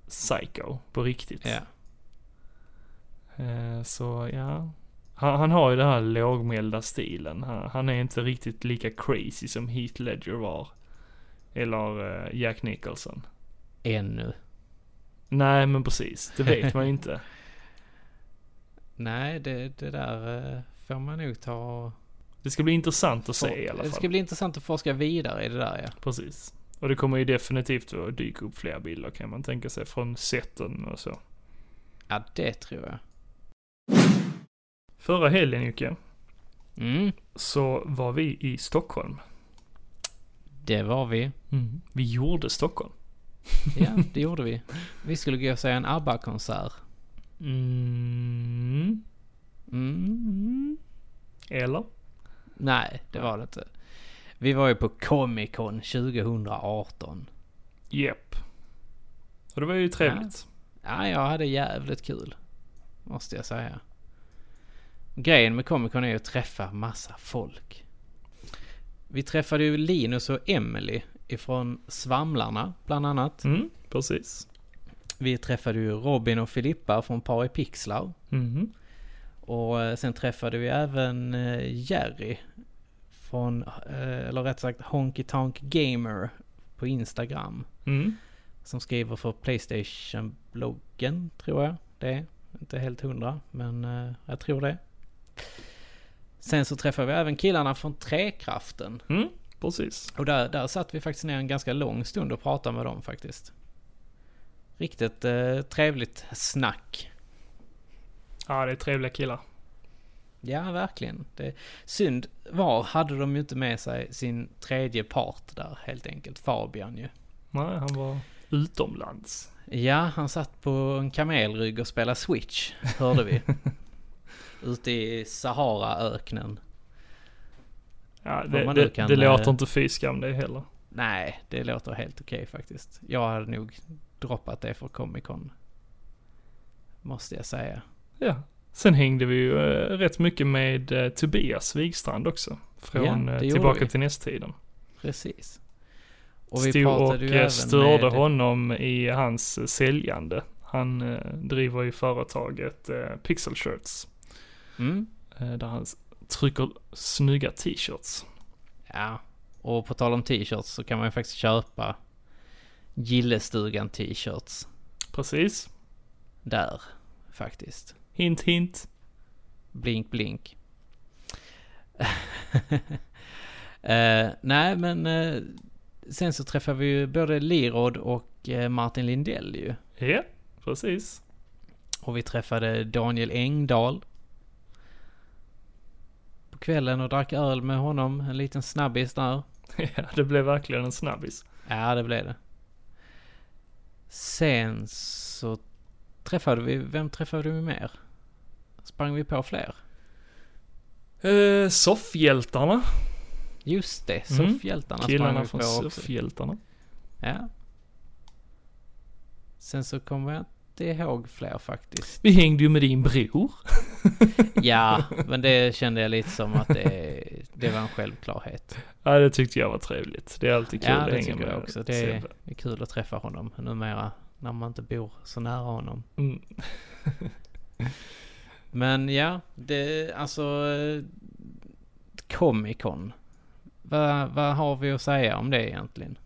[SPEAKER 1] psycho på riktigt.
[SPEAKER 2] Ja.
[SPEAKER 1] Eh, så ja. Han, han har ju den här lågmälda stilen. Han, han är inte riktigt lika crazy som Heath Ledger var. Eller eh, Jack Nicholson.
[SPEAKER 2] Ännu.
[SPEAKER 1] Nej men precis, det vet man ju inte.
[SPEAKER 2] Nej, det, det där eh, får man nog ta och...
[SPEAKER 1] Det ska bli intressant att se i alla
[SPEAKER 2] Det
[SPEAKER 1] fall.
[SPEAKER 2] ska bli intressant att forska vidare i det där ja.
[SPEAKER 1] Precis. Och det kommer ju definitivt att dyka upp fler bilder kan man tänka sig från seten och så.
[SPEAKER 2] Ja, det tror jag.
[SPEAKER 1] Förra helgen Jocke,
[SPEAKER 2] Mm,
[SPEAKER 1] så var vi i Stockholm.
[SPEAKER 2] det var vi.
[SPEAKER 1] Vi gjorde Stockholm.
[SPEAKER 2] Ja, det gjorde vi. Vi skulle gå och se en ABBA-konsert.
[SPEAKER 1] Mm.
[SPEAKER 2] Mm.
[SPEAKER 1] Eller?
[SPEAKER 2] Nej, det var det inte. Vi var ju på Comic Con 2018.
[SPEAKER 1] Jep. Och det var ju trevligt.
[SPEAKER 2] Ja, jag hade jävligt kul. Måste jag säga. Grejen med Comic Con är ju att träffa massa folk. Vi träffade ju Linus och Emily ifrån Svamlarna, bland annat.
[SPEAKER 1] Mm, precis.
[SPEAKER 2] Vi träffade ju Robin och Filippa från Pari Pixlar. Mm-hmm.
[SPEAKER 1] Mhm.
[SPEAKER 2] Och eh, sen träffade vi även eh, Jerry. Från, eh, eller rätt sagt Honky Tonk Gamer på Instagram.
[SPEAKER 1] Mm.
[SPEAKER 2] Som skriver för Playstation-bloggen, tror jag det är. Inte helt hundra, men eh, jag tror det. Sen så träffade vi även killarna från Träkraften.
[SPEAKER 1] Mm, precis.
[SPEAKER 2] Och där, där satt vi faktiskt ner en ganska lång stund och pratade med dem faktiskt. Riktigt eh, trevligt snack.
[SPEAKER 1] Ja, det är trevliga killar.
[SPEAKER 2] Ja, verkligen. Det, synd var, hade de ju inte med sig sin tredje part där helt enkelt, Fabian ju.
[SPEAKER 1] Nej, han var utomlands.
[SPEAKER 2] Ja, han satt på en kamelrygg och spelade switch,
[SPEAKER 1] <laughs>
[SPEAKER 2] hörde vi. Ute i Saharaöknen.
[SPEAKER 1] Ja,
[SPEAKER 2] Om
[SPEAKER 1] det,
[SPEAKER 2] man
[SPEAKER 1] det,
[SPEAKER 2] nu kan,
[SPEAKER 1] det
[SPEAKER 2] eh,
[SPEAKER 1] låter inte fy skam det heller.
[SPEAKER 2] Nej, det låter helt okej faktiskt. Jag hade nog droppat det för Comic Con. Måste jag säga.
[SPEAKER 1] Ja. Sen hängde vi ju eh, rätt mycket med eh, Tobias Wigstrand också. Från
[SPEAKER 2] Ja, det
[SPEAKER 1] eh,
[SPEAKER 2] gjorde
[SPEAKER 1] Tillbaka
[SPEAKER 2] vi.
[SPEAKER 1] till nästtiden.
[SPEAKER 2] Precis.
[SPEAKER 1] Stod och
[SPEAKER 2] ju
[SPEAKER 1] eh,
[SPEAKER 2] även
[SPEAKER 1] störde
[SPEAKER 2] med-
[SPEAKER 1] honom i hans eh, säljande. Han eh, driver ju företaget eh, Pixel Shirts.
[SPEAKER 2] Mm.
[SPEAKER 1] Eh, där han s- trycker snygga t-shirts.
[SPEAKER 2] Ja, och på tal om t-shirts så kan man ju faktiskt köpa Gillestugan t-shirts
[SPEAKER 1] Precis.
[SPEAKER 2] där faktiskt.
[SPEAKER 1] Hint hint.
[SPEAKER 2] Blink blink. <laughs> Eh, nej men eh, sen så träffar vi ju både Lirod och eh, Martin Lindell ju.
[SPEAKER 1] Ja, precis. <laughs>
[SPEAKER 2] Och vi träffade Daniel Engdahl. På kvällen och drack öl med honom, en liten snabbis där.
[SPEAKER 1] ja, det blev verkligen en snabbis.
[SPEAKER 2] Ja, det blev det. Sen så träffade vi, vem träffade vi mer? Sprang vi på fler?
[SPEAKER 1] Eh, soffhjältarna.
[SPEAKER 2] Just det,
[SPEAKER 1] Mm.
[SPEAKER 2] soffhjältarna sprang
[SPEAKER 1] Killarna
[SPEAKER 2] vi på
[SPEAKER 1] från
[SPEAKER 2] också.
[SPEAKER 1] soffhjältarna.
[SPEAKER 2] Ja. Sen så kommer jag inte ihåg
[SPEAKER 1] <laughs>
[SPEAKER 2] fler faktiskt.
[SPEAKER 1] Vi hängde ju med din bror.
[SPEAKER 2] Ja, men det kände jag lite som att det, det var en självklarhet.
[SPEAKER 1] Ja, det tyckte jag var trevligt. Det är alltid kul
[SPEAKER 2] ja,
[SPEAKER 1] att
[SPEAKER 2] det
[SPEAKER 1] hänga
[SPEAKER 2] tycker
[SPEAKER 1] med
[SPEAKER 2] jag också. Det är,
[SPEAKER 1] Sebbe.
[SPEAKER 2] det är kul att träffa honom numera när man inte bor så nära honom.
[SPEAKER 1] Mm.
[SPEAKER 2] Men ja, det, alltså... eh, Comic Con. Vad vad har vi att säga om det egentligen?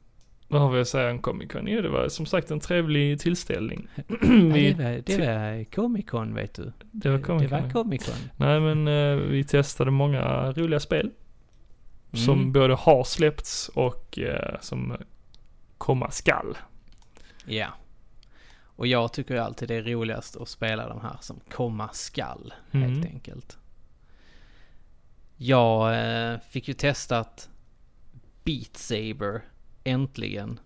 [SPEAKER 1] Vad har vi att säga om Comic Con? Jo, det var som sagt en trevlig
[SPEAKER 2] <clears throat>
[SPEAKER 1] tillställning.
[SPEAKER 2] Ja,
[SPEAKER 1] vi,
[SPEAKER 2] det, var, det var Comic Con vet du.
[SPEAKER 1] det var Comic
[SPEAKER 2] Det var
[SPEAKER 1] Con.
[SPEAKER 2] Comic Con.
[SPEAKER 1] Nej, men eh, vi testade många roliga spel. Som
[SPEAKER 2] Mm.
[SPEAKER 1] både har släppts och eh, som komma skall.
[SPEAKER 2] Ja. Och jag tycker ju alltid det är roligast att spela de här som komma skall. Helt
[SPEAKER 1] Mm.
[SPEAKER 2] enkelt. Jag eh, fick ju testat Beat Saber. Äntligen.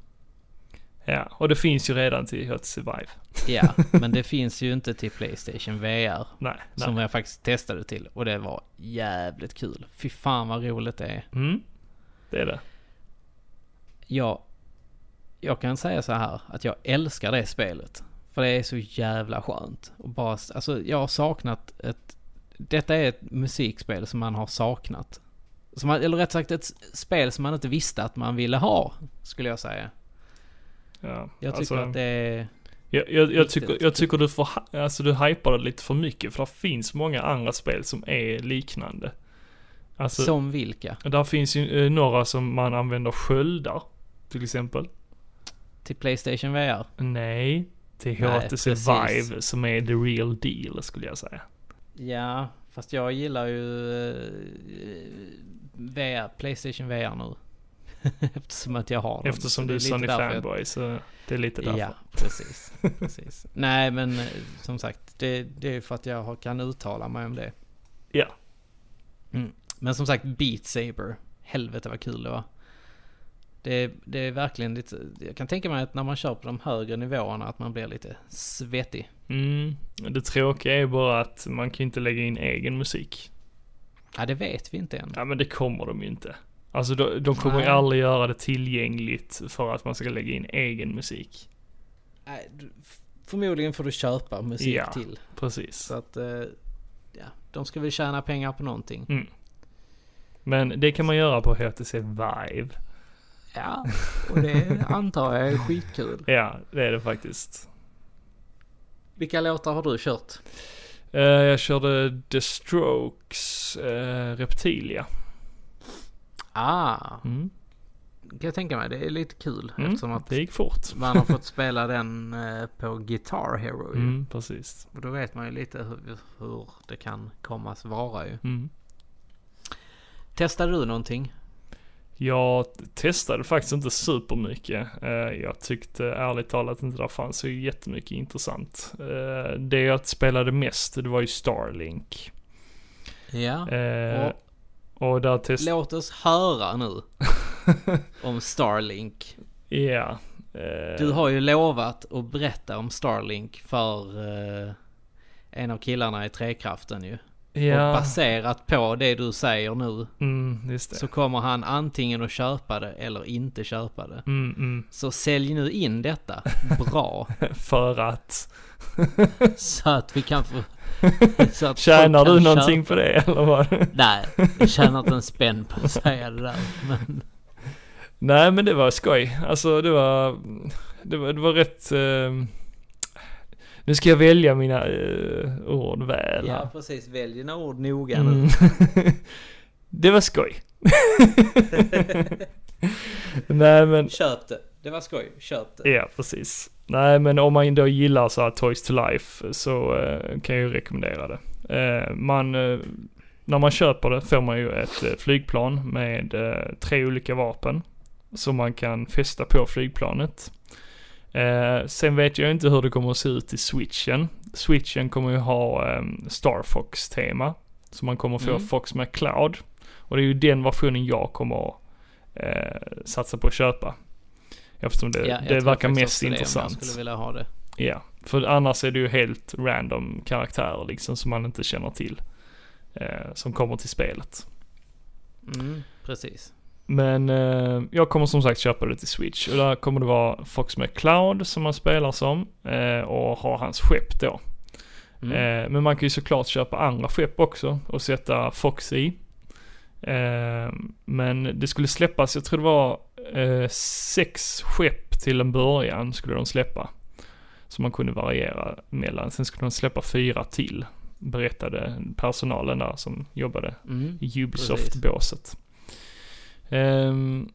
[SPEAKER 1] Ja, och det finns ju redan till Hot Survive. <laughs>
[SPEAKER 2] Ja, men det finns ju inte till Playstation VR.
[SPEAKER 1] Nej,
[SPEAKER 2] Som
[SPEAKER 1] nej.
[SPEAKER 2] jag faktiskt testade till och det var jävligt kul. Fy fan vad roligt det är.
[SPEAKER 1] Mm. Det är det.
[SPEAKER 2] Jag, jag kan säga så här att jag älskar det spelet. För det är så jävla skönt. Och bara, alltså jag har saknat ett... Detta är ett musikspel som man har saknat. Som man, eller rätt sagt ett s- spel som man inte visste att man ville ha. Skulle jag säga.
[SPEAKER 1] Ja.
[SPEAKER 2] Jag tycker
[SPEAKER 1] alltså,
[SPEAKER 2] att det är...
[SPEAKER 1] jag, jag, jag,
[SPEAKER 2] Riktigt.
[SPEAKER 1] tycker, jag tycker du, får, ha- alltså, du hypar det lite för mycket för det finns många andra spel som är liknande. Alltså,
[SPEAKER 2] som vilka?
[SPEAKER 1] där finns ju eh, några som man använder sköldar, till exempel.
[SPEAKER 2] Till Playstation VR?
[SPEAKER 1] Nej, till
[SPEAKER 2] Nej,
[SPEAKER 1] Hot Survive
[SPEAKER 2] precis.
[SPEAKER 1] som är the real deal skulle jag säga.
[SPEAKER 2] Ja, fast jag gillar ju eh, VR, Playstation VR nu. <laughs> Eftersom att jag har den.
[SPEAKER 1] Eftersom
[SPEAKER 2] Så
[SPEAKER 1] du är
[SPEAKER 2] lite
[SPEAKER 1] Sony
[SPEAKER 2] därför jag-
[SPEAKER 1] fanboy så det är lite därför.
[SPEAKER 2] Ja, precis.
[SPEAKER 1] <laughs>
[SPEAKER 2] precis. Nej, men eh, som sagt, det, det är ju för att jag har- kan uttala mig om det.
[SPEAKER 1] Ja.
[SPEAKER 2] Mm. Men som sagt, Beat Saber. Helvete vad kul det var. Det, det är verkligen lite, jag kan tänka mig att när man kör på de högre nivåerna att man blir lite svettig.
[SPEAKER 1] Mm. Det tråkiga är bara att man kan inte lägga in egen musik.
[SPEAKER 2] Ja, det vet vi inte än.
[SPEAKER 1] Ja men det kommer de ju inte. Alltså de, de kommer ju
[SPEAKER 2] Nej.
[SPEAKER 1] aldrig göra det tillgängligt för att man ska lägga in egen musik.
[SPEAKER 2] Nej, du- f- Förmodligen får du köpa musik
[SPEAKER 1] Ja.
[SPEAKER 2] till.
[SPEAKER 1] Precis.
[SPEAKER 2] Så att, eh, ja, de ska väl tjäna pengar på någonting.
[SPEAKER 1] Men det kan man göra på HTC Vive.
[SPEAKER 2] Ja, och det antar jag är skitkul.
[SPEAKER 1] Ja, det är det faktiskt.
[SPEAKER 2] Vilka låtar har du kört?
[SPEAKER 1] Eh, jag körde The Strokes eh, Reptilia.
[SPEAKER 2] Ah,
[SPEAKER 1] Mm.
[SPEAKER 2] kan jag tänka mig. Det är lite kul
[SPEAKER 1] Mm,
[SPEAKER 2] eftersom att
[SPEAKER 1] Det gick fort.
[SPEAKER 2] man har fått spela den eh, på Guitar Hero ju.
[SPEAKER 1] Mm, precis.
[SPEAKER 2] Och då vet man ju lite hur, hur det kan kommas vara ju.
[SPEAKER 1] Mm.
[SPEAKER 2] Testade du någonting?
[SPEAKER 1] Jag testade faktiskt inte supermycket. Eh, Jag tyckte ärligt talat inte där fanns så jättemycket intressant. Eh, Det jag spelade mest, det var ju Starlink.
[SPEAKER 2] Ja.
[SPEAKER 1] Eh,
[SPEAKER 2] Och-
[SPEAKER 1] Och där testade...
[SPEAKER 2] Låt oss höra <laughs> nu om Starlink.
[SPEAKER 1] Ja. Eh,
[SPEAKER 2] Du har ju lovat att berätta om Starlink för eh, en av killarna i Trekraften ju. Och
[SPEAKER 1] Ja.
[SPEAKER 2] baserat på det du säger nu
[SPEAKER 1] Mm, just det.
[SPEAKER 2] så kommer han antingen att köpa det eller inte köpa det.
[SPEAKER 1] Mm, mm.
[SPEAKER 2] Så sälj nu
[SPEAKER 1] <laughs>
[SPEAKER 2] in detta bra.
[SPEAKER 1] För att...
[SPEAKER 2] så att vi
[SPEAKER 1] <laughs>
[SPEAKER 2] kan få... Så att
[SPEAKER 1] Tjänar
[SPEAKER 2] folk kan
[SPEAKER 1] du någonting
[SPEAKER 2] köpa-
[SPEAKER 1] på det eller vad?
[SPEAKER 2] Nej, jag tjänar inte
[SPEAKER 1] <laughs>
[SPEAKER 2] en spänn på att säga det där. Men,
[SPEAKER 1] Nej men det var skoj. Alltså det var, det var, det var rätt... eh, nu ska jag välja mina eh, ord väl.
[SPEAKER 2] ja, precis. Välj dina ord noga nu.
[SPEAKER 1] Mm. <laughs> det var
[SPEAKER 2] <laughs>
[SPEAKER 1] skoj. <laughs> Nej men,
[SPEAKER 2] Köp det. Det var skoj. Köp det.
[SPEAKER 1] ja precis. Nej men om man då gillar så här Toys to Life så eh, kan jag ju rekommendera det. Eh, man, eh, när man köper det får man ju ett eh, flygplan med eh, tre olika vapen som man kan fästa på flygplanet. Eh, sen vet jag inte hur det kommer att se ut i switchen. Switchen kommer ju ha eh, Star Fox-tema. Så man kommer få
[SPEAKER 2] Mm.
[SPEAKER 1] Fox McCloud. Och det är ju den versionen jag kommer att eh, satsa på att köpa. Eftersom det,
[SPEAKER 2] Ja, jag
[SPEAKER 1] det
[SPEAKER 2] tror
[SPEAKER 1] verkar
[SPEAKER 2] faktiskt
[SPEAKER 1] mest
[SPEAKER 2] också det, om
[SPEAKER 1] intressant.
[SPEAKER 2] Jag skulle vilja ha det.
[SPEAKER 1] Ja, för annars är det ju helt random karaktärer liksom som man inte känner till. Eh, som kommer till spelet.
[SPEAKER 2] Mm, precis.
[SPEAKER 1] Men eh, jag kommer som sagt köpa det till Switch och där kommer det vara Fox McCloud som man spelar som eh, och ha hans skepp då.
[SPEAKER 2] Mm.
[SPEAKER 1] Eh, men man kan ju såklart köpa andra skepp också och sätta Fox i. Eh, men det skulle släppas, jag tror det var eh, sex skepp till en början skulle de släppa. Som man kunde variera mellan. Sen skulle de släppa fyra till, berättade personalen där som jobbade
[SPEAKER 2] Mm.
[SPEAKER 1] i Ubisoft-båset. Ehm,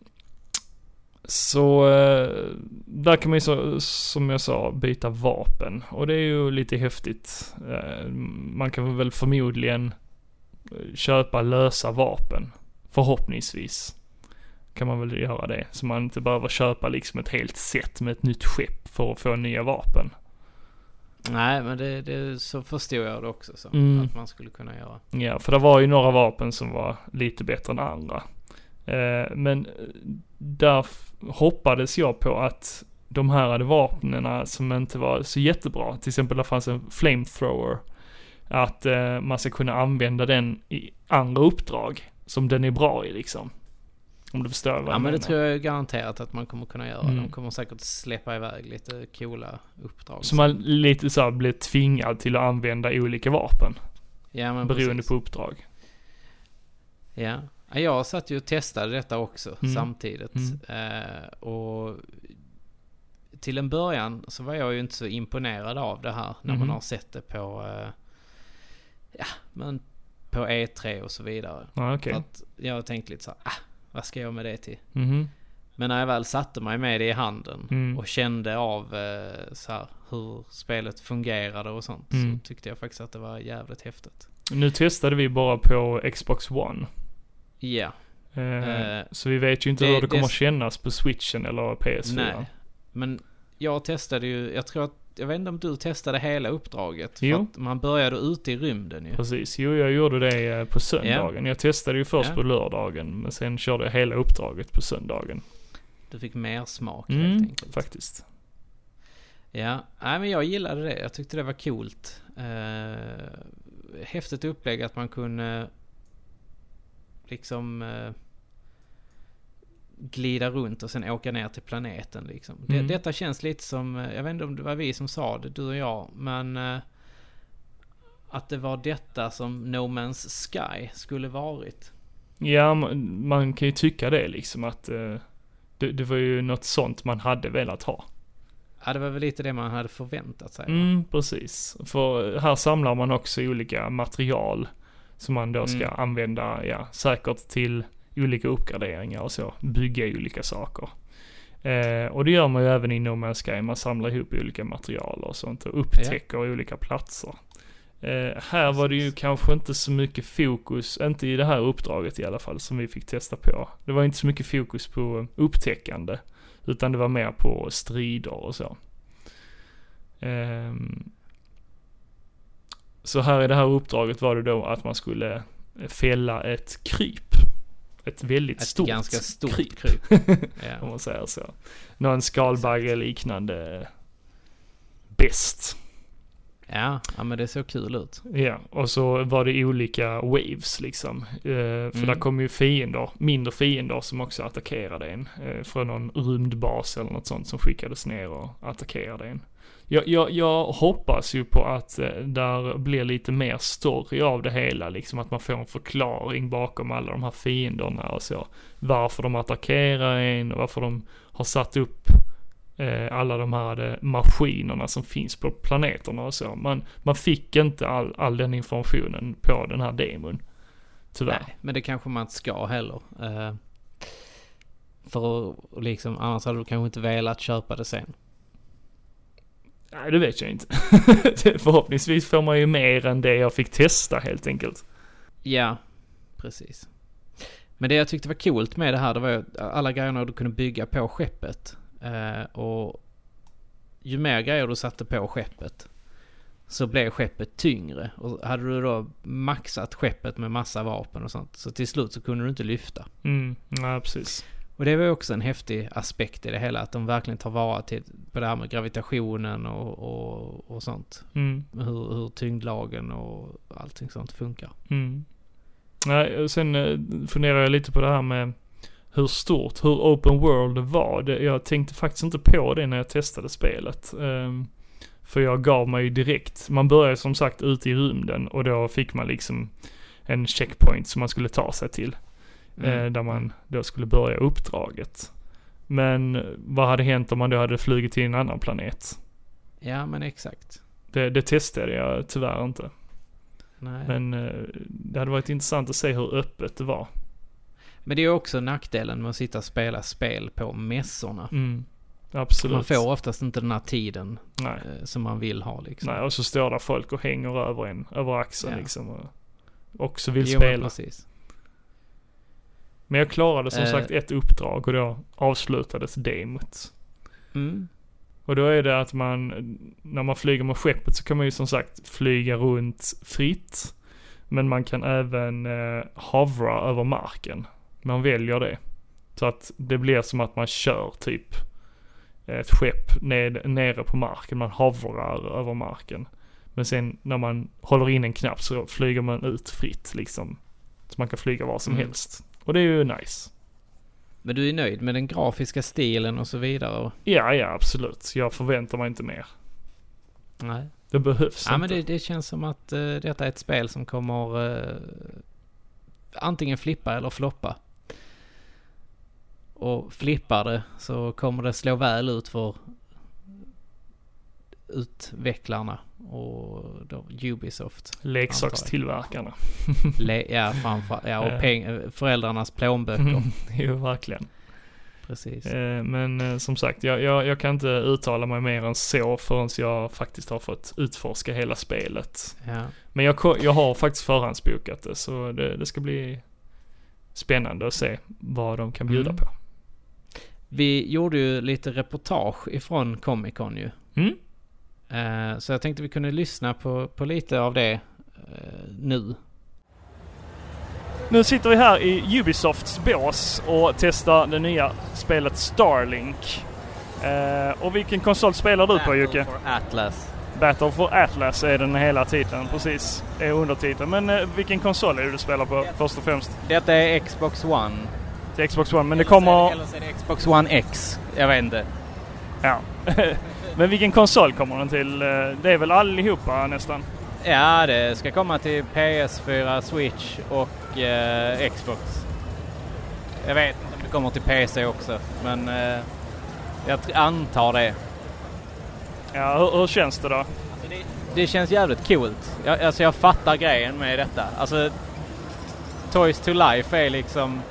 [SPEAKER 1] så eh, där kan man ju så, som jag sa byta vapen och det är ju lite häftigt. Eh, man kan väl förmodligen eh, köpa lösa vapen. Förhoppningsvis kan man väl göra det. Så man inte behöver köpa liksom ett helt set med ett nytt skepp för att få nya vapen.
[SPEAKER 2] Nej, men det, det, så förstod jag det också som.
[SPEAKER 1] Mm.
[SPEAKER 2] Att man skulle kunna göra.
[SPEAKER 1] Ja, för det var ju några vapen som var lite bättre än eh, andra. Eh, men där f- hoppades jag på att de här hade vapnena som inte var så jättebra. Till exempel där fanns en flamethrower. Att eh, man ska kunna använda den i andra uppdrag som den är bra i liksom. Om du förstår vad
[SPEAKER 2] Ja
[SPEAKER 1] jag
[SPEAKER 2] men det
[SPEAKER 1] menar.
[SPEAKER 2] tror jag garanterat att man kommer kunna göra.
[SPEAKER 1] Mm.
[SPEAKER 2] De kommer säkert släppa iväg lite coola uppdrag.
[SPEAKER 1] Så man lite så här blir tvingad till att använda olika vapen.
[SPEAKER 2] ja, men
[SPEAKER 1] beroende
[SPEAKER 2] precis.
[SPEAKER 1] på uppdrag.
[SPEAKER 2] Ja. Ja, Jag satt ju och testade detta också
[SPEAKER 1] Mm.
[SPEAKER 2] samtidigt. Eh, och till en början så var jag ju inte så imponerad av det här när man
[SPEAKER 1] Mhm.
[SPEAKER 2] har sett det på, eh, ja, men på E3 och så vidare.
[SPEAKER 1] Ja, okej.
[SPEAKER 2] För att jag tänkte lite så här, ah, vad ska jag med det till?
[SPEAKER 1] Mhm.
[SPEAKER 2] Men när jag väl satte mig med det i handen
[SPEAKER 1] Mm.
[SPEAKER 2] och kände av eh, så här, hur spelet fungerade och sånt
[SPEAKER 1] Mm.
[SPEAKER 2] så tyckte jag faktiskt att det var jävligt häftigt.
[SPEAKER 1] Nu testade vi bara på Xbox One.
[SPEAKER 2] Ja,
[SPEAKER 1] Eh,
[SPEAKER 2] Eh,
[SPEAKER 1] så vi vet ju inte
[SPEAKER 2] det-
[SPEAKER 1] hur det kommer
[SPEAKER 2] det-
[SPEAKER 1] att kännas på switchen eller PS4.
[SPEAKER 2] nej. Men jag testade ju, jag tror att, jag vet inte om du testade hela uppdraget? För
[SPEAKER 1] Jo.
[SPEAKER 2] att man började ute i rymden ju.
[SPEAKER 1] Precis, jo jag gjorde det eh, på söndagen. Jag testade ju först
[SPEAKER 2] Ja.
[SPEAKER 1] på lördagen men sen körde jag hela uppdraget på söndagen.
[SPEAKER 2] Du fick mer smak helt
[SPEAKER 1] Mm,
[SPEAKER 2] enkelt.
[SPEAKER 1] faktiskt.
[SPEAKER 2] Ja, nej men jag gillade det. Jag tyckte det var coolt. Eh, häftigt upplägg att man kunde liksom eh, glida runt och sen åka ner till planeten liksom.
[SPEAKER 1] Mm.
[SPEAKER 2] Det, detta känns lite som, eh, jag vet inte om det var vi som sa det, du och jag, men eh, att det var detta som No Man's Sky skulle varit.
[SPEAKER 1] Ja, man, man kan ju tycka det liksom att eh, det, det var ju något sånt man hade velat ha.
[SPEAKER 2] Ja, det var väl lite det man hade förväntat sig.
[SPEAKER 1] Mm, precis. För här samlar man också olika material som man då ska
[SPEAKER 2] Mm.
[SPEAKER 1] använda, ja, säkert till olika uppgraderingar och så. Bygga olika saker. Eh, och det gör man ju även i No Man's Sky. Man samlar ihop olika material och sånt och upptäcker olika platser. Eh, här var det ju
[SPEAKER 2] Precis.
[SPEAKER 1] kanske inte så mycket fokus, inte i det här uppdraget i alla fall, som vi fick testa på. Det var inte så mycket fokus på eh, upptäckande, utan det var mer på strider och så. Ehm, så här i det här uppdraget var det då att man skulle eh, fälla ett kryp. Ett väldigt
[SPEAKER 2] Ett
[SPEAKER 1] stort
[SPEAKER 2] ganska stort
[SPEAKER 1] kryp.
[SPEAKER 2] kryp.
[SPEAKER 1] <laughs>
[SPEAKER 2] Ja.
[SPEAKER 1] om man säger så. Någon skalbagge liknande eh, bäst.
[SPEAKER 2] Ja, ja, men det såg kul ut.
[SPEAKER 1] Ja, och så var det olika waves liksom. Eh, för
[SPEAKER 2] Mm.
[SPEAKER 1] där kom ju fiender, mindre fiender som också attackerade en. Eh, från någon rymdbas eller något sånt som skickades ner och attackerade en. Jag, jag, jag hoppas ju på att eh, där blir lite mer story av det hela, liksom att man får en förklaring bakom alla de här fienderna och så. Varför de attackerar en och varför de har satt upp eh, alla de här eh, maskinerna som finns på planeterna och så. Man, man fick inte all, all den informationen på den här demon. Tyvärr.
[SPEAKER 2] Nej, men det kanske man inte ska heller. Eh, för att liksom, annars hade du kanske inte velat köpa det sen.
[SPEAKER 1] Nej, det vet jag inte. <laughs> Det- Förhoppningsvis får man ju mer än det jag fick testa helt enkelt.
[SPEAKER 2] Ja, precis. Men det jag tyckte var coolt med det här, det var ju alla grejerna du kunde bygga på skeppet. Eh, och ju mer grejer du satte på skeppet så blev skeppet tyngre. Och hade du då maxat skeppet med massa vapen och sånt så till slut så kunde du inte lyfta.
[SPEAKER 1] Mm, ja precis.
[SPEAKER 2] Och det var ju också en häftig aspekt i det hela, att de verkligen tar vara till, på det här med gravitationen och, och, och sånt.
[SPEAKER 1] Mm.
[SPEAKER 2] Hur, hur tyngdlagen och allting sånt funkar.
[SPEAKER 1] Mm. Nej, och sen eh, funderar jag lite på det här med hur stort, hur open world det var. Det, jag tänkte faktiskt inte på det när jag testade spelet. Ehm, för jag gav mig ju direkt, man började som sagt ute i rymden och då fick man liksom en checkpoint som man skulle ta sig till.
[SPEAKER 2] Mm.
[SPEAKER 1] Eh, där man då skulle börja uppdraget. Men vad hade hänt om man då hade flugit till en annan planet?
[SPEAKER 2] Ja, men exakt.
[SPEAKER 1] Det, det testade jag tyvärr inte.
[SPEAKER 2] Nej. Men,
[SPEAKER 1] Men eh, det hade varit intressant att se hur öppet det var.
[SPEAKER 2] det är ju också nackdelen med att sitta och spela spel på mässorna.
[SPEAKER 1] Mm. Absolut.
[SPEAKER 2] Man får oftast inte den här tiden
[SPEAKER 1] Nej.
[SPEAKER 2] eh, som man vill ha liksom.
[SPEAKER 1] Nej, och så står där folk och hänger över en, över axeln
[SPEAKER 2] Ja.
[SPEAKER 1] liksom. Och också vill
[SPEAKER 2] Jo, men
[SPEAKER 1] spela. Men,
[SPEAKER 2] precis.
[SPEAKER 1] jag klarade som
[SPEAKER 2] Eh.
[SPEAKER 1] sagt ett uppdrag och då avslutades demot.
[SPEAKER 2] Mm.
[SPEAKER 1] Och då är det att man, när man flyger med skeppet så kan man ju som sagt flyga runt fritt. Men man kan även eh, hovra över marken. Man väljer det. Så att det blir som att man kör typ ett skepp ned, nere på marken. Man havrar över marken. Men sen när man håller in en knapp så flyger man ut fritt liksom. Så man kan flyga var som
[SPEAKER 2] Mm.
[SPEAKER 1] helst. Och det är ju nice.
[SPEAKER 2] Men du är nöjd med den grafiska stilen och så vidare? Och,
[SPEAKER 1] Ja, ja absolut. Jag förväntar mig inte mer.
[SPEAKER 2] nej.
[SPEAKER 1] Det behövs
[SPEAKER 2] Ja,
[SPEAKER 1] inte.
[SPEAKER 2] men det, det känns som att eh, detta är ett spel som kommer eh, antingen flippa eller floppa. Och flippar det så kommer det slå väl ut för utvecklarna och då Ubisoft.
[SPEAKER 1] Leksakstillverkarna.
[SPEAKER 2] Le- ja, framför, ja, och
[SPEAKER 1] Ja.
[SPEAKER 2] peng- föräldrarnas plånböcker.
[SPEAKER 1] Mm. <laughs> jo, verkligen.
[SPEAKER 2] Precis.
[SPEAKER 1] Eh, Men eh, som sagt, jag, jag, jag kan inte uttala mig mer än så förrän jag faktiskt har fått utforska hela spelet.
[SPEAKER 2] Ja.
[SPEAKER 1] Men jag, ko- jag har faktiskt förhandsbokat det, så det, det ska bli spännande att se vad de kan bjuda
[SPEAKER 2] Mm.
[SPEAKER 1] på.
[SPEAKER 2] Vi gjorde ju lite reportage ifrån Comic Con ju.
[SPEAKER 1] Mm.
[SPEAKER 2] Eh, Så jag tänkte vi kunde lyssna på, på lite av det eh, nu.
[SPEAKER 3] Nu sitter vi här i Ubisofts bås och testar det nya spelet Starlink. Eh, och vilken konsol spelar du på Jocke?
[SPEAKER 2] Atlas.
[SPEAKER 3] Battle for Atlas är den hela titeln, precis. Är undertiteln. Men eh, vilken konsol är det du spelar på först och främst?
[SPEAKER 2] Detta är Xbox One.
[SPEAKER 3] Det är Xbox One, men det kommer...
[SPEAKER 2] Eller så är det Xbox One X. Jag vet inte.
[SPEAKER 3] Ja. men vilken konsol kommer den till? Eh, Det är väl allihopa nästan?
[SPEAKER 2] Ja, det ska komma till PS4, Switch och eh, Xbox. Jag vet inte om det kommer till PC också, men eh, jag tr- antar det.
[SPEAKER 3] Ja, hur, hur känns det då?
[SPEAKER 2] Det känns jävligt coolt. Jag, alltså jag fattar grejen med detta. Alltså, Toys to Life är liksom...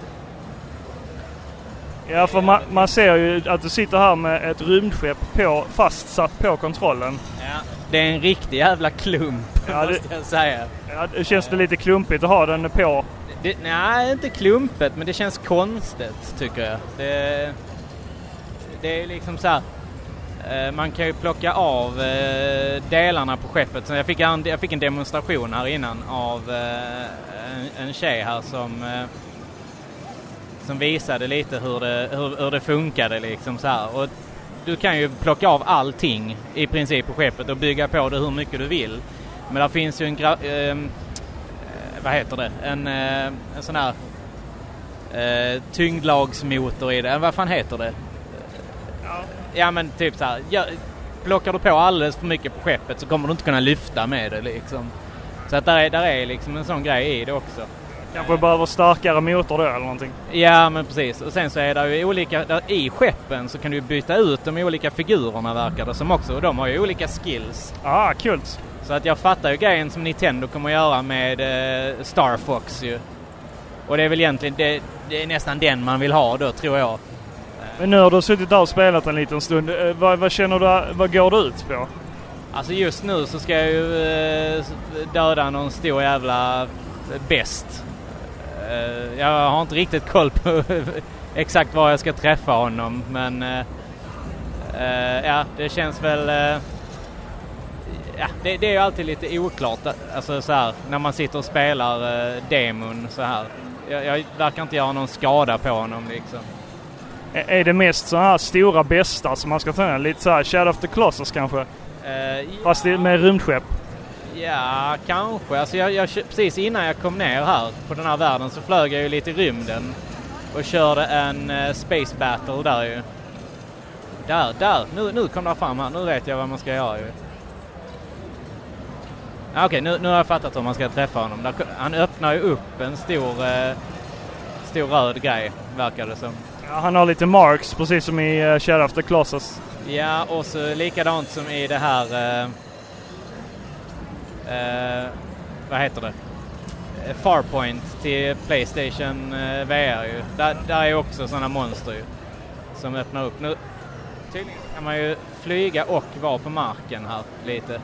[SPEAKER 3] Ja, för man, man ser ju att du sitter här med ett rymdskepp på, fastsatt på kontrollen.
[SPEAKER 2] Det är en riktig jävla klump,
[SPEAKER 3] Ja, det-
[SPEAKER 2] måste jag säga.
[SPEAKER 3] Ja, det känns det lite klumpigt att ha den på?
[SPEAKER 2] Det, nej, inte klumpet, men det känns konstigt tycker jag. Det, det är liksom så här. eh, Man kan ju plocka av eh, delarna på skeppet. Så jag, fick en, jag fick en demonstration här innan av eh, en, en tjej här som, eh, som visade lite hur det, hur, hur det funkade. Liksom så här. Och du kan ju plocka av allting i princip på skeppet och bygga på det hur mycket du vill. Men där finns ju en, gra- ehm, eh, vad heter det, en, eh, en sån här eh, tyngdlagsmotor i det. Eh, Vad fan heter det? Ja men typ så här. Ja, plockar du på alldeles för mycket på skeppet så kommer du inte kunna lyfta med det liksom. Så att där är, där är liksom en sån grej i det också.
[SPEAKER 3] Kanske behöver starkare motor då eller någonting.
[SPEAKER 2] Ja men precis. Och sen så är det ju olika, där, i skeppen så kan du byta ut de olika figurerna verkar det som också. Och de har ju olika skills.
[SPEAKER 3] Ah, kul!
[SPEAKER 2] Så att jag fattar ju grejen som Nintendo kommer att göra med eh, Star Fox ju. Och det är väl egentligen, det, det är nästan den man vill ha då tror jag.
[SPEAKER 3] Men nu har du suttit där och spelat en liten stund. Eh, vad, vad känner du, vad går det ut på?
[SPEAKER 2] Alltså just nu så ska jag ju eh, döda någon stor jävla eh, best. Eh, jag har inte riktigt koll på <laughs> exakt var jag ska träffa honom men eh, eh, ja, det känns väl... eh, ja, det, det är ju alltid lite oklart alltså så här, när man sitter och spelar eh, demon så här. Jag, jag verkar inte göra någon skada på honom liksom.
[SPEAKER 3] Eh, är det mest sådana här stora bästar som man ska ta? Lite såhär Shadow of the Colossus kanske?
[SPEAKER 2] Eh,
[SPEAKER 3] Fast det- med rymdskepp?
[SPEAKER 2] Ja, kanske. Alltså jag, jag, kö- precis innan jag kom ner här på den här världen så flög jag ju lite i rymden och körde en eh, space battle där ju. Där, där! Nu, nu kom det fram här. Nu vet jag vad man ska göra ju. Ja, Okej, nu, nu har jag fattat hur man ska träffa honom. Där, ko- han öppnar ju upp en stor, eh, stor röd grej, verkar det som.
[SPEAKER 3] Ja, han har lite marks precis som i eh, Shadow of the Colossus.
[SPEAKER 2] Ja, och så likadant som i det här... Eh, eh, vad heter det? Eh, Farpoint till Playstation eh, VR ju. Där, där är ju också sådana monster ju. Som öppnar upp. Nu tydligen kan man ju flyga och vara på marken här lite.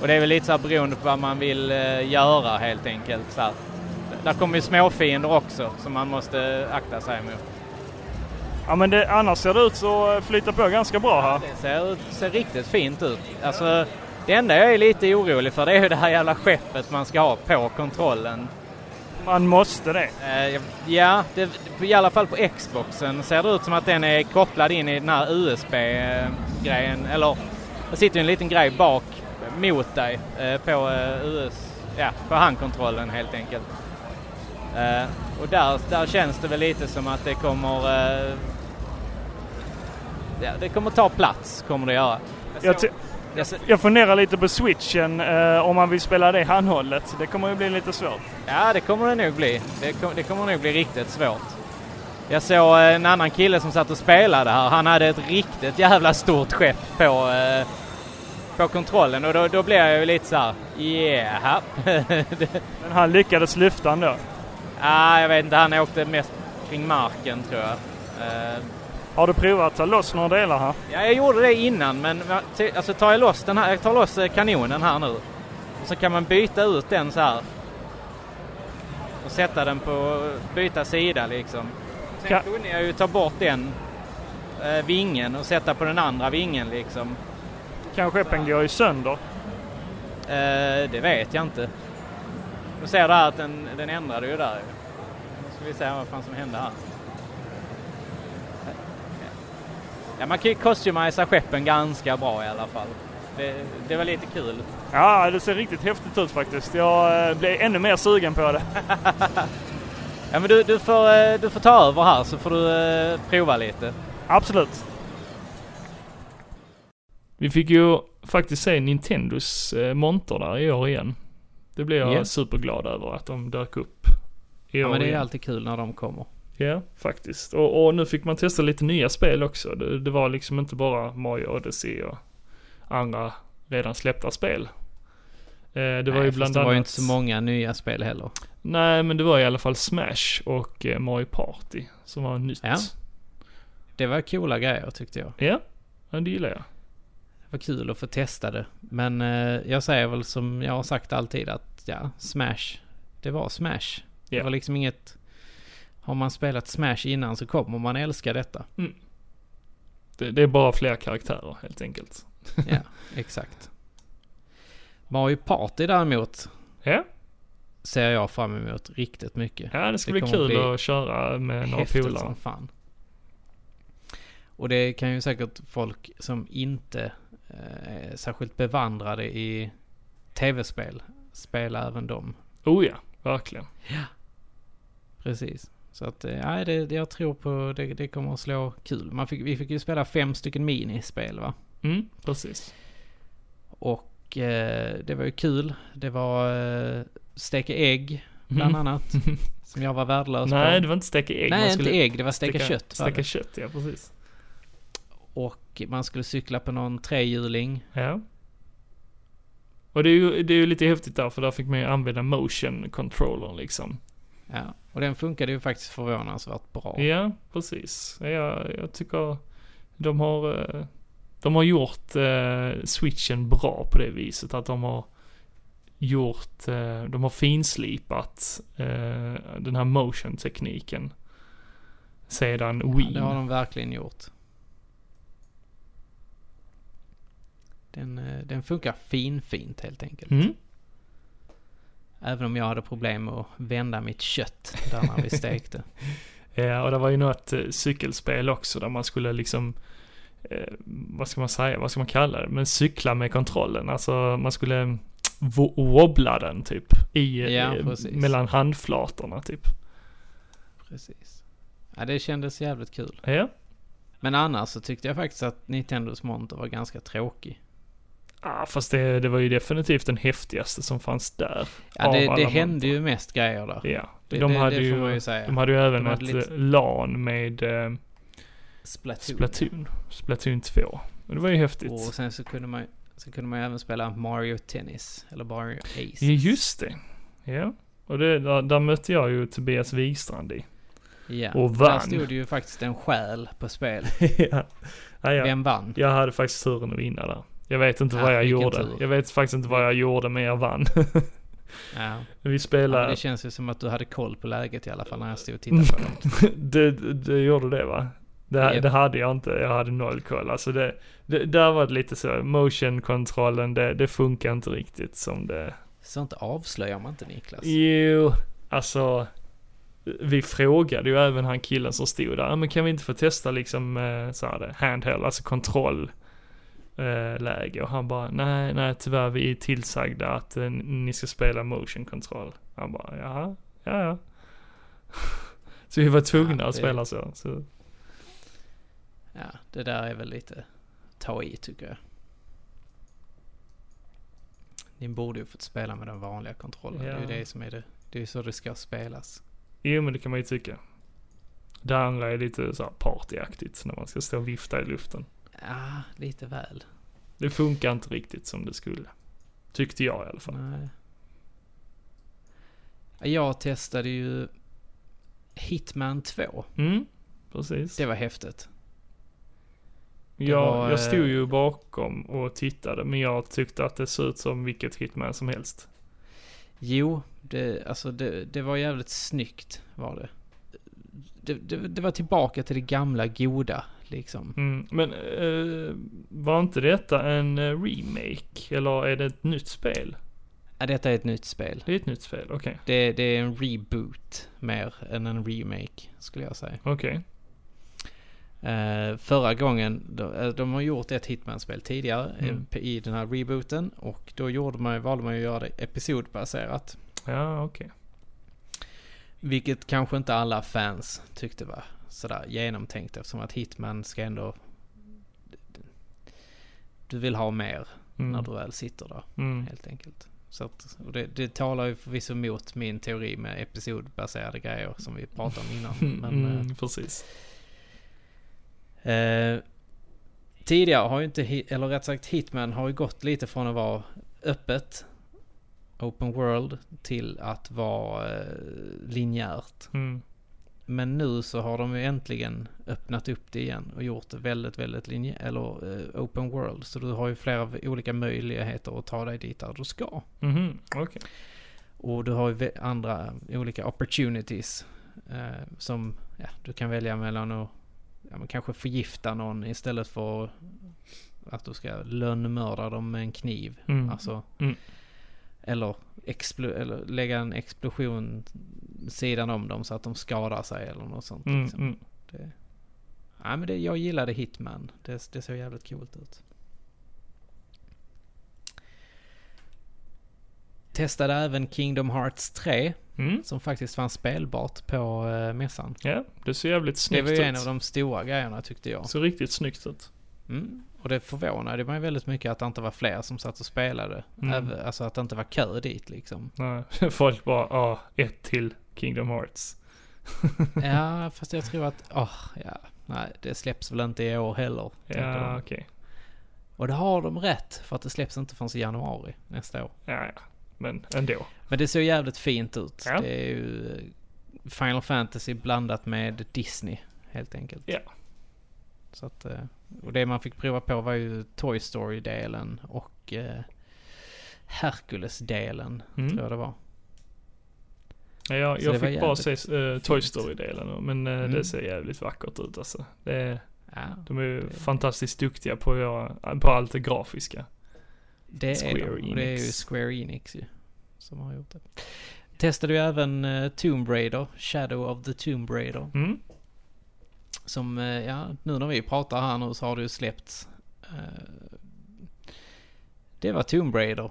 [SPEAKER 2] Och det är väl lite så här beroende på vad man vill eh, göra helt enkelt. Så här. Där kommer ju småfiender också som man måste akta sig mot.
[SPEAKER 3] Ja men det, annars ser det ut så eh, flyter på ganska bra här.
[SPEAKER 2] Det ser, ser riktigt fint ut. Alltså, det enda jag är lite orolig för det är ju det här jävla skeppet man ska ha på kontrollen.
[SPEAKER 3] Man måste det.
[SPEAKER 2] Eh, ja, det, i alla fall på Xboxen ser det ut som att den är kopplad in i den här USB-grejen. Eller det sitter ju en liten grej bak mot dig eh, på, eh, US, ja, på handkontrollen helt enkelt. Eh, och där, där känns det väl lite som att det kommer eh, ja, det kommer ta plats, kommer det göra.
[SPEAKER 3] Jag,
[SPEAKER 2] såg-
[SPEAKER 3] t-
[SPEAKER 2] jag såg-
[SPEAKER 3] jag funderar lite på switchen eh, om man vill spela det handhållet. Det kommer ju bli lite svårt.
[SPEAKER 2] Ja, det kommer det nog bli. Det, kom, det kommer nog bli riktigt svårt. Jag såg eh, en annan kille som satt och spelade här. Han hade ett riktigt jävla stort skepp på, eh, på kontrollen och då, då blev jag ju lite så här, yeah. <laughs> det,
[SPEAKER 3] Men han lyckades lyfta ändå.
[SPEAKER 2] ah, jag vet inte, han åkte mest kring marken tror jag. Eh,
[SPEAKER 3] Har du provat att ta loss några delar här?
[SPEAKER 2] ja, jag gjorde det innan men va- ty- alltså, tar jag loss den här, jag tar loss eh, kanonen här nu. Och så kan man byta ut den så här. Och sätta den på, byta sida liksom. Sen
[SPEAKER 3] Ka-
[SPEAKER 2] kunde jag ju ta bort den eh, vingen och sätta på den andra vingen liksom.
[SPEAKER 3] Kanske skeppen går ju sönder.
[SPEAKER 2] Eh, det vet jag inte. Du ser där att den, den ändrade ju där. ju. Nu ska vi se vad fan som hände här. Ja, man kan ju customisa skeppen ganska bra i alla fall. Det, det var lite kul.
[SPEAKER 3] Ja, det ser riktigt häftigt ut faktiskt. Jag eh, blev ännu mer sugen på det.
[SPEAKER 2] Ja, men du, du, får, eh, du får ta över här så får du eh, prova lite.
[SPEAKER 3] Absolut.
[SPEAKER 1] Vi fick ju faktiskt se Nintendos eh, monter där i år igen. Det blev jag
[SPEAKER 2] Ja.
[SPEAKER 1] superglad över att de dök upp. I
[SPEAKER 2] Ja,
[SPEAKER 1] år
[SPEAKER 2] men det är ju
[SPEAKER 1] igen.
[SPEAKER 2] alltid kul när de kommer.
[SPEAKER 1] Ja, faktiskt. Och, och nu fick man testa lite nya spel också. Det, det var liksom inte bara Mario Odyssey och andra redan släppta spel. Eh, det var
[SPEAKER 2] Nej,
[SPEAKER 1] ju
[SPEAKER 2] fast
[SPEAKER 1] bland
[SPEAKER 2] det var
[SPEAKER 1] annat...
[SPEAKER 2] ju inte så många nya spel heller.
[SPEAKER 1] Nej, men det var i alla fall Smash och eh, Mario Party som var nytt.
[SPEAKER 2] Ja. Det var coola grejer tyckte jag.
[SPEAKER 1] Ja, ja det gillar jag.
[SPEAKER 2] Det var kul att få testa det. Men eh, jag säger väl som jag har sagt alltid att ja, Smash, det var Smash. Det
[SPEAKER 1] Ja.
[SPEAKER 2] var liksom inget... Har man spelat Smash innan så kommer man
[SPEAKER 1] <laughs>
[SPEAKER 2] älska detta.
[SPEAKER 1] Det, det är bara fler karaktärer helt enkelt.
[SPEAKER 2] Ja, exakt. Mario Party däremot
[SPEAKER 1] Ja,
[SPEAKER 2] ser jag fram emot riktigt mycket.
[SPEAKER 1] ja det ska
[SPEAKER 2] Det
[SPEAKER 1] bli
[SPEAKER 2] kommer
[SPEAKER 1] kul
[SPEAKER 2] bli
[SPEAKER 1] att köra med några
[SPEAKER 2] Häftigt
[SPEAKER 1] polare.
[SPEAKER 2] som fan. Och det kan ju säkert folk som inte eh, är särskilt bevandrade i tv-spel spela även dem.
[SPEAKER 1] Oh ja, verkligen.
[SPEAKER 2] Precis. Så att, eh, nej, det, det jag tror på det, det kommer att slå kul. Man fick, vi fick ju spela fem stycken minispel va?
[SPEAKER 1] Mm, precis.
[SPEAKER 2] Och eh, det var ju kul. Det var eh, steka ägg bland
[SPEAKER 1] Mm. <laughs>
[SPEAKER 2] annat. som jag var värdelös
[SPEAKER 1] Nej,
[SPEAKER 2] på.
[SPEAKER 1] det var inte steka ägg. man
[SPEAKER 2] nej,
[SPEAKER 1] skulle
[SPEAKER 2] inte ägg. Det var steka, kött. var
[SPEAKER 1] Steka
[SPEAKER 2] det.
[SPEAKER 1] kött, ja precis.
[SPEAKER 2] Och man skulle cykla på någon trehjuling.
[SPEAKER 1] Ja. Och det är, ju, det är ju lite häftigt där, för där fick man ju använda motion controller liksom.
[SPEAKER 2] Ja. Och den funkade ju faktiskt förvånansvärt bra.
[SPEAKER 1] Ja, precis. Jag, jag tycker de har, eh, de har gjort eh, switchen bra på det viset. Att de har gjort, eh, de har finslipat eh, den här motion-tekniken sedan
[SPEAKER 2] Ja,
[SPEAKER 1] Wii.
[SPEAKER 2] det har de verkligen gjort. Den, eh, den funkar finfint helt enkelt.
[SPEAKER 1] Mm.
[SPEAKER 2] Även om jag hade problem med att vända mitt kött där när
[SPEAKER 1] <laughs>
[SPEAKER 2] vi stekte.
[SPEAKER 1] Ja, och det var ju något eh, cykelspel också där man skulle liksom, eh, vad ska man säga, vad ska man kalla det, men cykla med kontrollen. Alltså man skulle mm, wo- wobbla den typ i,
[SPEAKER 2] Ja,
[SPEAKER 1] eh,
[SPEAKER 2] precis.
[SPEAKER 1] mellan handflatorna typ.
[SPEAKER 2] Precis. Ja, det kändes jävligt kul.
[SPEAKER 1] Ja.
[SPEAKER 2] Men annars så tyckte jag faktiskt att Nintendos monter var ganska tråkig.
[SPEAKER 1] Ah, fast det, det var ju definitivt den häftigaste som fanns där.
[SPEAKER 2] Ja,
[SPEAKER 1] Av
[SPEAKER 2] det,
[SPEAKER 1] alla
[SPEAKER 2] det hände
[SPEAKER 1] monter.
[SPEAKER 2] ju mest grejer där.
[SPEAKER 1] Ja.
[SPEAKER 2] Det,
[SPEAKER 1] de,
[SPEAKER 2] det,
[SPEAKER 1] hade
[SPEAKER 2] det får man
[SPEAKER 1] ju,
[SPEAKER 2] ju säga.
[SPEAKER 1] de hade ju även
[SPEAKER 2] De hade
[SPEAKER 1] ett
[SPEAKER 2] lite-
[SPEAKER 1] eh, LAN med eh,
[SPEAKER 2] Splatoon.
[SPEAKER 1] Splatoon. Splatoon 2. Och det var ju häftigt.
[SPEAKER 2] Och sen så kunde man så kunde man ju även spela Mario Tennis. Eller Mario Ace.
[SPEAKER 1] Ja, just det. Ja. Och det, där, där mötte jag ju Tobias Wigstrand i.
[SPEAKER 2] Ja.
[SPEAKER 1] Och
[SPEAKER 2] Där
[SPEAKER 1] vann.
[SPEAKER 2] stod det ju faktiskt en själ på spel.
[SPEAKER 1] <laughs> ja. Ja, ja.
[SPEAKER 2] Vem vann?
[SPEAKER 1] Jag hade faktiskt turen att vinna där. Jag vet inte
[SPEAKER 2] Ja,
[SPEAKER 1] vad jag
[SPEAKER 2] vilken
[SPEAKER 1] gjorde.
[SPEAKER 2] tur.
[SPEAKER 1] Jag vet faktiskt inte vad jag gjorde, men jag vann. <laughs>
[SPEAKER 2] Ja.
[SPEAKER 1] Vi
[SPEAKER 2] Ja, men
[SPEAKER 1] spelade...
[SPEAKER 2] det känns ju som att du hade koll på läget i alla fall när jag stod och tittade på
[SPEAKER 1] <laughs>
[SPEAKER 2] det.
[SPEAKER 1] det, det, det gjorde det va? Det,
[SPEAKER 2] Japp.
[SPEAKER 1] det hade jag inte, jag hade noll koll. Alltså det, det, där var det lite så, motion-kontrollen, det, det funkar inte riktigt som det...
[SPEAKER 2] Alltså. Sånt avslöjar man inte Niklas.
[SPEAKER 1] Jo, alltså, vi frågade ju även han killen som stod där, "Ja, men kan vi inte få testa liksom eh, så här det, handheld, alltså kontroll eh, läge och han bara nej, nej tyvärr vi är tillsagda att eh, ni ska spela motion control. Han bara jaha, ja <laughs> ja. Så vi var tvungna
[SPEAKER 2] Ja,
[SPEAKER 1] att
[SPEAKER 2] det-
[SPEAKER 1] spela så. så.
[SPEAKER 2] Ja, det där är väl lite ta i tycker jag. Ni borde ju fått spela med den vanliga kontrollen. Det är
[SPEAKER 1] Ja.
[SPEAKER 2] ju det som är det. Det är ju så det ska spelas.
[SPEAKER 1] Jo men det kan man ju tycka. Det andra är lite så här partyaktigt när man ska stå och vifta i luften.
[SPEAKER 2] Ja, lite väl.
[SPEAKER 1] Det funkar inte riktigt som det skulle. Tyckte jag i alla fall.
[SPEAKER 2] Nej. Jag testade ju Hitman 2.
[SPEAKER 1] Mm, precis.
[SPEAKER 2] Det var häftigt.
[SPEAKER 1] jag,
[SPEAKER 2] var, eh,
[SPEAKER 1] jag stod ju bakom och tittade men jag tyckte att det såg ut som vilket hitman som helst.
[SPEAKER 2] Jo, det, alltså det, det var jävligt snyggt var det. Det, det. det var tillbaka till det gamla goda liksom.
[SPEAKER 1] Mm, men eh, var inte detta en eh, remake? Eller är det ett nytt spel?
[SPEAKER 2] Ja, detta är ett nytt spel.
[SPEAKER 1] Det är ett nytt spel, okej.
[SPEAKER 2] Det, det är en reboot mer än en remake skulle jag säga.
[SPEAKER 1] Okej.
[SPEAKER 2] Eh, förra gången, de, eh, de har gjort ett Hitman-spel tidigare eh,
[SPEAKER 1] Mm.
[SPEAKER 2] p- i den här rebooten och då gjorde man, valde man ju att göra det episodbaserat.
[SPEAKER 1] Ja, okej.
[SPEAKER 2] Vilket kanske inte alla fans tyckte var sådär genomtänkt eftersom att Hitman ska ändå... Du vill ha mer när
[SPEAKER 1] Mm.
[SPEAKER 2] du väl sitter där
[SPEAKER 1] Mm. <laughs>
[SPEAKER 2] helt enkelt. Så att, och det, det talar ju förvisso mot min teori med episodbaserade grejer som vi pratade om innan. Men, eh,
[SPEAKER 1] <laughs> mm, precis.
[SPEAKER 2] Eh, tidigare har ju inte, Hi- eller rätt sagt Hitman har ju gått lite från att vara öppet, open world, till att vara eh, linjärt.
[SPEAKER 1] Mm.
[SPEAKER 2] Men nu så har de ju äntligen öppnat upp det igen och gjort det väldigt, väldigt linje eller eh, open world. Så du har ju flera v- olika möjligheter att ta dig dit där du ska.
[SPEAKER 1] Mhm, okej.
[SPEAKER 2] Och du har ju vä- andra olika opportunities. Eh, som ja, du kan välja mellan att ja, men kanske förgifta någon istället för att du ska lönnmörda dem med en kniv.
[SPEAKER 1] Mm.
[SPEAKER 2] Alltså,
[SPEAKER 1] Mm.
[SPEAKER 2] eller, explo- eller lägga en explosion sidan om dem så att de skadar sig eller något sånt.
[SPEAKER 1] Mm,
[SPEAKER 2] liksom.
[SPEAKER 1] mm.
[SPEAKER 2] Det, ja, men det, jag gillade Hitman. Det, det såg jävligt coolt ut. Testade även Kingdom Hearts 3
[SPEAKER 1] Mm.
[SPEAKER 2] som faktiskt fanns spelbart på eh, mässan.
[SPEAKER 1] Ja, det ser jävligt
[SPEAKER 2] Det
[SPEAKER 1] snyggt
[SPEAKER 2] var ju
[SPEAKER 1] ut.
[SPEAKER 2] en av de stora grejerna tyckte jag.
[SPEAKER 1] Ser riktigt snyggt ut.
[SPEAKER 2] Mm. Och det förvånade mig väldigt mycket att det inte var fler som satt och spelade.
[SPEAKER 1] Mm.
[SPEAKER 2] Även, alltså att det inte var kö dit liksom. <laughs>
[SPEAKER 1] Nej, <laughs> folk bara, ah, ett till Kingdom Hearts.
[SPEAKER 2] Ja, fast jag tror att, åh, ja, nej, det släpps väl inte i år heller. tänker de.
[SPEAKER 1] Ja, okej.
[SPEAKER 2] Och det har de rätt, för att det släpps inte förrän i januari nästa år.
[SPEAKER 1] Ja, ja. Men ändå.
[SPEAKER 2] Men det ser jävligt fint ut.
[SPEAKER 1] Ja.
[SPEAKER 2] Det är ju eh, Final Fantasy blandat med Disney, helt enkelt.
[SPEAKER 1] Ja.
[SPEAKER 2] Så att, eh, och det man fick prova på var ju Toy Story-delen och eh, Hercules-delen,
[SPEAKER 1] Mm.
[SPEAKER 2] tror jag det var.
[SPEAKER 1] Ja, jag
[SPEAKER 2] Så
[SPEAKER 1] jag
[SPEAKER 2] det var
[SPEAKER 1] fick bara se
[SPEAKER 2] jävligt
[SPEAKER 1] eh, Toy
[SPEAKER 2] fint.
[SPEAKER 1] Story-delen, men eh,
[SPEAKER 2] Mm.
[SPEAKER 1] det ser jävligt vackert ut alltså. Det,
[SPEAKER 2] Ja,
[SPEAKER 1] de är ju
[SPEAKER 2] Det-
[SPEAKER 1] fantastiskt duktiga på, att göra- på allt det grafiska.
[SPEAKER 2] det
[SPEAKER 1] Square
[SPEAKER 2] är de. Och det är ju
[SPEAKER 1] Enix.
[SPEAKER 2] Square Enix ju, som har gjort det. Testade ju även eh, Tomb Raider, Shadow of the Tomb Raider.
[SPEAKER 1] Mm.
[SPEAKER 2] Som, eh, ja, nu när vi pratar här nu så har det ju släppts. eh, Det var Tomb Raider.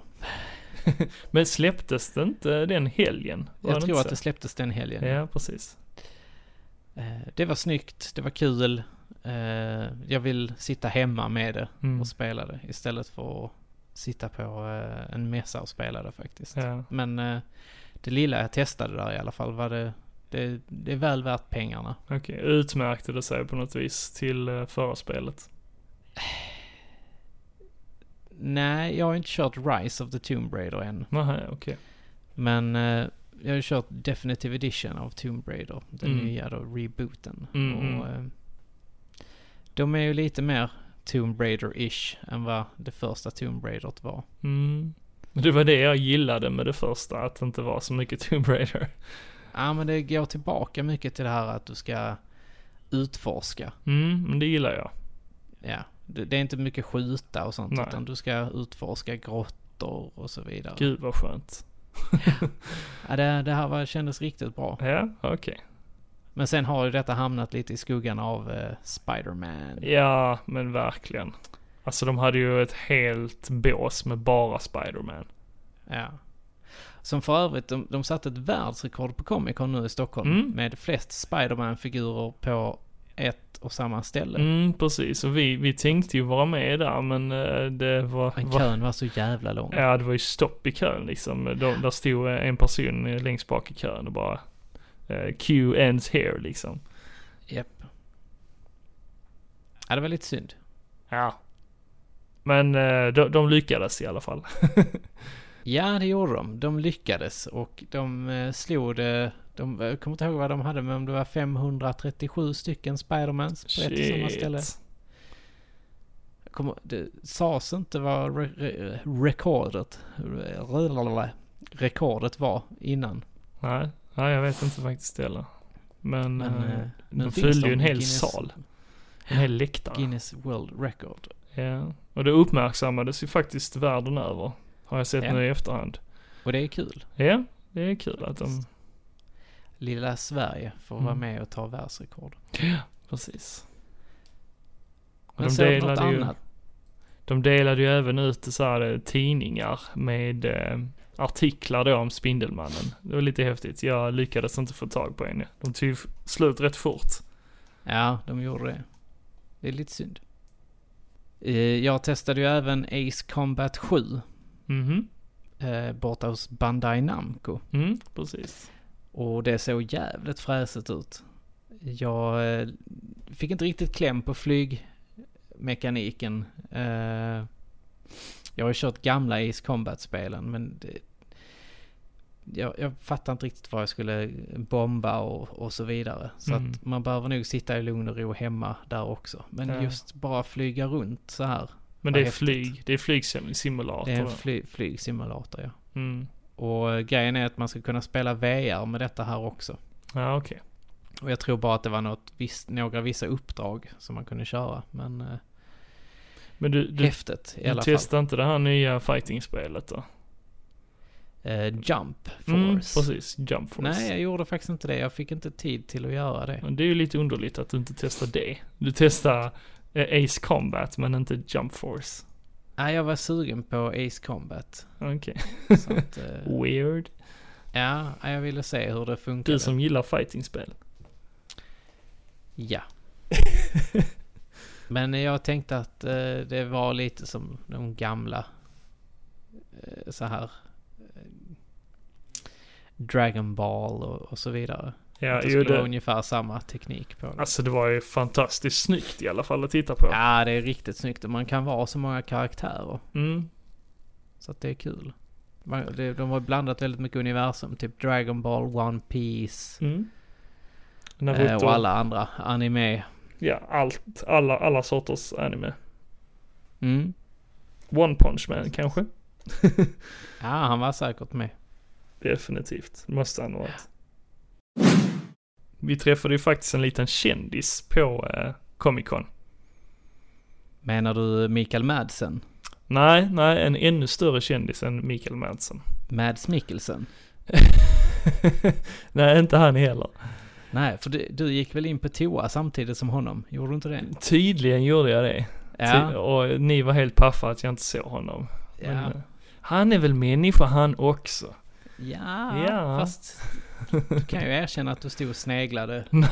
[SPEAKER 1] Men släpptes det inte den helgen? Var
[SPEAKER 2] Jag
[SPEAKER 1] det
[SPEAKER 2] tror
[SPEAKER 1] inte
[SPEAKER 2] att det släpptes den helgen.
[SPEAKER 1] så? Ja, precis.
[SPEAKER 2] Eh, Det var snyggt, det var kul. Eh, Jag vill sitta hemma med det
[SPEAKER 1] Mm.
[SPEAKER 2] och spela det istället för att sitta på eh, en mässa och spela det faktiskt.
[SPEAKER 1] Ja.
[SPEAKER 2] Men eh, det lilla jag testade där i alla fall var det, det, det är väl värt pengarna.
[SPEAKER 1] Okej, utmärkte det sig på något vis till eh, förra spelet?
[SPEAKER 2] Nej, jag har inte kört Rise of the Tomb Raider än.
[SPEAKER 1] Nej, okej.
[SPEAKER 2] Men eh, jag har ju kört Definitive Edition av Tomb Raider. Den
[SPEAKER 1] Mm.
[SPEAKER 2] nya då, rebooten.
[SPEAKER 1] Mm,
[SPEAKER 2] och,
[SPEAKER 1] mm.
[SPEAKER 2] eh, de är ju lite mer Tomb Raider-ish än vad det första Tomb Raider var.
[SPEAKER 1] Mm. Det var det jag gillade med det första, att det inte var så mycket <laughs> Tomb Raider.
[SPEAKER 2] Ja, men det går tillbaka mycket till det här att du ska utforska.
[SPEAKER 1] Mm, men det gillar jag.
[SPEAKER 2] Ja, det, det är inte mycket skjuta och sånt,
[SPEAKER 1] Nej.
[SPEAKER 2] utan du ska utforska grottor och så vidare.
[SPEAKER 1] Gud vad skönt.
[SPEAKER 2] Ja, det, det här var, kändes riktigt bra.
[SPEAKER 1] Ja, okej.
[SPEAKER 2] Men sen har ju detta hamnat lite i skuggan av eh, Spider-Man.
[SPEAKER 1] Ja, men verkligen. Alltså de hade ju ett helt bås med bara Spider-Man.
[SPEAKER 2] Ja. Som för övrigt, de, de satte ett världsrekord på Comic Con nu i Stockholm
[SPEAKER 1] Mm.
[SPEAKER 2] med flest Spider-Man-figurer på ett och samma ställe.
[SPEAKER 1] Mm, precis. Och vi, vi tänkte ju vara med där, men eh, det var...
[SPEAKER 2] Men
[SPEAKER 1] var
[SPEAKER 2] kön var så jävla lång.
[SPEAKER 1] ja, det var ju stopp i kön liksom. De, där stod eh, en person eh, längst bak i kön och bara... eh, Q ends here liksom.
[SPEAKER 2] Japp. Ja, det var lite synd.
[SPEAKER 1] Ja. Men eh, de, de lyckades i alla fall.
[SPEAKER 2] Ja, det gjorde de. De lyckades och de eh, slog det. De, jag kommer inte ihåg vad de hade, men om det var 537 stycken Spidermans på ett och samma ställe. Jag Kommer, det sades inte vad re, re, rekordet, re, rekordet var innan.
[SPEAKER 1] Nej, nej, jag vet inte faktiskt heller. Men,
[SPEAKER 2] Men
[SPEAKER 1] eh,
[SPEAKER 2] eh, nu
[SPEAKER 1] de
[SPEAKER 2] finns
[SPEAKER 1] fyllde ju en
[SPEAKER 2] de i
[SPEAKER 1] hel
[SPEAKER 2] Guinness,
[SPEAKER 1] sal. En hel läktare.
[SPEAKER 2] Guinness World Record.
[SPEAKER 1] Ja. Och det uppmärksammades ju faktiskt världen över. Har jag sett
[SPEAKER 2] Ja.
[SPEAKER 1] nu i efterhand.
[SPEAKER 2] Och det är kul.
[SPEAKER 1] Ja, det är kul att de...
[SPEAKER 2] Lilla Sverige får
[SPEAKER 1] Mm.
[SPEAKER 2] vara med och ta världsrekord.
[SPEAKER 1] Precis. Och
[SPEAKER 2] Men
[SPEAKER 1] de
[SPEAKER 2] såg du något
[SPEAKER 1] delade ju...
[SPEAKER 2] annat?
[SPEAKER 1] De delade ju även ut så här, eh, tidningar med eh, artiklar då om Spindelmannen. Det var lite häftigt. Jag lyckades inte få tag på en. De tog slut rätt fort.
[SPEAKER 2] Ja, de gjorde det. Det är lite synd. Eh, Jag testade ju även Ace Combat 7
[SPEAKER 1] Mhm.
[SPEAKER 2] eh, borta hos Bandai Namco.
[SPEAKER 1] Mm, precis.
[SPEAKER 2] Och det såg jävligt fräset ut. Jag eh, fick inte riktigt kläm på flygmekaniken. Eh, Jag har ju kört gamla Ace Combat-spelen men det, jag, jag fattar inte riktigt vad jag skulle bomba och, och så vidare. Så
[SPEAKER 1] Mm.
[SPEAKER 2] att man behöver nog sitta i lugn och ro hemma där också. Men
[SPEAKER 1] Ja.
[SPEAKER 2] just bara flyga runt så här.
[SPEAKER 1] Men
[SPEAKER 2] Vad
[SPEAKER 1] det är
[SPEAKER 2] häftigt.
[SPEAKER 1] flyg. Det är
[SPEAKER 2] Det är en
[SPEAKER 1] flygsimulator.
[SPEAKER 2] fly, flygsimulator ja.
[SPEAKER 1] Mm.
[SPEAKER 2] Och eh, grejen är att man ska kunna spela VR med detta här också.
[SPEAKER 1] Ja, okej.
[SPEAKER 2] Och jag tror bara att det var något visst, några vissa uppdrag som man kunde köra. Men eh,
[SPEAKER 1] Men du, du,
[SPEAKER 2] häftigt i
[SPEAKER 1] du
[SPEAKER 2] alla
[SPEAKER 1] testade inte det här nya fighting-spelet då?
[SPEAKER 2] fall. Eh, jump Force.
[SPEAKER 1] Mm, precis. Jump Force. Mm.
[SPEAKER 2] Nej, jag gjorde faktiskt inte det. Jag fick inte tid till att göra det.
[SPEAKER 1] Men det är ju lite underligt att du inte testar det. Du testar eh, Ace Combat men inte Jump Force.
[SPEAKER 2] Nej, jag var sugen på Ace Combat.
[SPEAKER 1] Okej.
[SPEAKER 2] Så
[SPEAKER 1] <laughs>
[SPEAKER 2] att, eh,
[SPEAKER 1] Weird.
[SPEAKER 2] ja, jag ville se hur det funkade.
[SPEAKER 1] Du som gillar fighting-spel. <laughs>
[SPEAKER 2] Ja. Men jag tänkte att eh, det var lite som de gamla eh, så här eh, Dragon Ball och, och så vidare.
[SPEAKER 1] Ja,
[SPEAKER 2] att det
[SPEAKER 1] jo
[SPEAKER 2] skulle vara
[SPEAKER 1] det.
[SPEAKER 2] ungefär samma teknik på det.
[SPEAKER 1] Alltså det var ju fantastiskt snyggt i alla fall att titta på.
[SPEAKER 2] Ja, det är riktigt snyggt och man kan vara så många karaktärer.
[SPEAKER 1] Mm.
[SPEAKER 2] Så att det är kul. Man, det, de har blandat väldigt mycket universum, typ Dragon Ball, One Piece
[SPEAKER 1] Mm.
[SPEAKER 2] eh,
[SPEAKER 1] Naruto.
[SPEAKER 2] och alla andra anime.
[SPEAKER 1] Ja, allt. Alla, alla sorters anime.
[SPEAKER 2] Mm.
[SPEAKER 1] One Punch Man kanske?
[SPEAKER 2] Ja, han var säkert med.
[SPEAKER 1] Definitivt. Det måste han ha varit. Vi träffade ju faktiskt en liten kändis på eh, Comic Con.
[SPEAKER 2] Menar du Mikael Madsen?
[SPEAKER 1] Nej, nej, en ännu större kändis än Mikael Madsen.
[SPEAKER 2] Mads Mikkelsen?
[SPEAKER 1] nej, inte han heller.
[SPEAKER 2] Nej, för du, du gick väl in på toa samtidigt som honom? Gjorde du inte det?
[SPEAKER 1] Tydligen gjorde jag det. Ty-
[SPEAKER 2] Ja.
[SPEAKER 1] Och ni var helt paffa att jag inte såg honom. Men,
[SPEAKER 2] Ja.
[SPEAKER 1] eh, han är väl människa han
[SPEAKER 2] <laughs>
[SPEAKER 1] också? <laughs>
[SPEAKER 2] ja.
[SPEAKER 1] Ja.
[SPEAKER 2] Fast du kan ju erkänna att du stod och sneglade
[SPEAKER 1] nej,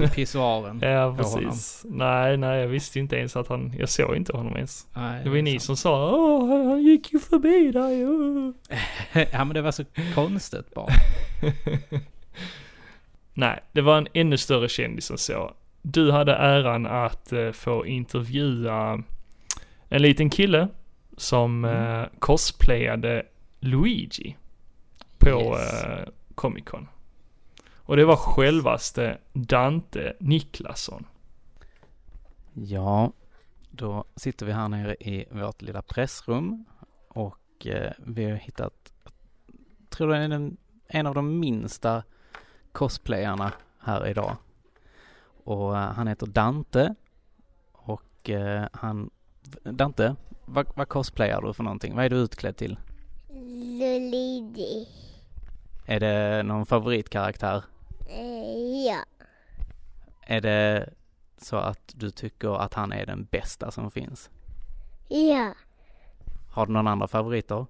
[SPEAKER 2] i pissoaren.
[SPEAKER 1] ja
[SPEAKER 2] på honom.
[SPEAKER 1] precis. Nej, nej, jag visste ju inte ens att han, jag såg inte honom ens.
[SPEAKER 2] Nej,
[SPEAKER 1] Det var ju ni
[SPEAKER 2] sant.
[SPEAKER 1] som sa åh, han- han gick ju förbi dig. åh."
[SPEAKER 2] <laughs> ja, men det var så konstigt bara.
[SPEAKER 1] <laughs> Nej, det var en ännu större kändis än så. Du hade äran att eh, få intervjua en liten kille som
[SPEAKER 2] Mm.
[SPEAKER 1] eh, cosplayade Luigi på
[SPEAKER 2] Yes.
[SPEAKER 1] eh, Comic Con. Och det var självaste Dante Niklasson.
[SPEAKER 4] Ja, då sitter vi här nere i vårt lilla pressrum och eh, vi har hittat, jag tror det är den, en av de minsta cosplayarna här idag. Och eh, han heter Dante och eh, han, Dante, vad, vad cosplayar du för någonting? Vad är du utklädd till?
[SPEAKER 5] Lulidi.
[SPEAKER 2] Är det någon favoritkaraktär?
[SPEAKER 5] Eh, ja.
[SPEAKER 2] Är det så att du tycker att han är den bästa som finns?
[SPEAKER 5] Ja.
[SPEAKER 2] Har du någon andra favoriter?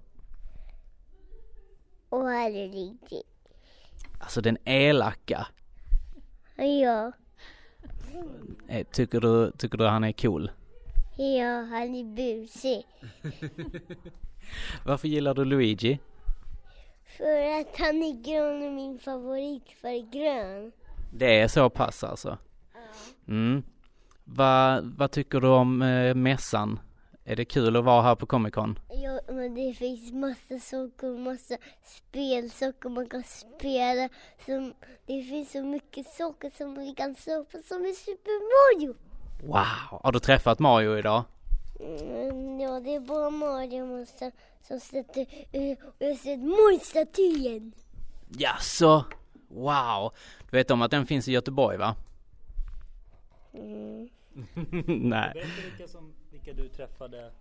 [SPEAKER 5] Och Lulidi.
[SPEAKER 2] Alltså den elaka.
[SPEAKER 5] Ja.
[SPEAKER 2] Eh, Tycker du, tycker du han är cool?
[SPEAKER 5] Ja, han är busig.
[SPEAKER 2] Varför gillar du Luigi?
[SPEAKER 5] För att han är grön och min favoritfärg är grön.
[SPEAKER 2] Det är så pass alltså? Mm. Vad, vad tycker du om eh, mässan? Är det kul att vara här på Comic Con?
[SPEAKER 5] Ja, men det finns massa saker och massa spelsaker man kan spela. Som, det finns så mycket saker som vi kan köpa som är Super Mario.
[SPEAKER 2] Wow! Har du träffat Mario idag?
[SPEAKER 5] Mm, ja, det är bara Mario man sa- som sätter eh, och jag har sett Mario-statyen.
[SPEAKER 2] Jaså? Wow! Du vet om att den finns i Göteborg va?
[SPEAKER 5] Mm.
[SPEAKER 2] <laughs> Nej.
[SPEAKER 3] Vet du vilka, som, vilka du träffade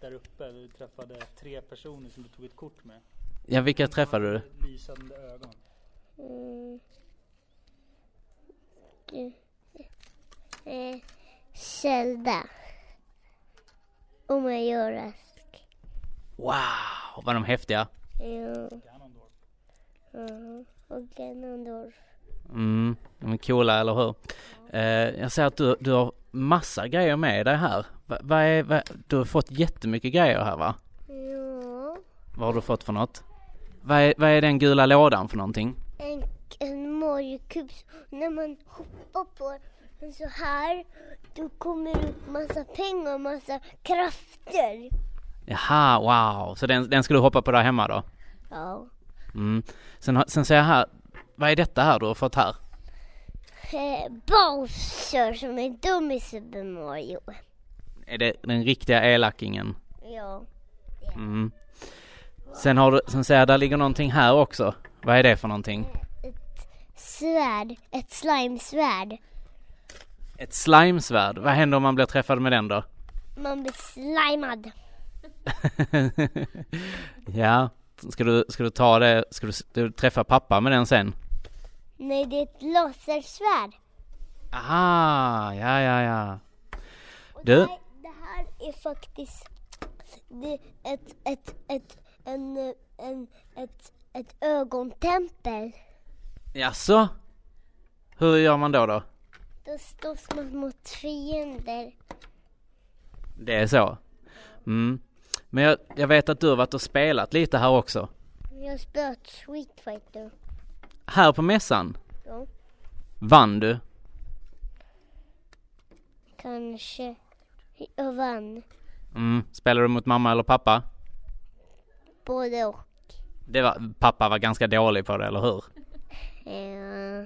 [SPEAKER 3] där uppe? Du träffade tre personer som du tog ett kort med.
[SPEAKER 2] Ja, vilka träffade du?
[SPEAKER 3] Lysande ögon.
[SPEAKER 5] Mm. Du- Eh, Zelda. Och Majoras.
[SPEAKER 2] Wow! Vad de häftiga.
[SPEAKER 5] Ja.
[SPEAKER 3] Ganondorf.
[SPEAKER 5] Mhm. Och Ganondorf.
[SPEAKER 2] Mm, de är coola eller hur? Eh, jag ser att du, du har massa grejer med dig här. Va, vad är, va, du har fått jättemycket grejer här va?
[SPEAKER 5] Ja.
[SPEAKER 2] Vad har du fått för något? Vad är, vad är den gula lådan för någonting?
[SPEAKER 5] En, en Mario-kub. Så När man hoppar på den så här. Då kommer det upp massa pengar och massa krafter.
[SPEAKER 2] Jaha, wow. Så den, den ska du hoppa på där hemma då?
[SPEAKER 5] Ja.
[SPEAKER 2] Mm. Sen, har- sen ser jag här, vad är detta här du har fått här?
[SPEAKER 5] Eh, Bowser som är dum i Super Mario.
[SPEAKER 2] Är det den riktiga elakingen?
[SPEAKER 5] Ja.
[SPEAKER 2] Mm. Sen har du, sen ser jag där ligger någonting här också. Vad är det för någonting?
[SPEAKER 5] Svärd. Ett slime-svärd.
[SPEAKER 2] Ett slimesvärd. Vad händer om man blir träffad med den då?
[SPEAKER 5] Man blir slimad.
[SPEAKER 2] <laughs> ja, ska du, ska du ta det, ska du, ska du träffa pappa med den sen?
[SPEAKER 5] Nej, det är ett lasersvärd.
[SPEAKER 2] Aha, ja ja ja.
[SPEAKER 5] Och
[SPEAKER 2] Du?
[SPEAKER 5] Det, här, det här är faktiskt det är ett, ett, ett, en, eh, en, ett, ett ögontempel.
[SPEAKER 2] Jaså? Hur gör man då då?
[SPEAKER 5] Då slåss man mot fiender.
[SPEAKER 2] Det är så? Mm. Men jag, jag vet att du har varit och spelat lite här också.
[SPEAKER 5] Jag har spelat Street Fighter.
[SPEAKER 2] Här på mässan?
[SPEAKER 5] Ja.
[SPEAKER 2] Vann du?
[SPEAKER 5] Kanske jag vann.
[SPEAKER 2] Mm. Spelade du mot mamma eller pappa?
[SPEAKER 5] Både och.
[SPEAKER 2] Det var, pappa var ganska dålig på det, eller hur?
[SPEAKER 5] Eh,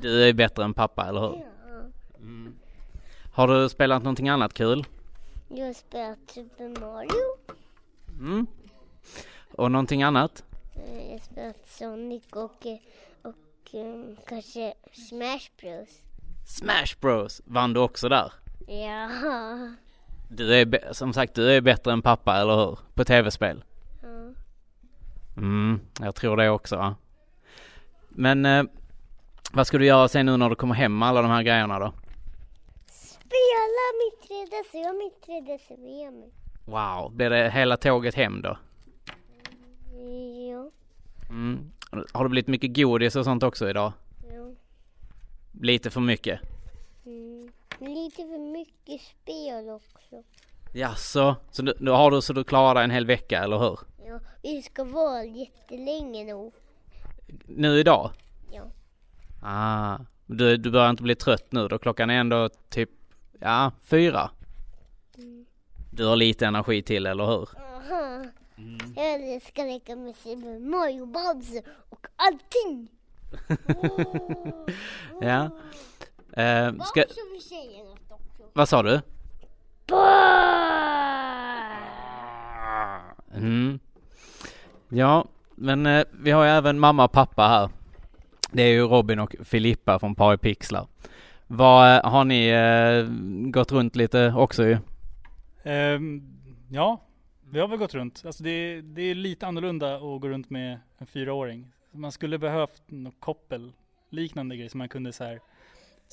[SPEAKER 2] Du är bättre än pappa, eller hur? Mm. Har du spelat någonting annat kul?
[SPEAKER 5] jag har spelat Super Mario.
[SPEAKER 2] Mm. Och någonting annat?
[SPEAKER 5] Eh, Jag har spelat Sonic och, eh, och eh, kanske Smash Bros.
[SPEAKER 2] Smash Bros vann du också där.
[SPEAKER 5] Ja.
[SPEAKER 2] Du är, bä- som sagt, du är bättre än pappa, eller hur? På tv-spel.
[SPEAKER 5] ja.
[SPEAKER 2] Mm, jag tror det också. Va? Men eh, vad ska du göra sen nu när du kommer hem med alla de här grejerna då?
[SPEAKER 5] Spela mitt 3DS, jag har mitt 3DS med mig.
[SPEAKER 2] Wow, blir det hela tåget hem då?
[SPEAKER 5] Ja,
[SPEAKER 2] Mm. Har det blivit mycket godis och sånt också idag?
[SPEAKER 5] ja.
[SPEAKER 2] Lite för mycket?
[SPEAKER 5] Mm. Lite för mycket spel också.
[SPEAKER 2] Jaså, så du, nu har du så du klarar dig en hel vecka, eller hur?
[SPEAKER 5] Ja, vi ska vara jättelänge nog.
[SPEAKER 2] Nu idag?
[SPEAKER 5] Ja.
[SPEAKER 2] Ah, du, du börjar inte bli trött nu då? Klockan är ändå typ, ja, fyra? Du har lite energi till, eller hur?
[SPEAKER 5] Aha. Jag ska leka med Super Mario Bowser och allting.
[SPEAKER 2] Ja. Eh, ska,
[SPEAKER 5] Bowser vill säga något också.
[SPEAKER 2] vad sa du?
[SPEAKER 5] Bowser!
[SPEAKER 2] Mm. Ja, men eh, vi har ju även mamma och pappa här. Det är ju Robin och Filippa från Par i Pixlar. Vad, eh, har ni eh, gått runt lite också ju?
[SPEAKER 3] Ehm, ja,
[SPEAKER 6] Vi har väl gått runt. Alltså det, är- det är lite annorlunda att gå runt med en fyraåring. Man skulle behövt något koppel, liknande grej som man kunde så här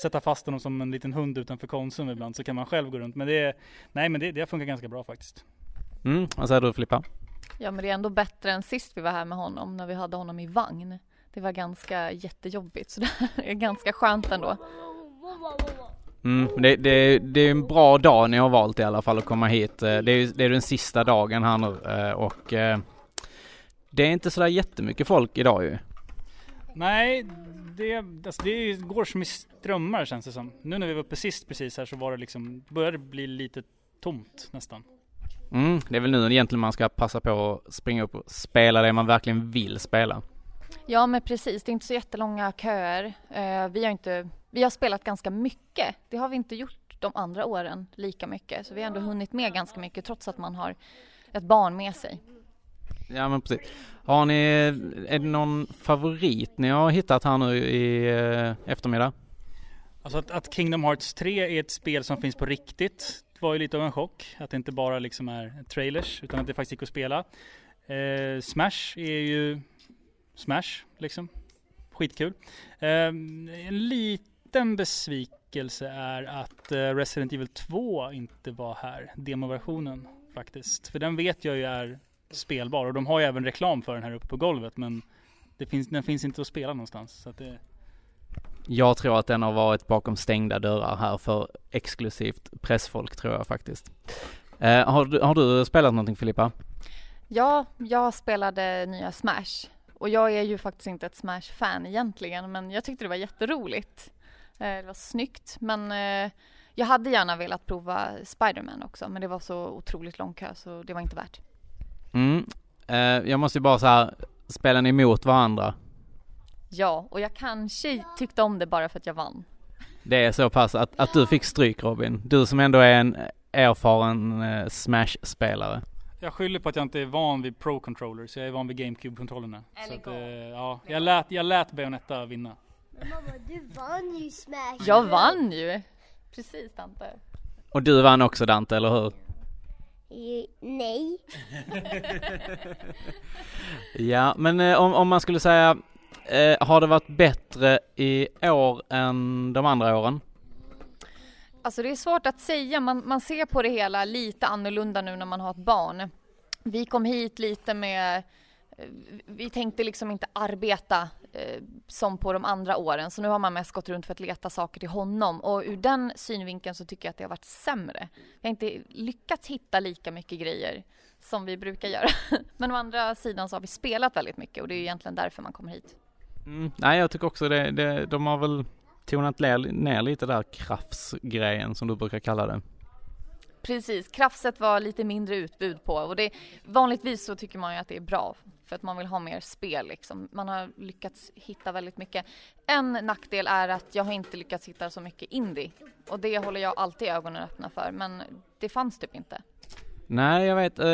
[SPEAKER 6] sätta fast honom som en liten hund utanför Konsum ibland så kan man själv gå runt. Men det, är- nej men det, det funkar ganska bra faktiskt.
[SPEAKER 2] Mm, vad säger du Filippa?
[SPEAKER 7] Ja, men det är ändå bättre än sist vi var här med honom när vi hade honom i vagn. Det var ganska jättejobbigt så det här är ganska skönt ändå.
[SPEAKER 2] Mm, men det, det, det är en bra dag ni har valt i alla fall att komma hit. Eh, Det är, ju- det är den sista dagen här nu eh, och eh, det är inte sådär jättemycket folk idag ju.
[SPEAKER 6] Nej, det, alltså det går som i strömmar känns det som. Nu när vi var uppe sist precis här så var det liksom, började det bli lite tomt nästan.
[SPEAKER 2] Mm, det är väl nu egentligen man ska passa på att springa upp och spela det man verkligen vill spela.
[SPEAKER 7] Ja, men precis. Det är inte så jättelånga köer. Eh, vi, har inte, vi har spelat ganska mycket. Det har vi inte gjort de andra åren lika mycket. Så vi har ändå hunnit med ganska mycket trots att man har ett barn med sig.
[SPEAKER 2] Ja men precis. Har ni, är det någon favorit ni har hittat här nu i eh, eftermiddag?
[SPEAKER 6] Alltså att, att Kingdom Hearts 3 är ett spel som finns på riktigt det var ju lite av en chock. Att det inte bara liksom är trailers utan att det faktiskt gick att spela. Eh, Smash är ju Smash liksom. Skitkul. Eh, en liten besvikelse är att eh, Resident Evil 2 inte var här. Demoversionen faktiskt. För den vet jag ju är spelbar och de har ju även reklam för den här uppe på golvet men det finns, den finns inte att spela någonstans. Så att det,
[SPEAKER 2] Jag tror att den har varit bakom stängda dörrar här för exklusivt pressfolk tror jag faktiskt. Eh, har, du, har du spelat någonting Filippa?
[SPEAKER 7] Ja, jag spelade nya Smash och jag är ju faktiskt inte ett Smash-fan egentligen men jag tyckte det var jätteroligt. Eh, Det var snyggt men eh, jag hade gärna velat prova Spiderman också men det var så otroligt lång kö så det var inte värt.
[SPEAKER 2] Mm. Eh, jag måste ju bara så här, spelar ni emot varandra?
[SPEAKER 7] Ja, och jag kanske tyckte om det bara för att jag vann.
[SPEAKER 2] Det är så pass att, att du fick stryk Robin. Du som ändå är en erfaren eh, Smash-spelare.
[SPEAKER 6] Jag skyller på att jag inte är van vid Pro Controllers, jag är van vid GameCube-kontrollerna. Så
[SPEAKER 7] Eller
[SPEAKER 6] att,
[SPEAKER 7] Go.
[SPEAKER 6] eh, ja, jag lät, jag lät Bayonetta vinna.
[SPEAKER 5] Mamma, du vann ju Smash!
[SPEAKER 7] Jag vann ju! Mm. Precis Dante.
[SPEAKER 2] Och du vann också Dante, eller hur?
[SPEAKER 5] Eh, Nej.
[SPEAKER 2] Ja, men eh, om, om man skulle säga, eh, har det varit bättre i år än de andra åren?
[SPEAKER 7] Alltså det är svårt att säga, man, man ser på det hela lite annorlunda nu när man har ett barn. Vi kom hit lite med, eh, vi tänkte liksom inte arbeta eh, som på de andra åren så nu har man mest gått runt för att leta saker till honom och ur den synvinkeln så tycker jag att det har varit sämre. Vi har inte lyckats hitta lika mycket grejer som vi brukar göra. <laughs> Men å andra sidan så har vi spelat väldigt mycket och det är ju egentligen därför man kommer hit.
[SPEAKER 2] Mm, nej, jag tycker också det, det de har väl tonat ner, ner lite där kraftsgrejen som du brukar kalla det.
[SPEAKER 7] Precis, krafset var lite mindre utbud på och det, vanligtvis så tycker man ju att det är bra för att man vill ha mer spel liksom. Man har lyckats hitta väldigt mycket. En nackdel är att jag har inte lyckats hitta så mycket indie och det håller jag alltid ögonen öppna för men det fanns typ inte.
[SPEAKER 2] Nej, jag vet, eh,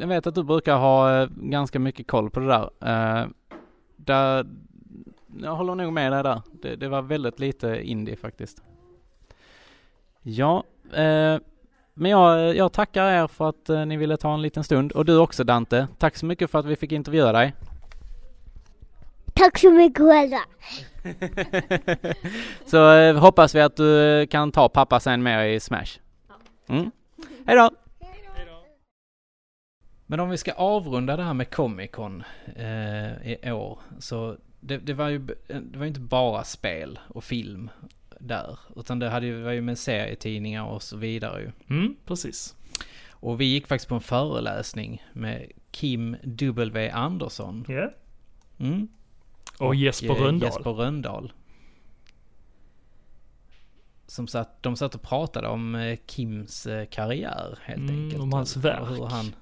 [SPEAKER 2] jag vet att du brukar ha eh, ganska mycket koll på det där. Eh, där jag håller nog med dig där. Det, det var väldigt lite indie faktiskt. Ja, eh, men jag, jag tackar er för att eh, ni ville ta en liten stund. Och du också Dante. Tack så mycket för att vi fick intervjua dig.
[SPEAKER 5] Tack så mycket själva!
[SPEAKER 2] Så eh, hoppas vi att du eh, kan ta pappa sen med i Smash. Mm. Hej då!
[SPEAKER 8] Men om vi ska avrunda det här med Comic Con eh, i år. Så det, det var ju b- eh, det var ju inte bara spel och film där. Utan det hade ju, var ju med serietidningar och så vidare ju.
[SPEAKER 1] Mm, precis.
[SPEAKER 8] Och vi gick faktiskt på en föreläsning med Kim W. Andersson.
[SPEAKER 1] Ja.
[SPEAKER 8] Mm.
[SPEAKER 1] Och Jesper
[SPEAKER 8] eh,
[SPEAKER 1] Rönndahl.
[SPEAKER 8] Jesper Rönndahl. Som satt, de satt och pratade om eh, Kims eh, karriär helt
[SPEAKER 1] Mm,
[SPEAKER 8] enkelt.
[SPEAKER 1] om hans
[SPEAKER 8] Och- Och hur
[SPEAKER 1] verk.
[SPEAKER 8] han,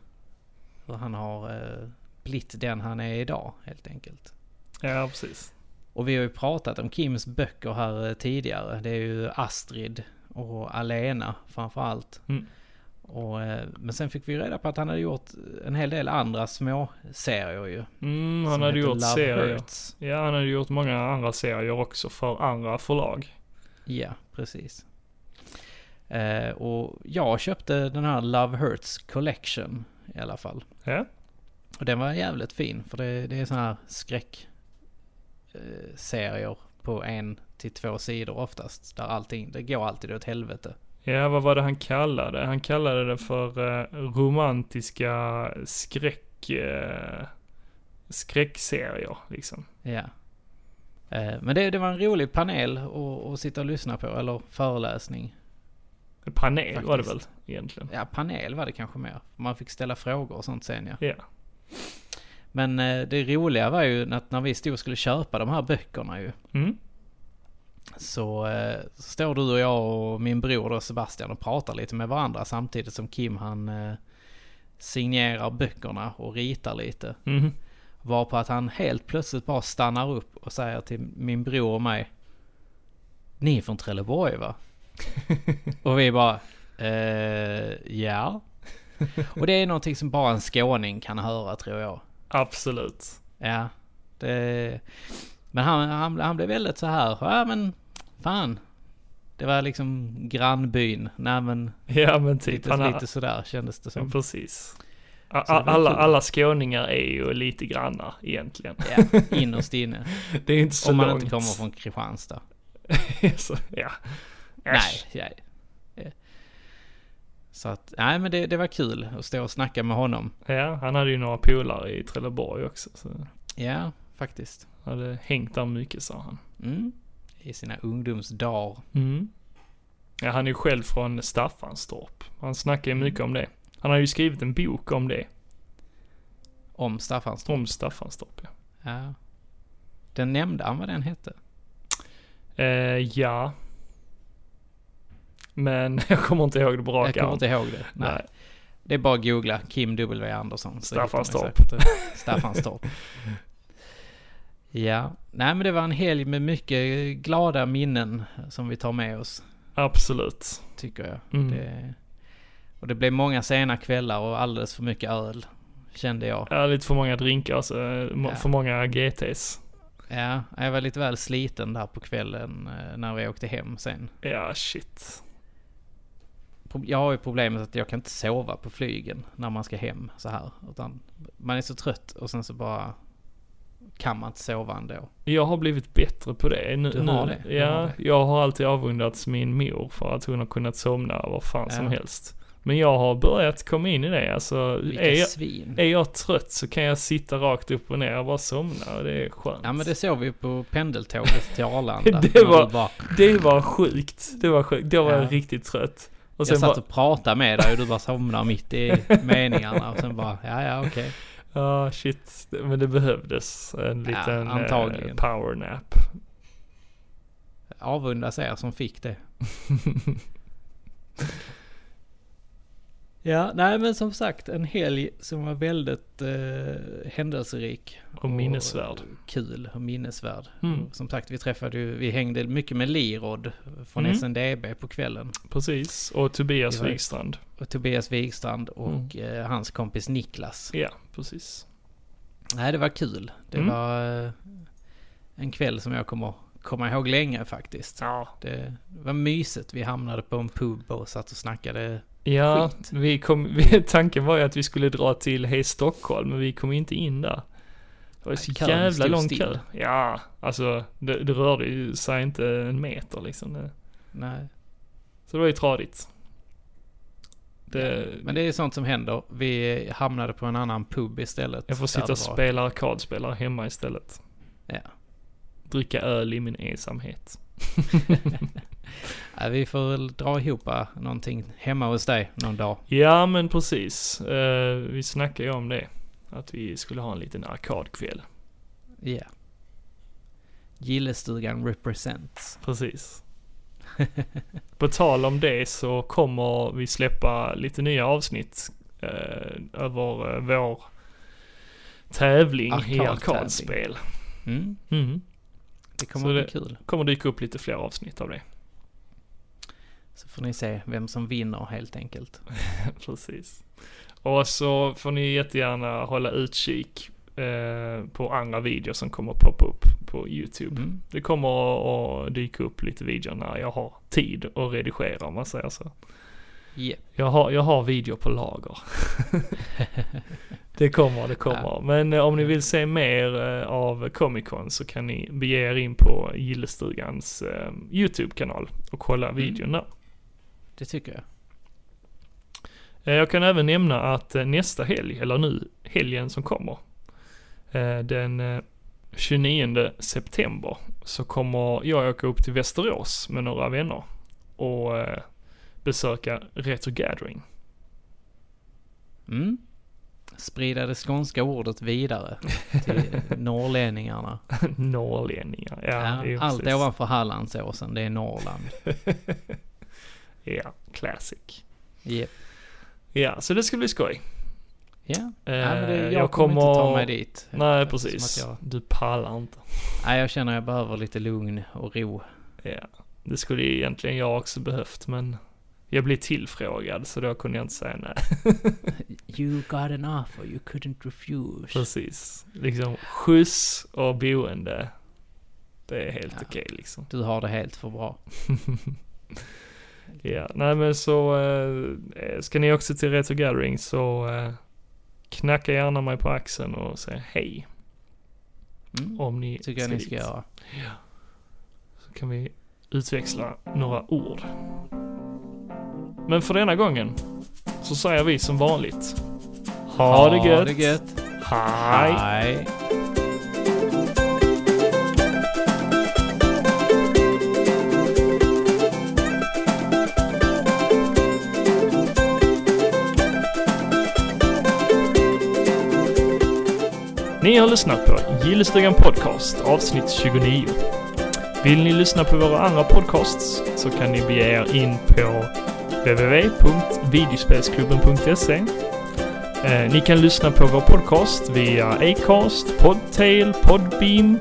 [SPEAKER 8] hur han har eh, blivit den han är idag helt enkelt.
[SPEAKER 1] Ja, precis.
[SPEAKER 8] Och vi har ju pratat om Kims böcker här eh, tidigare. Det är ju Astrid och Alena framförallt.
[SPEAKER 1] Mm.
[SPEAKER 8] Och, eh, men sen fick vi reda på att han hade gjort en hel del andra små serier ju.
[SPEAKER 1] Mm, han
[SPEAKER 8] Som
[SPEAKER 1] hade
[SPEAKER 8] heter
[SPEAKER 1] gjort
[SPEAKER 8] Love
[SPEAKER 1] serier.
[SPEAKER 8] Hurts.
[SPEAKER 1] Ja, han hade gjort många andra serier också för andra förlag.
[SPEAKER 8] Ja, precis. Eh, och jag köpte den här Love Hurts Collection i alla fall.
[SPEAKER 1] Ja.
[SPEAKER 8] Och den var jävligt fin för det, det är sådana här skräck eh, serier på en till två sidor oftast. Där allting, det går alltid åt helvete.
[SPEAKER 1] Ja, vad var det han kallade? Han kallade det för eh, romantiska skräck... Eh, skräckserier, liksom.
[SPEAKER 8] Ja. Eh, men det, det var en rolig panel att, att sitta och lyssna på, eller föreläsning.
[SPEAKER 1] Panel var det väl,
[SPEAKER 8] Faktiskt.
[SPEAKER 1] egentligen?
[SPEAKER 8] Ja, panel var det kanske mer. Man fick ställa frågor och sånt sen ja.
[SPEAKER 1] Ja.
[SPEAKER 8] Men eh, det roliga var ju att när vi stod och skulle köpa de här böckerna ju.
[SPEAKER 1] Mm.
[SPEAKER 8] Så eh, så står du och jag och min bror då Sebastian och pratar lite med varandra samtidigt som Kim han eh, signerar böckerna och ritar lite.
[SPEAKER 1] Mhm.
[SPEAKER 8] Varpå att han helt plötsligt bara stannar upp och säger till min bror och mig. Ni är från
[SPEAKER 1] <laughs>
[SPEAKER 8] Trelleborg va? och vi bara. Eh, ja. Och det är någonting som bara en skåning kan höra tror jag.
[SPEAKER 1] Absolut.
[SPEAKER 8] Ja. Det, men han, han, han blev väldigt så här. Ja men fan. Det var liksom grannbyn. Nej men
[SPEAKER 1] Ja, men typ.
[SPEAKER 8] lite,
[SPEAKER 1] han har-
[SPEAKER 8] lite sådär kändes det
[SPEAKER 1] <laughs> Ja,
[SPEAKER 8] som.
[SPEAKER 1] precis. A-
[SPEAKER 8] Så det
[SPEAKER 1] a-
[SPEAKER 8] var
[SPEAKER 1] Alla,
[SPEAKER 8] kul.
[SPEAKER 1] alla skåningar är ju lite grannar
[SPEAKER 8] <laughs>
[SPEAKER 1] egentligen.
[SPEAKER 8] Ja, innerst inne.
[SPEAKER 1] Det är inte <laughs> så
[SPEAKER 8] Om man
[SPEAKER 1] långt.
[SPEAKER 8] inte kommer från Kristianstad.
[SPEAKER 1] så, <laughs> ja.
[SPEAKER 8] Nej,
[SPEAKER 1] Äsch.
[SPEAKER 8] nej. Eh. Så att, nej men det, det var kul att stå och snacka med honom.
[SPEAKER 1] Ja, han hade ju några polare i Trelleborg också. Så han
[SPEAKER 8] Ja, faktiskt.
[SPEAKER 1] hade hängt där mycket sa han.
[SPEAKER 8] Mm. I sina ungdomsdagar.
[SPEAKER 1] Mm. Ja, han är ju själv från Staffanstorp. Han snackar ju mycket om det. Han har ju skrivit en bok om det.
[SPEAKER 8] Om Staffanstorp.
[SPEAKER 1] Om Staffanstorp ja.
[SPEAKER 8] Ja. Den nämnde han vad den hette.
[SPEAKER 1] Eh, ja. Men <laughs> jag kommer inte ihåg det på
[SPEAKER 8] Jag
[SPEAKER 1] rak
[SPEAKER 8] kommer
[SPEAKER 1] arm.
[SPEAKER 8] inte ihåg det. Nej.
[SPEAKER 1] Nej.
[SPEAKER 8] Det är bara att googla Kim W Andersson. så hittar man
[SPEAKER 1] Staffanstorp. <laughs>
[SPEAKER 8] säkert, eh, Staffanstorp. ja, nej men det var en helg med mycket glada minnen som vi tar med oss.
[SPEAKER 1] Absolut.
[SPEAKER 8] tycker jag.
[SPEAKER 1] Mm.
[SPEAKER 8] Det, och det blev många sena kvällar och alldeles för mycket öl, kände jag.
[SPEAKER 1] Ja, lite för många drinkar, alltså, eh, må-
[SPEAKER 8] Ja.
[SPEAKER 1] för många GTs.
[SPEAKER 8] Ja, jag var lite väl sliten där på kvällen eh, när vi åkte hem sen.
[SPEAKER 1] Ja, shit.
[SPEAKER 8] Pro- Jag har ju problemet att jag kan inte sova på flygen när man ska hem så här. Utan man är så trött och sen så bara kan man inte sova ändå.
[SPEAKER 1] Jag har blivit bättre på det. Nu,
[SPEAKER 8] Du har
[SPEAKER 1] nu,
[SPEAKER 8] det, du
[SPEAKER 1] Ja,
[SPEAKER 8] har det.
[SPEAKER 1] jag har alltid avundats min mor för att hon har kunnat somna var fan som
[SPEAKER 8] Ja.
[SPEAKER 1] helst. Men jag har börjat komma in i det, alltså.
[SPEAKER 8] Vilka
[SPEAKER 1] Är jag,
[SPEAKER 8] svin.
[SPEAKER 1] är jag trött så kan jag sitta rakt upp och ner och bara somna och det är skönt.
[SPEAKER 8] Ja men det såg vi ju på
[SPEAKER 1] <laughs>
[SPEAKER 8] pendeltåget till Arlanda.
[SPEAKER 1] Det
[SPEAKER 8] När du
[SPEAKER 1] var-
[SPEAKER 8] bara,
[SPEAKER 1] Det var sjukt. Det var sjukt. Då var
[SPEAKER 8] Ja.
[SPEAKER 1] jag riktigt trött. Och
[SPEAKER 8] jag
[SPEAKER 1] sen
[SPEAKER 8] satt
[SPEAKER 1] bara,
[SPEAKER 8] och pratade med dig och du bara somnade
[SPEAKER 1] <laughs>
[SPEAKER 8] mitt i meningarna och sen bara, ja ja okej.
[SPEAKER 1] ja shit. Men det behövdes en
[SPEAKER 8] Ja,
[SPEAKER 1] liten eh,
[SPEAKER 8] antagligen.
[SPEAKER 1] powernap.
[SPEAKER 8] avundas er som fick det. ja, nej men som sagt en helg som var väldigt eh, händelserik.
[SPEAKER 1] Och minnesvärd.
[SPEAKER 8] Kul och minnesvärd.
[SPEAKER 1] Mm.
[SPEAKER 8] Som sagt vi träffade ju, vi hängde mycket med Lirod från
[SPEAKER 1] Mm.
[SPEAKER 8] SNDB på kvällen.
[SPEAKER 1] Precis. Och Tobias
[SPEAKER 8] Det var-
[SPEAKER 1] Wikstrand.
[SPEAKER 8] Och Tobias Wigstrand och
[SPEAKER 1] Mm.
[SPEAKER 8] eh, hans kompis Niklas.
[SPEAKER 1] Ja, precis.
[SPEAKER 8] Nej det var kul. Det
[SPEAKER 1] Mm.
[SPEAKER 8] var eh, en kväll som jag kommer komma ihåg länge faktiskt.
[SPEAKER 1] Ja,
[SPEAKER 8] Det var mysigt. Vi hamnade på en pub och satt och snackade.
[SPEAKER 1] Ja,
[SPEAKER 8] Skit.
[SPEAKER 1] vi kom, <laughs> vi, tanken var ju att vi skulle dra till Hej Stockholm, men vi kom inte in där. Det var ju så
[SPEAKER 8] Nej, kön
[SPEAKER 1] jävla
[SPEAKER 8] stod
[SPEAKER 1] lång
[SPEAKER 8] still.
[SPEAKER 1] kö. Ja, alltså det, det rörde ju sig inte en meter liksom. Det-
[SPEAKER 8] Nej.
[SPEAKER 1] Så det var ju tradigt. Det,
[SPEAKER 8] Men det är sånt som händer. Vi hamnade på en annan pub istället.
[SPEAKER 1] jag får
[SPEAKER 8] där det
[SPEAKER 1] sitta och
[SPEAKER 8] var-
[SPEAKER 1] spela arkadspelare hemma istället.
[SPEAKER 8] Ja.
[SPEAKER 1] Dricka öl i min ensamhet.
[SPEAKER 8] Nej, vi får väl dra ihop eh, någonting hemma hos dig någon dag.
[SPEAKER 1] Ja, men precis. Eh, vi snackade ju om det. Att vi skulle ha en liten arkadkväll.
[SPEAKER 8] Ja. Gillestugan represents.
[SPEAKER 1] Precis. På tal om det så kommer vi släppa lite nya avsnitt eh, över eh, vår tävling i
[SPEAKER 8] Arkadtävling.
[SPEAKER 1] arkadspel.
[SPEAKER 8] Mm.
[SPEAKER 1] Mm.
[SPEAKER 8] Det kommer
[SPEAKER 1] Så
[SPEAKER 8] att bli
[SPEAKER 1] det-
[SPEAKER 8] kul.
[SPEAKER 1] Kommer dyka upp lite fler avsnitt av det.
[SPEAKER 8] Så får ni se vem som vinner helt enkelt.
[SPEAKER 1] Precis. Och så får ni jättegärna hålla utkik eh, på andra videor som kommer poppa upp på YouTube.
[SPEAKER 8] Mm.
[SPEAKER 1] Det kommer att dyka upp lite videor när jag har tid att redigera om man säger så.
[SPEAKER 2] Japp.
[SPEAKER 1] Jag har, jag har video på lager. det kommer, det kommer. Men eh, om ni vill se mer eh, av Comic Con så kan ni bege er in på Gillestugans eh, YouTube-kanal och kolla videon där.
[SPEAKER 2] Det tycker jag.
[SPEAKER 1] Eh, Jag kan även nämna att eh, nästa helg, eller nu helgen som kommer, eh, den eh, 29 september så kommer jag åka upp till Västerås med några vänner och eh, besöka Retro Gathering. <laughs>
[SPEAKER 2] Mm. Sprida det skånska ordet vidare till norrlänningarna.
[SPEAKER 1] Norrlänningar, ja.
[SPEAKER 2] Ja,
[SPEAKER 1] det är
[SPEAKER 2] allt
[SPEAKER 1] precis.
[SPEAKER 2] ovanför Hallandsåsen, det är Norrland.
[SPEAKER 1] Ja, classic.
[SPEAKER 2] Japp.
[SPEAKER 1] Ja, så det ska bli skoj.
[SPEAKER 2] Ja.
[SPEAKER 1] Eh,
[SPEAKER 2] ja, men det, jag, kommer inte ta mig dit.
[SPEAKER 1] Nej,
[SPEAKER 2] Eftersom
[SPEAKER 1] precis.
[SPEAKER 2] att Jag,
[SPEAKER 1] Du pallar inte.
[SPEAKER 2] nej, jag känner jag behöver lite lugn och ro.
[SPEAKER 1] Ja, det skulle ju egentligen jag också behövt, men jag blev tillfrågad så då kunde jag inte säga
[SPEAKER 2] <laughs>
[SPEAKER 1] nej.
[SPEAKER 2] You got an offer you couldn't refuse.
[SPEAKER 1] Precis. Liksom skjuts och boende. Det är helt
[SPEAKER 2] Ja.
[SPEAKER 1] okej liksom.
[SPEAKER 2] Du har det helt för bra.
[SPEAKER 1] Ja, nej men så eh, ska ni också till Retro Gathering så eh, knacka gärna mig på axeln och säg hej
[SPEAKER 2] Mm.
[SPEAKER 1] om ni
[SPEAKER 2] Tycker jag ni ska
[SPEAKER 1] dit.
[SPEAKER 2] göra.
[SPEAKER 1] Så kan vi utväxla några ord. Men för denna gången så säger vi som vanligt. Ha, det gött!
[SPEAKER 2] det gött.
[SPEAKER 1] Hej.
[SPEAKER 2] Hej.
[SPEAKER 1] Ni har lyssnat på Gillestugan Podcast avsnitt 29. Vill ni lyssna på våra andra podcasts så kan ni bege er in på www.videospelsklubben.se. Eh, Ni kan lyssna på vår podcast via Acast, Podtail, Podbeam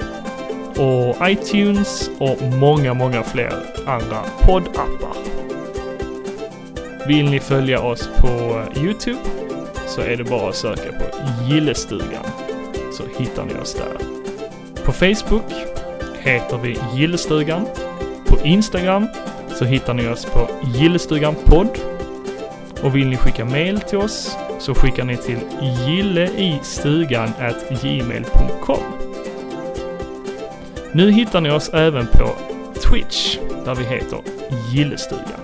[SPEAKER 1] och iTunes och många, många fler andra poddappar. Vill ni följa oss på eh, YouTube så är det bara att söka på Gillestugan så hittar ni oss där. På Facebook heter vi Gillestugan. På Instagram så hittar ni oss på Gillestugan podd. Och vill ni skicka mail till oss så skickar ni till gilleistugan@gmail.com. Nu hittar ni oss även på Twitch där vi heter Gillestugan.